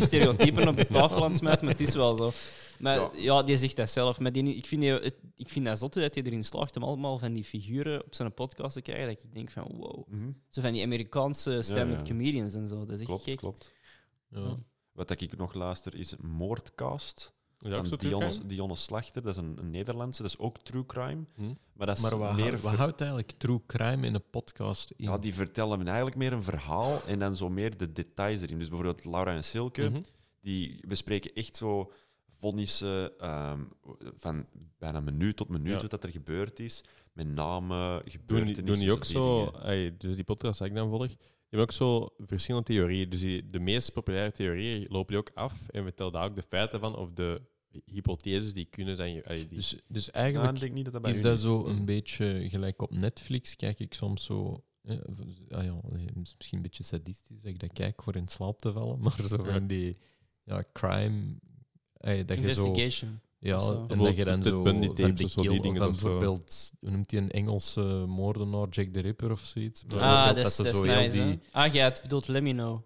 stereotypen op de tafel aan het smijten, maar het is wel zo. Maar Ja. ja, die zegt dat zelf. Maar die, ik, vind die, het- ik vind dat zotte dat hij erin slaagt om allemaal van die figuren op zijn podcast te krijgen. Dat ik denk van wow. Mhm. Zo van die Amerikaanse stand-up ja. comedians en zo. Dat is echt Klopt, gek. klopt. Ja. Wat dat ik nog luister is Moordcast. Is dat ook zo van true crime? Dionne, Dionne Slachter, dat is een, een Nederlandse. Dat is ook true crime. Hm. Maar dat is Maar wat, meer... houdt- wat ver- houdt eigenlijk true crime in een podcast in? Ja, die vertellen hem eigenlijk meer een verhaal en dan zo meer de details erin. Dus bijvoorbeeld Laura en Silke, Mhm. die bespreken echt zo vonnissen ehm, van bijna menu tot menu, Ja. wat dat er gebeurd is, met namen, Doen gebeurtenissen. die, doen die ook die zo, dingen. ey, dus die podcast die ik dan volg, die hebben ook zo verschillende theorieën. Dus die, de meest populaire theorieën lopen die ook af en vertellen daar ook de feiten van of de hypotheses die kunnen zijn. ge- ey, die, Dus, dus Nou, eigenlijk ik denk niet dat dat bij is u dat is. zo een Mm. beetje gelijk op Netflix. Kijk ik soms zo. eh, v- ah ja, het is misschien een beetje sadistisch dat ik dat kijk voor in slaap te vallen, maar zo Ja. van die ja, crime. eh, dat je zo, Investigation. ja, of zo. en dat je dan Ted zo Bundy van tapes die of zo, die kill, dingen van of zo. bijvoorbeeld, hoe noemt hij een Engelse moordenaar, Jack the Ripper of zoiets. Ah, Bijvoorbeeld dat is ze dat is zo heel nice. hè? Ah, ja, het bedoelt Let Me Know.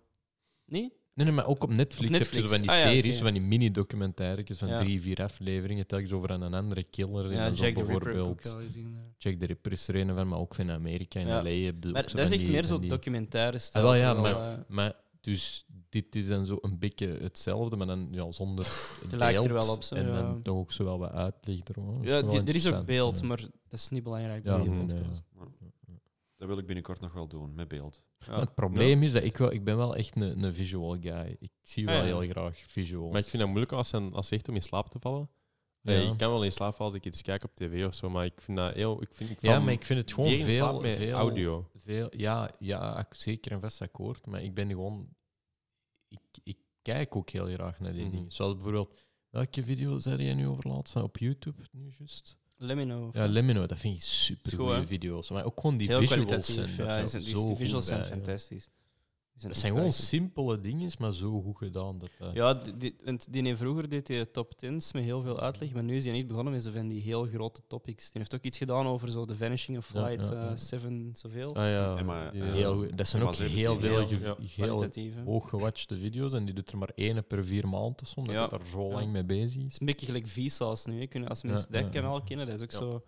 Nee? Nee, nee, maar ook op Netflix, Op heb je Netflix. zo van die Ah, ja, series, oké. zo van die mini-documentaires van Ja. drie, vier afleveringen, telkens over aan een andere killer. Ja, en zo Jack the Ripper heb ik ook bijvoorbeeld. al gezien. ja. Jack the Ripper is er een van, maar ook van Amerika en Ja. LA. Heb je Maar ook zo dat is van echt die- meer van zo'n die- documentaire Ah, wel, ja, terwijl, eh, Maar dus dit is dan zo een beetje hetzelfde, maar dan ja, zonder Het lijkt er beeld wel op, zo, En ja. dan toch ook zo wel wat uitleg erom. Dat is ja, wel die- er is ook interessant, beeld, ja. maar dat is niet belangrijk Ja, bij die nee, nee, podcast. Dat wil ik binnenkort nog wel doen, met beeld. Ja. Maar het probleem is dat ik wel, ik ben wel echt een een visual guy. Ik zie Ah, wel ja. heel graag visuals. maar ik vind dat moeilijk als, een- als echt om in slaap te vallen. Nee, Ja. Ik kan wel in slaap vallen als ik iets kijk op tv of zo, maar ik vind dat heel. Ik vind, ik ja, val maar ik vind het gewoon meer in slaap veel, met veel audio. Veel, ja, ja, ak- zeker en vast akkoord. Maar ik ben gewoon... Ik, ik kijk ook heel graag naar die Mhm. dingen. Zoals bijvoorbeeld... Welke video zei jij nu over laatst? Van Op YouTube nu juist? Let me know. of- Ja, Lemino, dat vind ik Is super goed, goede hè? video's. Maar ook gewoon die heel visuals kwalitatief. zijn. ja, daar die zo zijn- die, die goed visuals zijn bij, ja. fantastisch. Die Dat echt zijn gewoon prachtig. simpele dingen, maar zo goed gedaan. Dat, eh, dat- Ja, die, die, want die heeft vroeger deed hij top 10's met heel veel uitleg, maar nu is hij niet begonnen met zo van die heel grote topics. Die heeft ook iets gedaan over zo The Vanishing of Ja, Flight ja, ja. 7, zoveel. Ah ja. En maar, ja. eh, heel goed. Dat zijn maar ook ze heeft heel die veel heel- ge- ja, heel Kwalitatief. hè. hooggewatchte video's. En die doet er maar één per vier maanden of zo, omdat Ja. hij er zo Ja. lang mee bezig Het is. is een beetje gelijk Vsauce nu. Hè. Kunnen- Als mensen Ja, dat ja, kanaal kennen, dat is ook Ja. zo...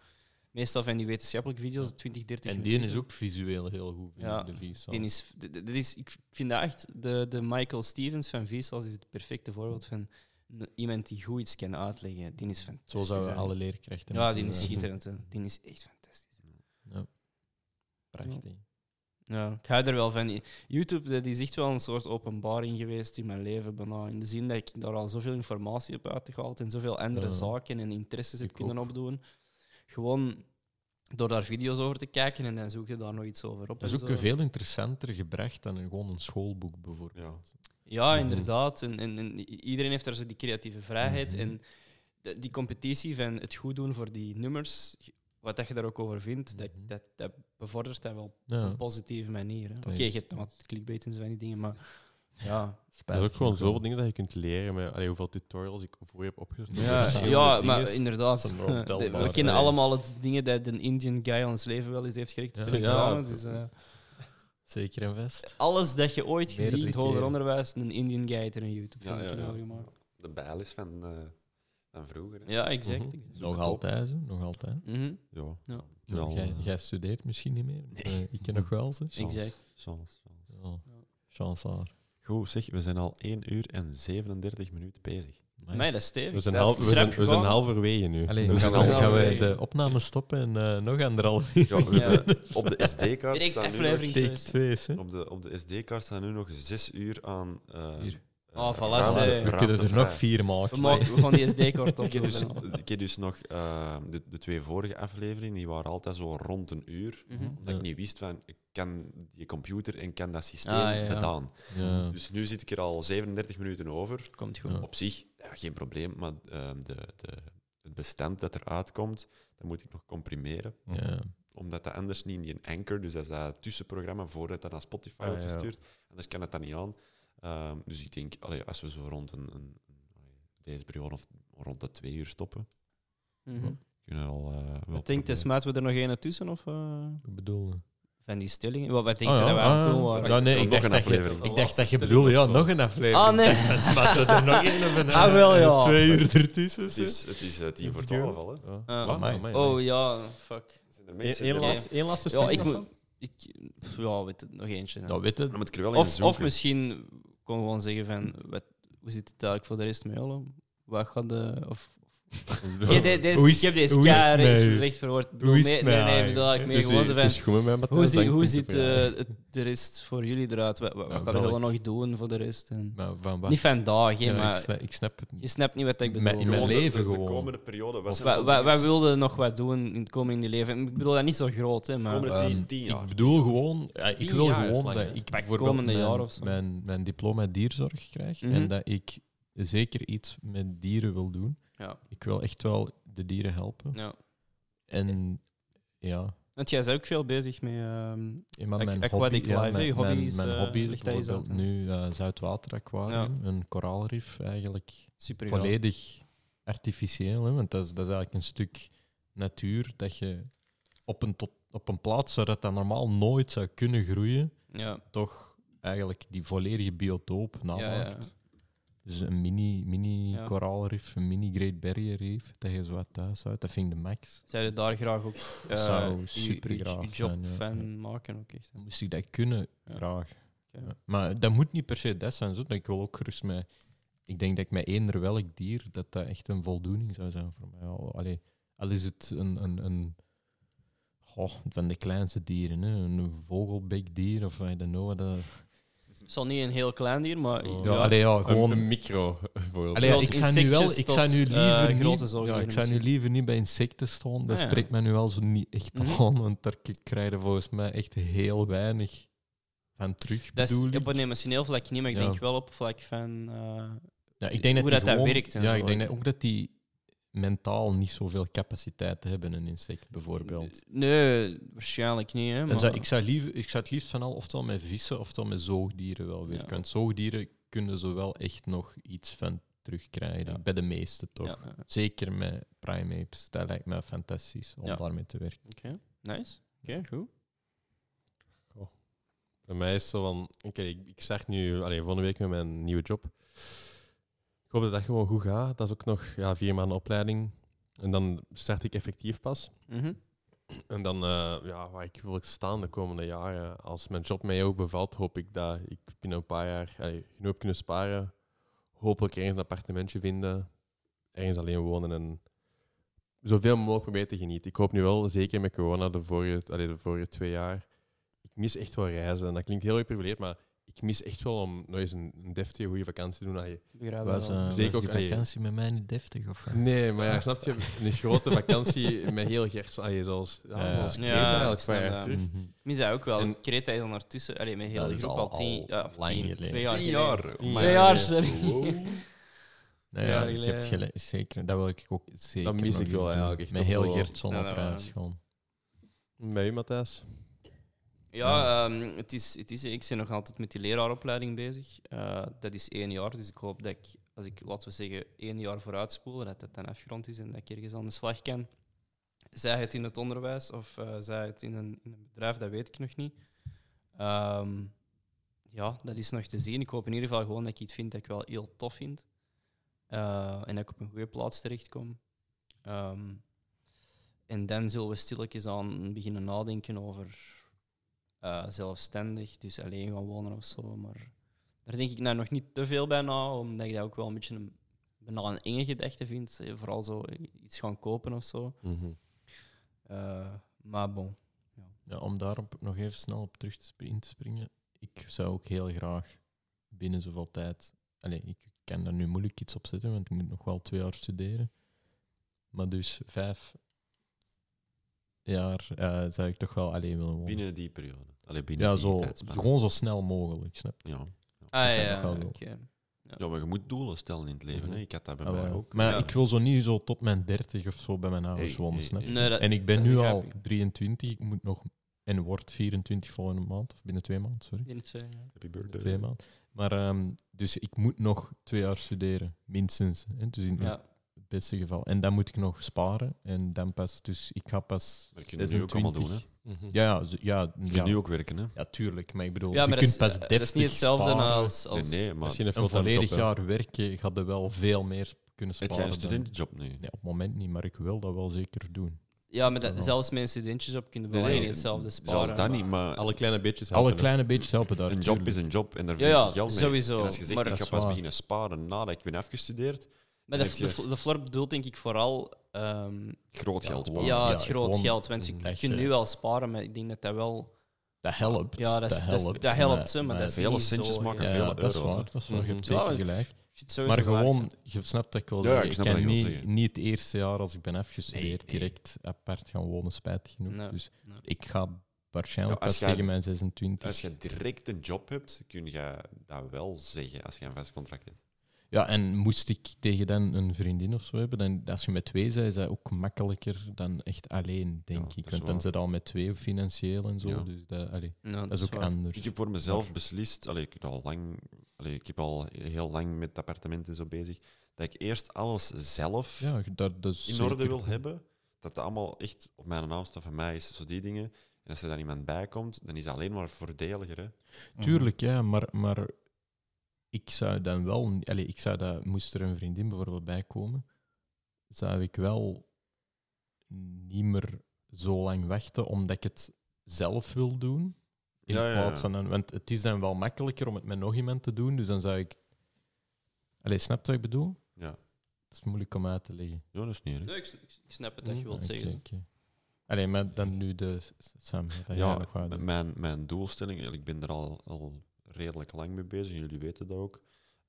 Meestal van die wetenschappelijke video's, 20, 30 En die minuten. is ook visueel heel goed, vind Ja, ik, de visuals. Die is, d- d- dit is, ik vind dat echt, de, de Michael Stevens van Vsauce is het perfecte voorbeeld van n- iemand die goed iets kan uitleggen. Die is fantastisch. Zo zouden hè. alle leerkrachten. Ja, moeten eh, die is zijn. schitterend. hè. Die is echt fantastisch. Prachtig. Ja, ik hou er wel van. YouTube dat is echt wel een soort openbaring geweest in mijn leven. Bijna. In de zin dat ik daar al zoveel informatie heb uitgehaald en zoveel andere Ja. zaken en interesses heb Ik kunnen opdoen. Gewoon door daar video's over te kijken en dan zoek je daar nog iets over op. Dat en is ook zo. veel interessanter gebracht dan een, gewoon een schoolboek bijvoorbeeld. Ja. Ja, Mm-hmm. Mhm. inderdaad. En, en, en i- iedereen heeft daar zo die creatieve vrijheid. Mhm. En de- die competitie van het goed doen voor die nummers, wat dat je daar ook over vindt, dat, Mhm. dat, dat bevordert dat wel op Ja. een positieve manier. hè. Oké, is- je hebt nog wat clickbait en zo van die dingen, maar ja. Dat is ook gewoon zoveel dingen dat je kunt leren. Met, allee, hoeveel tutorials ik voor je heb opgezocht. Ja, Verschillende ja dingen. maar inderdaad. dat is wel De- ontelbaar, we kennen hè. allemaal het dingen dat een Indian guy ons leven wel eens heeft gericht op Ja. een Ja. examen. Dus, eh, Zeker en vast. alles dat je ooit gezien in het Meerdere hoger keren. onderwijs, een Indian guy heeft er een YouTube-filmpje Ja, ja, ja. over gemaakt. De bijl is van, eh, van vroeger. hè. Ja, exact. Mhm. exact. Nog het op. altijd, hè, nog altijd. Mhm, Ja. eh, Ja. Ja, Ja, jij, jij studeert misschien niet meer. maar, eh, ik ken nog wel ze. Chance, Exact. chance, chance. Ja. Chance haar. Goed, zeg, we zijn al 1 uur en 37 minuten bezig. Maar- Nee, dat is stevig. We zijn, Dat half, is we, zijn, rap we zijn gewoon. halverwege nu. Allee, we gaan, zijn we, al- gaan we Nee. de opname stoppen en eh, nog anderhalf uur. Ja, we Ja. hebben op de SD-kaart Direct staan nu aflevering. nog- Take 2 hè. op de, op de SD-kaart staan nu nog 6 uur aan. eh, Hier. eh, Oh, voilà, ruimte- zeg. We ruimte We kunnen er nog vrij. vier maken. We, maken, we gaan die SD-kort op. Ik heb, dus, ik heb dus nog eh, de, de twee vorige afleveringen, die waren altijd zo rond een uur. Mhm. Omdat Ja. ik niet wist van, ik kan die computer en kan dat systeem Ah, ja, ja. dat aan. Ja. Dus nu zit ik er al 37 minuten over. Komt goed. Ja. Op zich, ja, geen probleem, maar eh, de, de, het bestand dat eruit komt, dat moet ik nog comprimeren. Ja. Omdat dat anders niet in je anchor, dus dat is dat tussenprogramma voordat dat naar Spotify Ah, wordt ja. gestuurd. Anders kan het dat niet aan. Ehm, dus ik denk, allee, als we zo rond een, een, deze periode of rond de twee uur stoppen, Mhm. kunnen we al eh, wel... Wat denkt je, proberen. smaten we er nog één tussen? Of, eh, Ik bedoel... van die stellingen? Wat, wat denk je Ah, dat we ja, aan het ah, doen waren? ja, nee, Nog ik dacht een dat je, aflevering. ik dacht dat je bedoelde, ja, nog een aflevering. Ah, nee. Dan smatten we er nog één of een eh, Ah, wel, ja. twee uur ertussen. Het is, het is eh, tien voor Let's go. twaalf al, hè. Eh, Wat? amai. Amai, Oh amai. ja, fuck. Zijn er Eén mensen één die- laatste, één laatste Ja, stukje ik nog moet. Ik, pff, ja, weet het, nog eentje. hè. Dat weet het. Dan moet ik er wel in Of, zoeken. of misschien kon we gewoon zeggen van, wat, hoe zit het eigenlijk voor de rest met jullie? Wat gaat de, of, of Ja, de- deze- Hoe is- ik heb deze hoe is kei het rechts, mij? recht verwoord. Ik bedoel, Hoe is nee, het nee, mij? nee, ik bedoel eigenlijk meer Het is- gewoon zo van... het is goed met mij, Matthijs, Hoe, zie, dank hoe u ziet voor jou. eh, het- de rest voor jullie eruit? Wat, wat, wat Nou, gaan jullie welk? nog doen voor de rest? En... Maar Nou, van wat? eh, Niet vandaag, hè, Ja, ik, maar snap, ik snap het je niet. snapt niet wat ik Met- bedoel. in mijn Gewoon de- leven de, de gewoon. komende periode. Wat zijn Wij- zo'n Wij wij dingen? wilden nog wat doen in het komende leven. Ik bedoel dat niet zo groot, hè, maar... komende tien, Ehm, tien Ik jaar. bedoel gewoon, ja, ik Tien wil jaar is gewoon lang, dat hè? ik Pak bijvoorbeeld komende mijn, jaar of zo. Mijn, mijn diploma dierzorg krijg Mhm. en dat ik zeker iets met dieren wil doen. Ja. Ik wil echt wel de dieren helpen. Ja. En ja, Want jij is ook veel bezig met... ehm, ja, maar Ac- mijn aquatic hobby, ja, life, hè? Je mijn, hobby mijn- is, mijn eh, hobby is ligt dat eens bijvoorbeeld uit, hè? nu eh Zuidwater Aquarium, een koraalrif eigenlijk super volledig artificieel. Hè? Want dat is, dat is eigenlijk een stuk natuur dat je op een, tot, op een plaats waar dat, dat normaal nooit zou kunnen groeien, Ja. toch eigenlijk die volledige biotoop namaakt. Dus een mini, mini Ja. koraalrif, een mini Great Barrier Reef, dat je zo wat thuis houdt. Dat vind ik de max. Zou je daar graag ook eh, zou je- je- supergraaf je job zijn, ja. van Ja. maken? Ook echt. Dan moest ik dat kunnen, Ja. graag. Oké. Ja. Maar dat moet niet per se dat zijn. Zo. Ik wil ook gerust met... Ik denk dat ik met eender welk dier dat dat echt een voldoening zou zijn voor mij. Al, allee, al is het een... een, een goh, van de kleinste dieren, hè. een vogelbekdier of I don't know. Wat dat... Het zal niet een heel klein dier, maar... Oh. ja, ja, allee, ja, Gewoon gewoon... een micro, bijvoorbeeld. Allee, ja, Grote ik zou nu wel, ik insectjes zou nu tot, liever, eh, grote niet, ja, zoogdieren ik zou nu misschien. liever niet bij insecten staan. Dat Ah, ja. spreekt mij nu al zo niet echt Mhm. aan, want daar k- krijg je volgens mij echt heel weinig van terug. dat is bedoel op ik. een emotioneel vlak niet, maar ik Ja. denk wel op vlak van... eh, Ja, ik denk hoe dat die dat dat gewoon- werkt en Ja, zo. ik denk dat ook dat die mentaal niet zoveel capaciteit hebben, een insect bijvoorbeeld. Nee, waarschijnlijk niet. Hè, En maar... zou, ik, zou liever, ik zou het liefst van al oftewel met vissen oftewel met zoogdieren wel werken. Ja. Want zoogdieren kunnen zo wel echt nog iets van terugkrijgen. Ja. Bij de meeste toch. Ja, eh, ja. Zeker met primates. Dat lijkt me fantastisch om Ja. daarmee te werken. nice. Oké, goed. Bij mij is zo van, oké, ik, ik start nu allee, volgende week met mijn nieuwe job. Ik hoop dat dat gewoon goed gaat. Dat is ook nog ja, vier maanden opleiding. En dan start ik effectief pas. Mhm. En dan, eh, ja, waar ik wil staan de komende jaren. Als mijn job mij ook bevalt, hoop ik dat ik binnen een paar jaar allee, genoeg heb kunnen sparen. Hopelijk ergens een appartementje vinden. Ergens alleen wonen en zoveel mogelijk proberen te genieten. Ik hoop nu wel, zeker met corona, de vorige, allee, de vorige twee jaar, ik mis echt wel reizen. En dat klinkt heel geprivileerd, maar ik mis echt wel om nog eens een, een deftige, goede vakantie te doen. Allee, Begrijp was, wel. eh, Zeker was ook die aan je- vakantie met mij niet deftig? Of, wat? Nee, maar ja, snap je, een grote vakantie met heel Gers, allee, zoals, ja, Ja. zoals Kreta Ja, ik eigenlijk, een snap paar jaar dat. terug. Mhm. Ik mis dat ook wel. En- Creta is ondertussen... Allee, met heel Dat de is groep al al- tien... Ja, lang tien, geleden. Twee jaar Tien geleden. jaar. Tien Oh Maar- Twee jaar, sorry. Wow. Nou Ja, ja, je jullie, hebt eh, gelijk. Zeker, dat wil ik ook zeker mis nog ik eens wel doen. eigenlijk echt Met nog heel wel. Gertson Snel, op ja. reis gewoon. Bij u, Matthijs? Ja, ehm, het is, het is, ik ben nog altijd met die leraaropleiding bezig. Eh, dat is één jaar, dus ik hoop dat ik, als ik, laten we zeggen, één jaar vooruit spoel, dat dat dan afgerond is en dat ik ergens aan de slag kan. Zij het in het onderwijs of eh, zij het in een, in een bedrijf, dat weet ik nog niet. Ehm, ja, dat is nog te zien. Ik hoop in ieder geval gewoon dat ik iets vind dat ik wel heel tof vind. Eh, en dat ik op een goede plaats terechtkom. Ehm, en dan zullen we stilletjes aan beginnen nadenken over eh, zelfstandig, dus alleen gaan wonen of zo. Maar daar denk ik nou nog niet te veel bij na, omdat ik dat ook wel een beetje een, bijna een enge gedachte vind. Eh, Vooral zo iets gaan kopen of zo. Mhm. Eh, maar bon. Ja, om daarop nog even snel op terug te sp- in te springen. Ik zou ook heel graag binnen zoveel tijd. Allee, ik kan daar nu moeilijk iets op zetten, want ik moet nog wel twee jaar studeren. Maar dus vijf jaar eh, zou ik toch wel alleen willen wonen. Binnen die periode. Allee, binnen ja, die zo, tijdspanne. gewoon zo snel mogelijk, snap je? Ja. Ah zou ja, ik nog wel oké. willen. ja, maar je moet doelen stellen in het leven. Mhm. hè. Ik had dat bij Ah, mij wel. ook. maar Ja. ik wil zo niet zo tot mijn dertig of zo bij mijn ouders Hey, wonen, hey, snap je? hey. Nee, dat- En ik ben dat nu begrijp al ik. 23, ik moet nog... En word 24 volgende maand, of binnen twee maanden, sorry. Ik weet niet, eh, ja. Happy birthday. Twee maanden. Maar ehm, dus ik moet nog twee jaar studeren, minstens. Hè? Dus in Ja. het beste geval. En dan moet ik nog sparen. En dan pas, dus ik ga pas. Dat kunnen we nu ook allemaal doen, hè? 26. Mhm. Ja, ja, zo- ja, Je ja, kunt nu ook werken, hè? ja, tuurlijk. Maar ik bedoel, Ja, maar je dat is, eh, kunt pas dat is 30 niet hetzelfde sparen. als... als Nee, nee, maar Misschien een Een fulltime volledig job, hè. jaar werken gaat er wel veel meer kunnen het sparen. is een dan- studentenjob nu. Nee, op het moment niet, maar ik wil dat wel zeker doen. Ja, maar dat- Jawel. zelfs met studentjes op kunnen we Nee, wel nee, niet hetzelfde sparen. Zelfs dat niet, maar Alle kleine beetjes Alle helpen, hè. kleine beetjes helpen daar. een job tuurlijk. is een job en daar Ja, verdien ja, je geld mee. sowieso. En als je zegt, Maar ik dat ga is pas waar. beginnen sparen nadat ik ben afgestudeerd, Maar de, Heb je- de, fl- de flor bedoelt denk ik vooral ehm, Groot geld Ja, sparen. ja, het groot ja, gewoon eh, geld. Want je dat kunt je- nu wel sparen, maar ik denk dat dat wel... Dat helpt. Ja, dat is- dat is- helpt. dat helpt, hè, maar dat is Vele niet centjes zo, maken ja. vele Ja, dat is euro's. hè. waar. Dat is waar. Je Mhm. hebt zeker Ja, gelijk. je het sowieso Maar waard gewoon, zijn. je snapt dat ik wel. Ja, ik ik snap kan wat je wil niet, zeggen. niet het eerste jaar als ik ben afgestudeerd Nee, nee. direct apart gaan wonen, spijtig genoeg. Nee, dus nee. ik ga waarschijnlijk Ja, als pas jij- tegen mijn 26. Als je direct een job hebt, kun je dat wel zeggen als je een vast contract hebt. Ja, en moest ik tegen dan een vriendin of zo hebben, dan als je met twee bent, is dat ook makkelijker dan echt alleen, Ja, denk dat ik. is Want dan waar. zit al met twee financieel en zo. Ja. Dus dat, allee, Ja, dat is ook waar. anders. Ik heb voor mezelf beslist, allee, ik, heb al lang, allee, ik heb al heel lang met appartementen zo bezig, dat ik eerst alles zelf ja, dat, dat is in zeker orde wil goed. hebben. Dat dat allemaal echt op mijn naam staat, van mij is, zo die dingen. En als er dan iemand bij komt, dan is dat alleen maar voordeliger. Hè? Tuurlijk, ja, maar, maar ik zou dan wel, ni- allee, ik zou dat, moest er een vriendin bijvoorbeeld bij komen, zou ik wel niet meer zo lang wachten omdat ik het zelf wil doen. In Ja, ja, ja. plaats van, dan- want het is dan wel makkelijker om het met nog iemand te doen, dus dan zou ik. Allee, snap je wat ik bedoel? Ja. Dat is moeilijk om uit te leggen. Ja, dat is niet erg. Nee, ik, s- ik snap het dat je wilt Oké, zeggen. oké. Allee, maar dan nu de s- s- Sam. Dat jij Ja, nog wou m- doen. mijn, mijn doelstelling, ik ben er al, al redelijk lang mee bezig, jullie weten dat ook.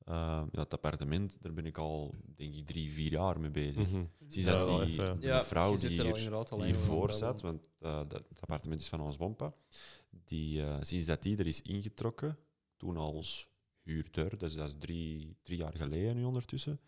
Eh, ja, het appartement, daar ben ik al denk ik drie, vier jaar mee bezig. Mhm. Sinds Ja, dat wel die, even. de vrouw je die zit er al hier, inderdaad al die in, hiervoor wel. zat, want eh, dat, het appartement is van ons bompa, die, eh, sinds dat die er is ingetrokken, toen als huurder, dus dat is drie, drie jaar geleden nu ondertussen,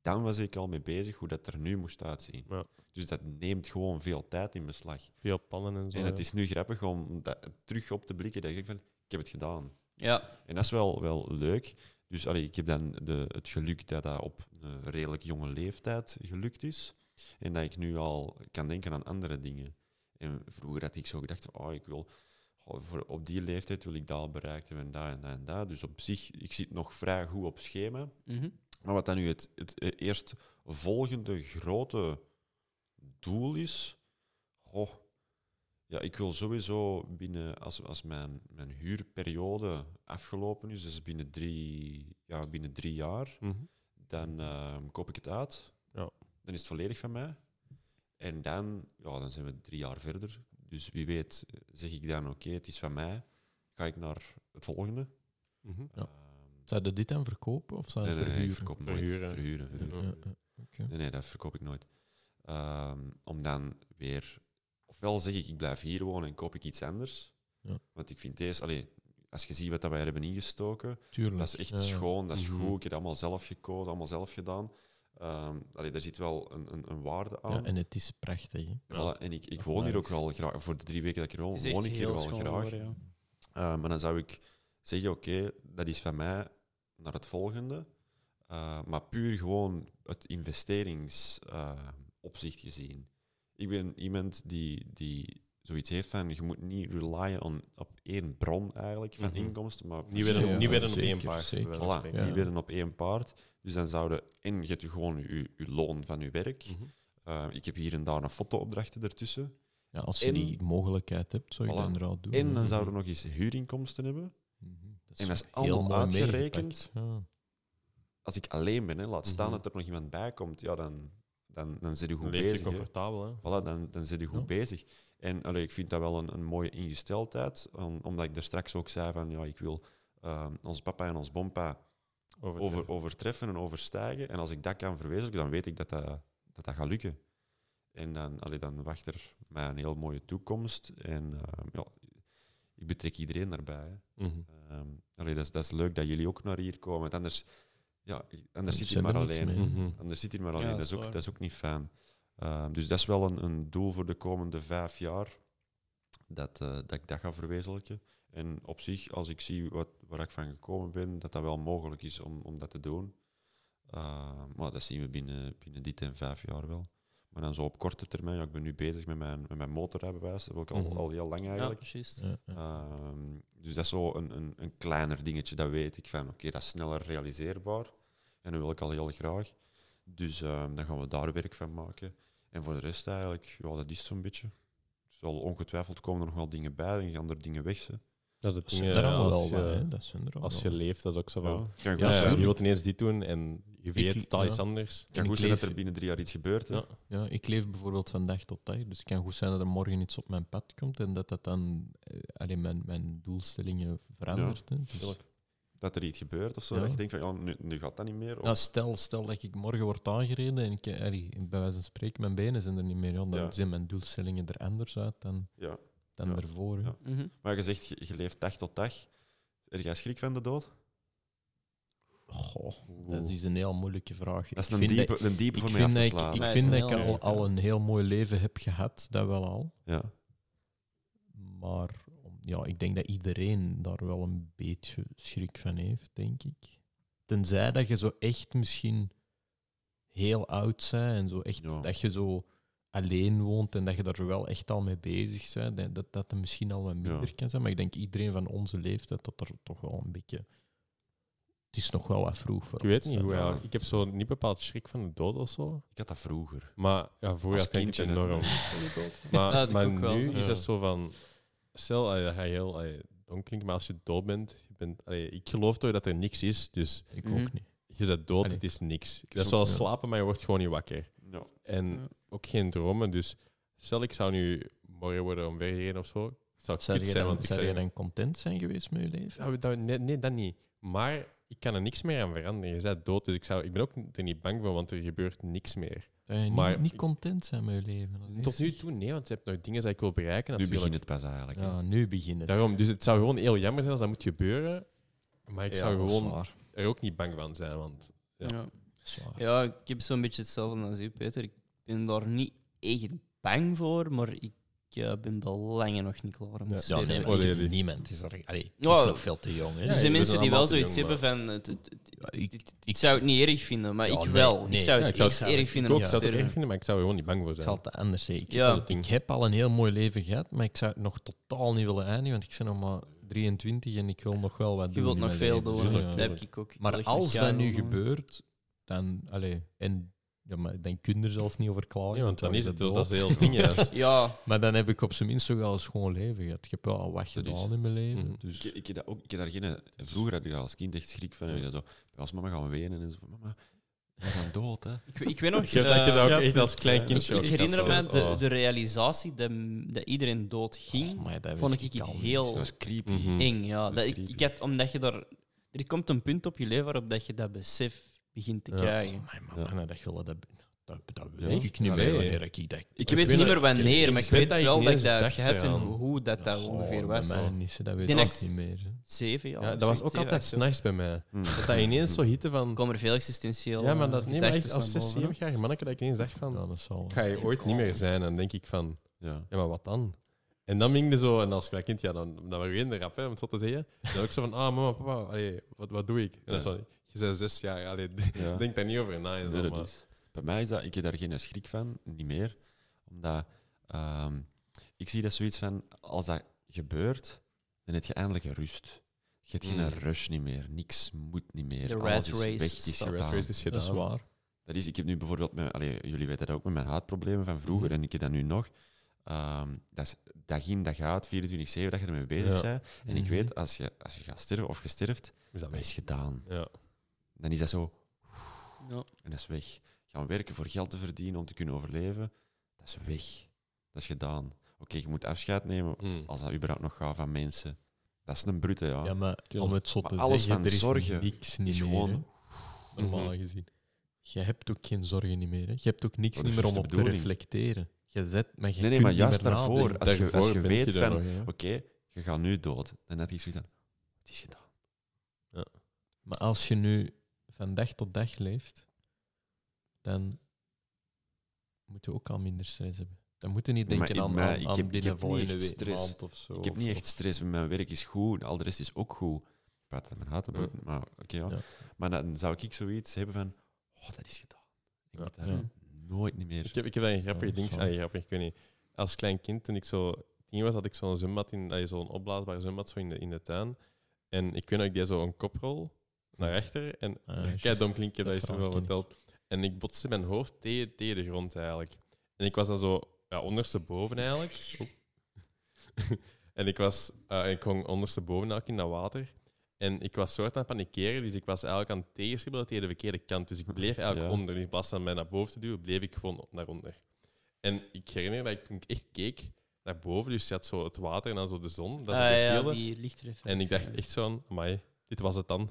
dan was ik al mee bezig hoe dat er nu moest uitzien. Ja. Dus dat neemt gewoon veel tijd in beslag. Veel pannen en zo. En het ja. is nu grappig om dat terug op te blikken. Dat ik denk van, ik heb het gedaan. Ja, En dat is wel, wel leuk. Dus allee, ik heb dan de, het geluk dat dat op een redelijk jonge leeftijd gelukt is. En dat ik nu al kan denken aan andere dingen. En vroeger had ik zo gedacht van, oh, ik wil... goh, voor, op die leeftijd wil ik dat al bereikt hebben en dat en dat en dat. Dus op zich, ik zit nog vrij goed op schema. mhm. Maar wat dan nu het, het eh, eerst volgende grote doel is. Goh, ja, ik wil sowieso binnen, als, als mijn, mijn huurperiode afgelopen is, dus binnen drie, ja, binnen drie jaar, Mhm. dan ehm, koop ik het uit. Ja. Dan is het volledig van mij. En dan, ja, dan zijn we drie jaar verder. Dus wie weet, eh, zeg ik dan: oké, het is van mij. Ga ik naar het volgende? Mhm. Ja. Ehm, Zou je dit dan verkopen of zou je nee, nee, het nee, ik verhuren? verkoop nooit. Verhuren. verhuren, verhuren. verkopen. Ja, ja. Nee, nee, dat verkoop ik nooit. Ehm, om dan weer... Ofwel zeg ik, ik blijf hier wonen en koop ik iets anders. Ja. Want ik vind deze... Allee, als je ziet wat dat wij hebben ingestoken, Tuurlijk. dat is echt Ja, ja. schoon, dat is Mhm. goed. Ik heb dat allemaal zelf gekozen, allemaal zelf gedaan. Ehm allee, daar zit wel een, een, een waarde aan. Ja, en het is prachtig. Hè? Voilà, en ik, ik Dat woon hier ook nice. wel graag. Voor de drie weken dat ik hier Het woon, is echt woon ik hier heel wel schoon graag. geworden, ja. Eh, maar dan zou ik zeggen, oké, dat is van mij naar het volgende. Eh, maar puur gewoon het investeringsopzicht gezien. Ik ben iemand die, die zoiets heeft van, je moet niet relyen on, op één bron eigenlijk van Mhm. inkomsten. Maar Niet weer, een, Ja, niet weer een op zeker, één paard. zeker. bij wijze van Voilà, spreken. niet willen op één paard. Dus dan zouden, en je hebt je gewoon je, je loon van je werk. Mhm. Eh, ik heb hier en daar een fotoopdrachten ertussen. Ja, als je En- die mogelijkheid hebt, zou je Voilà. dat inderdaad doen. En hè. Mhm. dan zouden we nog eens huurinkomsten hebben. Mhm. Dat en dat is heel allemaal mooi meegepakt. uitgerekend. Ja. als ik alleen ben, hè, laat staan Mhm. dat er nog iemand bij komt, ja, dan, dan, dan zit je Dan goed leef je bezig. hè. comfortabel. Hè. Voilà, dan, dan zit je goed Ja. bezig. En allee, ik vind dat wel een, een mooie ingesteldheid, om- omdat ik er straks ook zei van, ja, ik wil ehm, ons papa en ons bompa Over het- over, overtreffen en overstijgen. En als ik dat kan verwezenlijken, dan weet ik dat dat, dat, dat gaat lukken. En dan, allee, dan wacht er mij een heel mooie toekomst. En ehm, ja, ik betrek iedereen daarbij. hè. Mhm. Ehm, allee, dat, is, dat is leuk dat jullie ook naar hier komen. Want anders, ja, anders zit je zit er maar niks alleen. mee. Mhm. Anders zit hier maar alleen. Ja, dat, dat is is ook, waar. dat is ook niet fijn. Ehm, dus dat is wel een, een doel voor de komende vijf jaar. Dat, eh, dat ik dat ga verwezenlijken. En op zich, als ik zie wat, waar ik van gekomen ben, dat dat wel mogelijk is om, om dat te doen. Ehm, maar dat zien we binnen, binnen dit en vijf jaar wel. Maar dan zo op korte termijn, ja, ik ben nu bezig met mijn, met mijn motorrijbewijs. Dat wil ik al, Mhm. al heel lang Ja, eigenlijk. precies. Ja, ja. Ehm, dus dat is zo een, een, een kleiner dingetje, dat weet ik van. Oké, dat is sneller realiseerbaar. En dat wil ik al heel graag. Dus ehm, dan gaan we daar werk van maken. En voor de rest eigenlijk, ja, dat is zo'n beetje. Er zal ongetwijfeld komen er nog wel dingen bij en gaan er dingen weg. Hè. Dat is het Dat ding. eh, zijn er allemaal Als wel wat, je, hè. Dat zijn er allemaal als je wel. leeft, dat is ook zo van... Kan Ja, goed Ja, zijn. tuurlijk. je wilt ineens dit doen en je weet liep, totaal ja. iets anders. Kan Ik goed zijn dat leef- er binnen drie jaar iets gebeurt. hè. Ja. Ja, ik leef bijvoorbeeld van dag tot dag. Dus het kan goed zijn dat er morgen iets op mijn pad komt en dat dat dan eh, alleen mijn, mijn doelstellingen verandert. hè. Oh. Dus- tuurlijk. Dat er iets gebeurt of zo. Ja. Dat je denkt van ja, nu, nu gaat dat niet meer. Of, Ja, Nou, stel, stel dat ik morgen word aangereden en ik, eh, allee, bij wijze van spreken, mijn benen zijn er niet meer. Ja, dan Ja. zien mijn doelstellingen er anders uit dan, ja. dan Ja. ervoor. hè. Ja. Mhm. Maar je zegt, je, je leeft dag tot dag. Er jij schrik van de dood? Goh, dat is een heel moeilijke vraag. Dat is Ik een vind diepe, dat- een diepe ik voor mij af vind te dat ik, slaan. ik, Maar het is vind een dat ik heel al, moeilijke. al een heel mooi leven heb gehad, dat wel al. Ja. Maar om- ja, ik denk dat iedereen daar wel een beetje schrik van heeft, denk ik. Tenzij dat je zo echt misschien heel oud bent en zo echt Ja. dat je zo alleen woont en dat je daar wel echt al mee bezig bent, dat dat, dat er misschien al wat minder Ja. kan zijn. Maar ik denk iedereen van onze leeftijd dat er toch wel een beetje... Het is nog wel wat vroeg voor Ik weet ons, niet hè. hoe Ja. eigenlijk. Ik heb zo niet bepaald schrik van de dood of zo. Ik had dat vroeger. Maar ja, voor Als jou denk ik kindje, hè. enorm. Ja, Maar, dat maar ook wel, nu zo. is Ja. dat zo van... Stel, eh, dat ga je heel eh, dom klinken, maar als je dood bent... Je bent allee, ik geloof toch dat er niks is, dus Ik Mhm. ook niet. je bent dood, Allee. het is niks. is Dat is ook- zoals ja. slapen, maar je wordt gewoon niet wakker. Ja. En Ja. ook geen dromen, dus... Stel, ik zou nu morgen worden omvergereden of zo. Zou ik Zou kut je zijn, dan, want ik zou zou... je dan content zijn geweest met je leven? Nou, dat- nee, nee, dat niet. Maar ik kan er niks meer aan veranderen. Je bent dood, dus ik, zou, ik ben ook er niet bang voor, want er gebeurt niks meer. Zou je niet, Maar niet ik- content zijn met je leven? Dat is Tot nu echt- toe, nee, want je hebt nog dingen die ik wil bereiken. Nu Natuurlijk. begint het pas eigenlijk. hè. Ja, nu begint het. Daarom, dus het zou gewoon heel jammer zijn als dat moet gebeuren. Maar ik Ja, zou dat is gewoon waar. er ook niet bang van zijn. Want Ja. Ja. Dat is waar. ja, ik heb zo'n beetje hetzelfde als u, Peter. Ik ben daar niet echt bang voor, maar ik eh, ben wel lange nog niet klaar om te Ja. Ja, sterven. nee, maar Volledig. het is niemand is er. Allee, het Ja. is nog veel te jong. Hè? er Ja, zijn we mensen zijn die wel allemaal te zoiets jong, hebben van... Het, het- het- Ja, ik, ik, ik zou het niet erg vinden, maar Ja, ik nee, wel. nee. Ik zou Ja, het ik zou echt het- erg vinden ik om ook te zou het erg sterven. vinden, maar ik zou er gewoon niet bang voor ik zijn. zal het anders zeggen. Ik, Ja. ik heb al een heel mooi leven gehad, maar ik zou het nog totaal niet willen eindigen, want ik ben nog maar 23 en ik wil nog wel wat doen. Je wilt in nog mijn veel leven. doen. Tuurlijk, Dat heb tuurlijk. ik ook. Ik wil Maar echt nog als dat gaan nu doen. gebeurt, dan... Allee, en, ja, maar dan kun je er zelfs niet over klagen. Ja, want dan is het dus, dood. dat is heel ding. Ja. Ja, Maar dan heb ik op zijn minst toch al een schoon leven gehad. Ik heb wel al wat Dat is- gedaan in mijn leven. Mhm. Dus... Ik, ik, heb dat ook, ik heb daar geen, vroeger had ik daar als kind echt schrik van. En ik dacht zo, als mama gaan wenen en zo. van, Mama, we gaan dood, hè? ik, ik weet nog... Ik heb eh, dat- ik heb dat ook echt als klein kind. ik zo. herinner me Dat is- de, oh. de realisatie dat, dat iedereen dood ging. Oh, maar dat vond weet ik iets al niet. Dat heel was creepy. Mhm. eng. Ja. Dat Dat is ik, creepy. ik had, omdat je daar... Er komt een punt op je leven waarop dat je dat besef begint te Ja. krijgen. Oh, mijn mama, dat gillen, dat, dat, dat weet Ja. ik niet Allee. meer wanneer ik dat... Ik, Ik weet weet niet dat- meer wanneer, ik maar ik weet weet dat ik wel niet dat ik eens dat dacht gehad en eraan. hoe dat, dat Ja, ongeveer bij was. mij niet, zo, Oh, dat weet Die ik echt- ook niet meer. hè. Zeven jaar. Ja, of dat was zoiets, ook zeven, altijd acht jaar. s'nachts bij mij. Mm. Dat dat ineens zo hitte Er van... komen er veel existentieel. Ja, maar dat nee, maar echt als 6, 7 zeven. jaar manneke dat ik ineens dacht Ja, van... dat zal... Ga je ooit niet meer zijn? En dan denk ik van... Ja. Ja, maar wat dan? En dan ging er zo, en als klein kind, ja, dan, dan waren we in de rap, hè, om het zo te zeggen. Dan ook zo van, ah, mama, papa, allee, wat, wat doe ik? En dan Ja. zo, je bent zes jaar, allee, Ja. denk daar niet over na. En zo, Nee, dat maar- is- Bij mij is dat, ik heb daar geen schrik van, niet meer. Omdat ehm, ik zie dat zoiets van, als dat gebeurt, dan heb je eindelijk rust. Je hebt geen Mm. rush niet meer, niks moet niet meer. Hmm. De Alles rat is race weg, het is stopt. De gedaan. rest is Dat gedaan. is waar. Dat is, ik heb nu bijvoorbeeld, met, allee, jullie weten dat ook met mijn haatproblemen van vroeger Mhm. en ik heb dat nu nog. Ehm, dat is dag in, dag uit, 24-7 dat je ermee bezig Ja. bent. En ik Mhm. weet, als je, als je gaat sterven of je sterft, Is dat dat weg? is gedaan. Ja. Dan is dat zo, Ja. en dat is weg. Gaan werken voor geld te verdienen om te kunnen overleven, dat is weg. Dat is gedaan. Oké, je moet afscheid nemen, Mm. als dat überhaupt nog gaat van mensen. Dat is een brute, ja. Ja, maar Tuurlijk. om het zo Maar te alles zeggen, van er is zorgen niks niet is meer. gewoon- hè. Normaal Mhm. gezien. Je hebt ook geen zorgen niet meer. Hè. Je hebt ook niks Maar Oh, dat niet is meer om juist op de te bedoeling. reflecteren. Je zet, maar je nee, nee, kunt maar niet juist meer daarvoor, nadenken. als je, als Daarvoor je ben je weet daar van, nog, hè. oké, je gaat nu dood, dan had ik zoiets van, het is gedaan. Maar als je nu van dag tot dag leeft, dan moet je ook al minder stress hebben. Dan moet je niet Maar denken in aan, mij- aan, ik aan heb- ik binnen heb niet volgende echt week, stress. maand of zo. Ik heb of- niet of- echt stress, want mijn werk is goed, al de rest is ook goed. Ik praat dat mijn hart op, Ja. maar oké, ja. Ja. Maar dan zou ik zoiets hebben van, oh, dat is gedaan. Ik Ja. moet daar Ja. nooit niet meer... Ik heb, ik heb daar een grappig Ja, ding, zo. allee, grappig, ik weet niet. Als klein kind, toen ik zo tien was, had ik zo'n zwembad, in- allee, zo'n opblaasbare zwembad zo in de, in de tuin. En ik weet nog, ik deed zo een koprol naar achter. En Ah, ja, juist. kijk, dom klinken, dat Dat is er verhaal wel ken ik. verteld. En ik botste mijn hoofd tegen, tegen de grond eigenlijk. En ik was dan zo ja, ondersteboven eigenlijk. en En ik was, eh, ik hong ondersteboven elk in dat water. En ik was soort aan het panikeren, dus ik was eigenlijk aan het tegenstribbelen tegen de verkeerde kant. Dus ik bleef eigenlijk Ja. onder. Dus in plaats van mij naar boven te duwen, bleef ik gewoon naar onder. En ik herinner me dat ik toen ik echt keek naar boven, dus je had zo het water en dan zo de zon. Dat is Ah, ook ja, stil. die lichtreflectie. En ik dacht echt zo'n, amai, dit was het dan.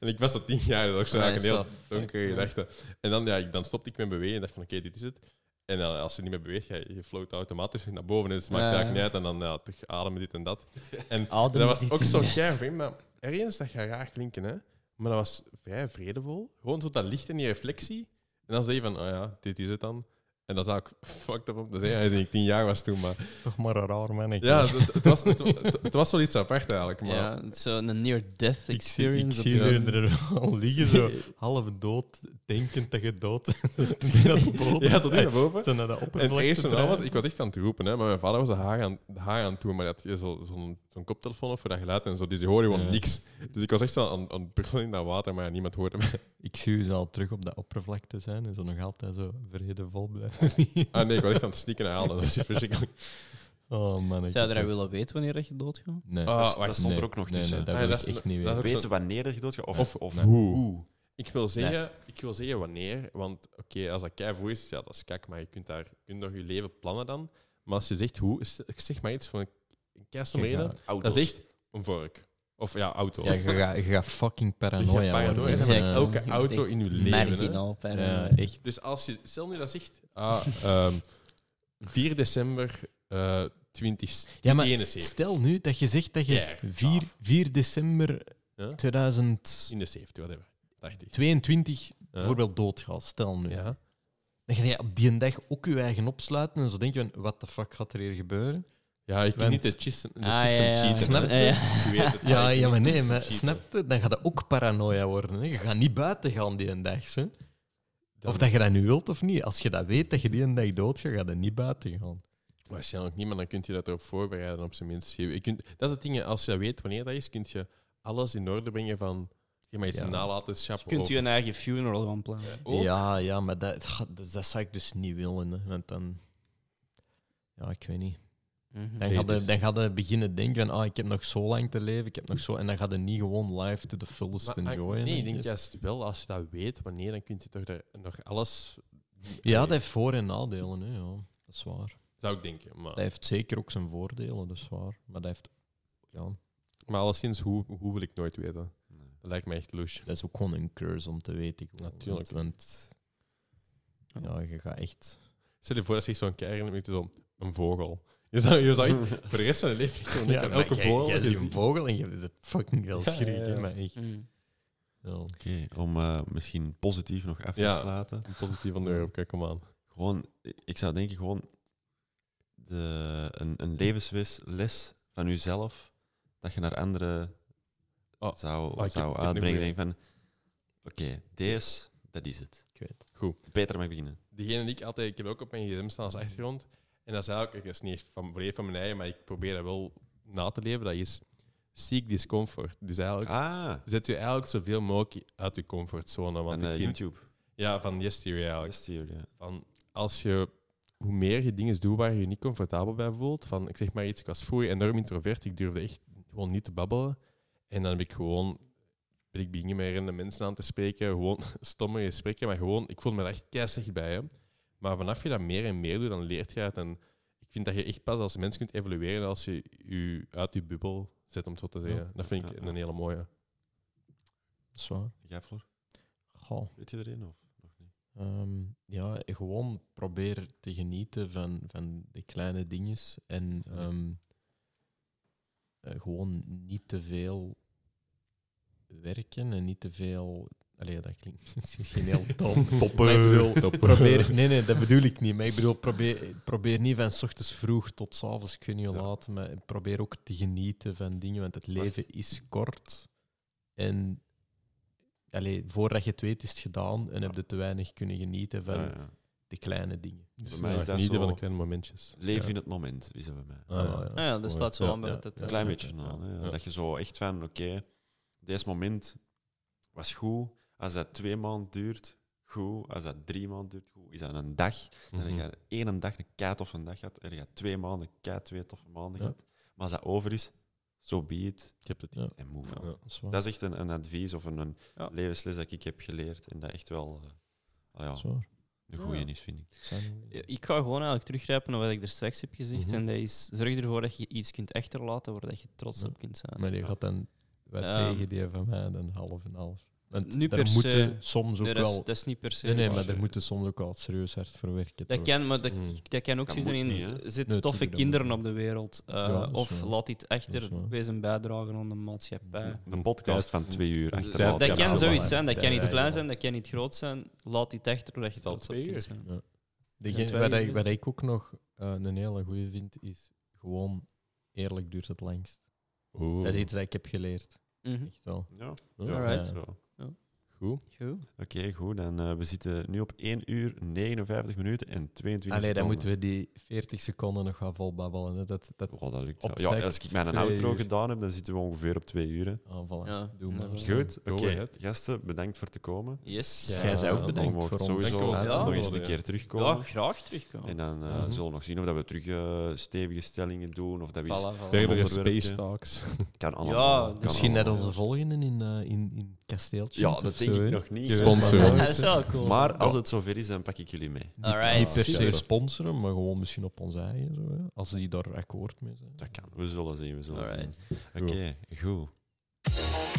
en ik was zo tien jaar, dat was ook zo Ah, eigenlijk een is heel wel fucked, donkere ja. gedachte. En dan, ja, ik- dan stopte ik met bewegen en dacht van, oké, dit is het. En dan, als je niet meer beweegt, ja, je float automatisch naar boven. Dus het maakt Ja, eigenlijk ja. niet uit. En dan ja, terug ademen, dit en dat. En Adem dat was dit ook en zo'n dat. kern, maar ergens dat gaat raar klinken, hè. Maar dat was vrij vredevol. Gewoon zo dat licht en die reflectie. En dan zei je van, oh ja, dit is het dan. En dat zou ik fucked up om te zeggen, als ik tien jaar was toen. Maar Toch maar een raar mannetje. ja, het, het was, het, het- het was wel iets apart eigenlijk. Maar Ja, het is zo'n near-death Ik zie, experience. ik op zie de- er er al liggen, zo half dood, denkend dat je dood bent. Terug naar boven. Ja, tot hier naar boven. Zo naar dat En het oppervlakte eerste van draaien. alles, ik was echt aan het roepen, hè, maar mijn vader was de haar aan, de haar aan het doen, maar dat had zo- zo'n zo'n koptelefoon of voor dat geluid en zo, dus die hoorde gewoon Ja. niks. Dus ik was echt zo aan, aan het brullen in dat water, maar niemand hoorde mij. Ik zie u zo al terug op dat oppervlakte zijn en zo nog altijd zo vredevol blijven. Ah nee, ik was echt aan het sneaken en halen, dat was echt verschrikkelijk. Oh man. Zou ik je heb dat echt- willen weten wanneer dat je doodgaat? Nee. Ah, dat, wacht, dat stond nee, er ook nog nee, tussen. Nee, dat Ah, wil dat ik is- echt niet dat weten. is- Weten wanneer dat je doodgaat? Of, Of, of, of hoe. hoe? Ik wil zeggen, ik wil zeggen wanneer, want oké, als dat keivoer is, ja, dat is kak, maar je kunt daar je kunt nog je leven plannen dan. Maar als je zegt hoe, is- zeg maar iets van een keistom Je reden, gaat- Auto's. dat is echt een vork. Of ja, auto's. Ja, je gaat, je gaat fucking paranoia. Je gaat paranoia worden. zijn met Ja. elke auto in je leven, hè. Marginaal, per- Ja, eh, echt. Dus als je, stel nu dat zegt, ah, ehm, 4 december eh 20, Ja, maar 71, stel nu dat je zegt dat je Jaar, 4, 4 december Ja. 2022 in de 70, whatever, 80. bijvoorbeeld doodgaat. Stel nu. Ja. Dan ga je op die dag ook je eigen opsluiten en zo denk je van, what the fuck gaat er hier gebeuren? ja, ik kan Want- niet de, chis- de Ah, system ja, ja. cheaten. Snap je? Je weet het, Ja, ik ja, kan maar niet de nee, system maar cheaten. snap je? Dan gaat dat ook paranoia worden. Hè? Je gaat niet buiten gaan die een dag. Hè? Dan- Of dat je dat nu wilt of niet. Als je dat weet dat je die een dag doodgaat, ga je niet buiten gaan. Waarschijnlijk niet, maar dan kun je dat erop voorbereiden, op zijn minst. Je, je kunt, dat is het ding, hè, als je weet wanneer dat is, kun je alles in orde brengen van, je mag iets Ja. nalatenschap. Je kunt of- je een eigen funeral gaan plannen. Ook? Ja, ja, maar dat, ga- dus dat zou ik dus niet willen. Hè? Want dan... Ja, ik weet niet. Dan Nee, gaat je dus- dan gaat je beginnen denken van, ah, ik heb nog zo lang te leven, ik heb nog zo... En dan gaat je niet gewoon live to the fullest Maar, ah, enjoyen. nee, I ik denk guess. juist wel, als je dat weet wanneer, dan kun je toch daar nog alles... Ja, dat heeft voor- en nadelen, hè, ja. dat is waar. zou ik denken, maar... Dat heeft zeker ook zijn voordelen, dat is waar. Maar dat, heeft, ja, Maar alleszins, hoe, hoe wil ik nooit weten? Dat lijkt me echt louche. dat is ook gewoon een curse om te weten. gewoon. Natuurlijk. Want, want- ja, je gaat echt... Stel je voor dat je zo'n keier hebt, zo een vogel. Je zou, je zou echt voor de rest van je leven gewoon denken aan maar elke jij- vogel. jij dat je ziet een ziet. vogel en je hebt fucking wel Ja, schrik, ja, hè, ja. maar echt. Mhm. Ja. Oké, om eh, misschien positief nog af te Ja. sluiten. Een positief van de Europe, kijk hem aan. Gewoon, ik zou denken gewoon de, een, een levensles les van jezelf dat je naar anderen Oh, zou, oh, ik zou heb- ik heb nu uitbrengen. weer- Denk van, oké, deze, dat is het. Ik weet Peter mag beginnen. Degene die ik altijd... Ik heb ook op mijn gsm staan als achtergrond. En dat is eigenlijk... Dat is niet echt van, volledig van mijn eigen, maar ik probeer dat wel na te leven. Dat is seek discomfort. Dus eigenlijk... Ah, Zet je eigenlijk zoveel mogelijk uit je comfortzone. Want en ik eh, vind, Ah, YouTube. ja, van yesterday eigenlijk. Yes, theory, ja. van als je hoe meer je dingen doet waar je je niet comfortabel bij voelt, van ik zeg maar iets, ik was vroeger enorm introvert, ik durfde echt gewoon niet te babbelen. En dan heb ik gewoon, ben ik beginnen met random mensen aan te spreken, gewoon stomme gesprekken, maar gewoon, ik voel me daar echt keistig bij. Hè. Maar vanaf je dat meer en meer doet, dan leert je het. En ik vind dat je echt pas als mens kunt evolueren als je je uit je bubbel zet, om het zo te zeggen. Dat vind ik Ja, ja. een hele mooie. Dat is waar. Jij, Floor? Goh. Weet je erin? Of nog niet? Ehm, ja, gewoon probeer te genieten van, van de kleine dinges. En Ja. ehm, eh, gewoon niet te veel werken en niet te veel. Allee, dat klinkt misschien heel dom. Maar ik bedoel, probeer, nee, nee, dat bedoel ik niet. Maar ik bedoel, probeer, probeer niet van 's ochtends vroeg tot 's avonds, kun je Ja. laten. Maar probeer ook te genieten van dingen, want het leven is kort. En allee, voordat je het weet, is het gedaan. En heb je te weinig kunnen genieten van Ja, Ah, ja. de kleine dingen. Dus mij is ja, dat genieten zo- van de kleine momentjes. Leef Ja. in het moment, is dat bij mij. Ah, ja. Ah, Ah ja, dat Mooi. staat zo Ja, aan bij ja. dat het... Een eh, klein Ja. beetje dan. hè. Ja. Dat je zo echt van, oké, deze moment was goed. Als dat twee maanden duurt, goed. Als dat drie maanden duurt, goed. Is dat een dag? Dan heb Mhm. je één dag een kei toffe dag gehad. En je gaat twee maanden kei twee toffe maanden Ja. gehad. Maar als dat over is, zo so be it Ik heb het Ja. en move on. Ja. Dat is waar. Dat is echt een, een advies of een, een Ja. levensles dat ik heb geleerd. En dat echt wel eh, ah Dat is ja, waar. een goeie Ja. is, vind ik. Zijn we- Ja, eh, Ik ga gewoon eigenlijk teruggrijpen naar wat ik er straks heb gezegd. Mhm. En dat is, zorg ervoor dat je iets kunt achterlaten waar dat je trots Ja. op kunt zijn. Maar die gaat dan wel Ehm, tegen die van mij dan half en half. Want nu daar per se. moeten soms ook Nee, dat, is, wel... dat is niet per se. Nee, nee, waar. maar daar moeten soms ook wel serieus hard voor werken. dat toch? kan, maar dat, Mm. dat kan ook Dat zitten in. moet niet, hè? zit Nee, toffe tuurlijk, dat kinderen moet op de wereld. eh, Ja, dat is of waar. laat dit Dat is waar. achter. Wees een bijdrage aan de maatschappij. Een podcast van twee uur achteraf. Dat Ja, kan dat is zoiets waar. zijn, dat Ja, kan ja, niet ja. klein zijn, dat kan niet groot zijn. Laat die achter doordat je Het is al trots op twee kunt uur. zijn. Degene- twee wat, uur ik, nu. wat ik ook nog eh, een hele goede vind, is gewoon eerlijk duurt het langst. Oeh, Dat is iets dat ik heb geleerd. Mhm. Echt wel. Ja, Ja, ja, Alright. zo. goed. Goed. Oké, goed. Dan, eh, we zitten nu op 1 uur 59 minuten en 22 Allee, dan seconden. moeten we die 40 seconden nog gaan volbabbelen. hè. Dat, dat, Oh, dat lukt Op wel. Ja, exact als ik mijn twee outro uur. gedaan heb, dan zitten we ongeveer op twee uur. hè. ah, voilà. Ja, Doe maar. inderdaad. Goed, oké. Go ahead. Gasten, bedankt voor te komen. Eh, Yes. Ja. Jij zei ook Ja, bedankt mocht voor ons. sowieso Dank je wel. nog eens Ja. een keer Ja, terugkomen. graag terugkomen. En dan eh, Mhm. zullen we nog zien of dat we terug eh, stevige stellingen doen. Of dat we eens- Voilà, voilà. Verdere onderwerpje. space talks. kan allemaal. Ja, kan Misschien net allemaal. onze volgende in, eh in, in Kasteeltje. Ja, dat denk ik nog niet. Sponsor Maar- Dat is wel cool. Maar als het zover is, dan pak ik jullie mee. Alright. Niet per se Super. sponsoren, maar gewoon misschien op ons eigen. Zo, hè. Als die daar akkoord mee zijn. Dat kan. We zullen zien, we zullen Alright. zien. Oké, goed.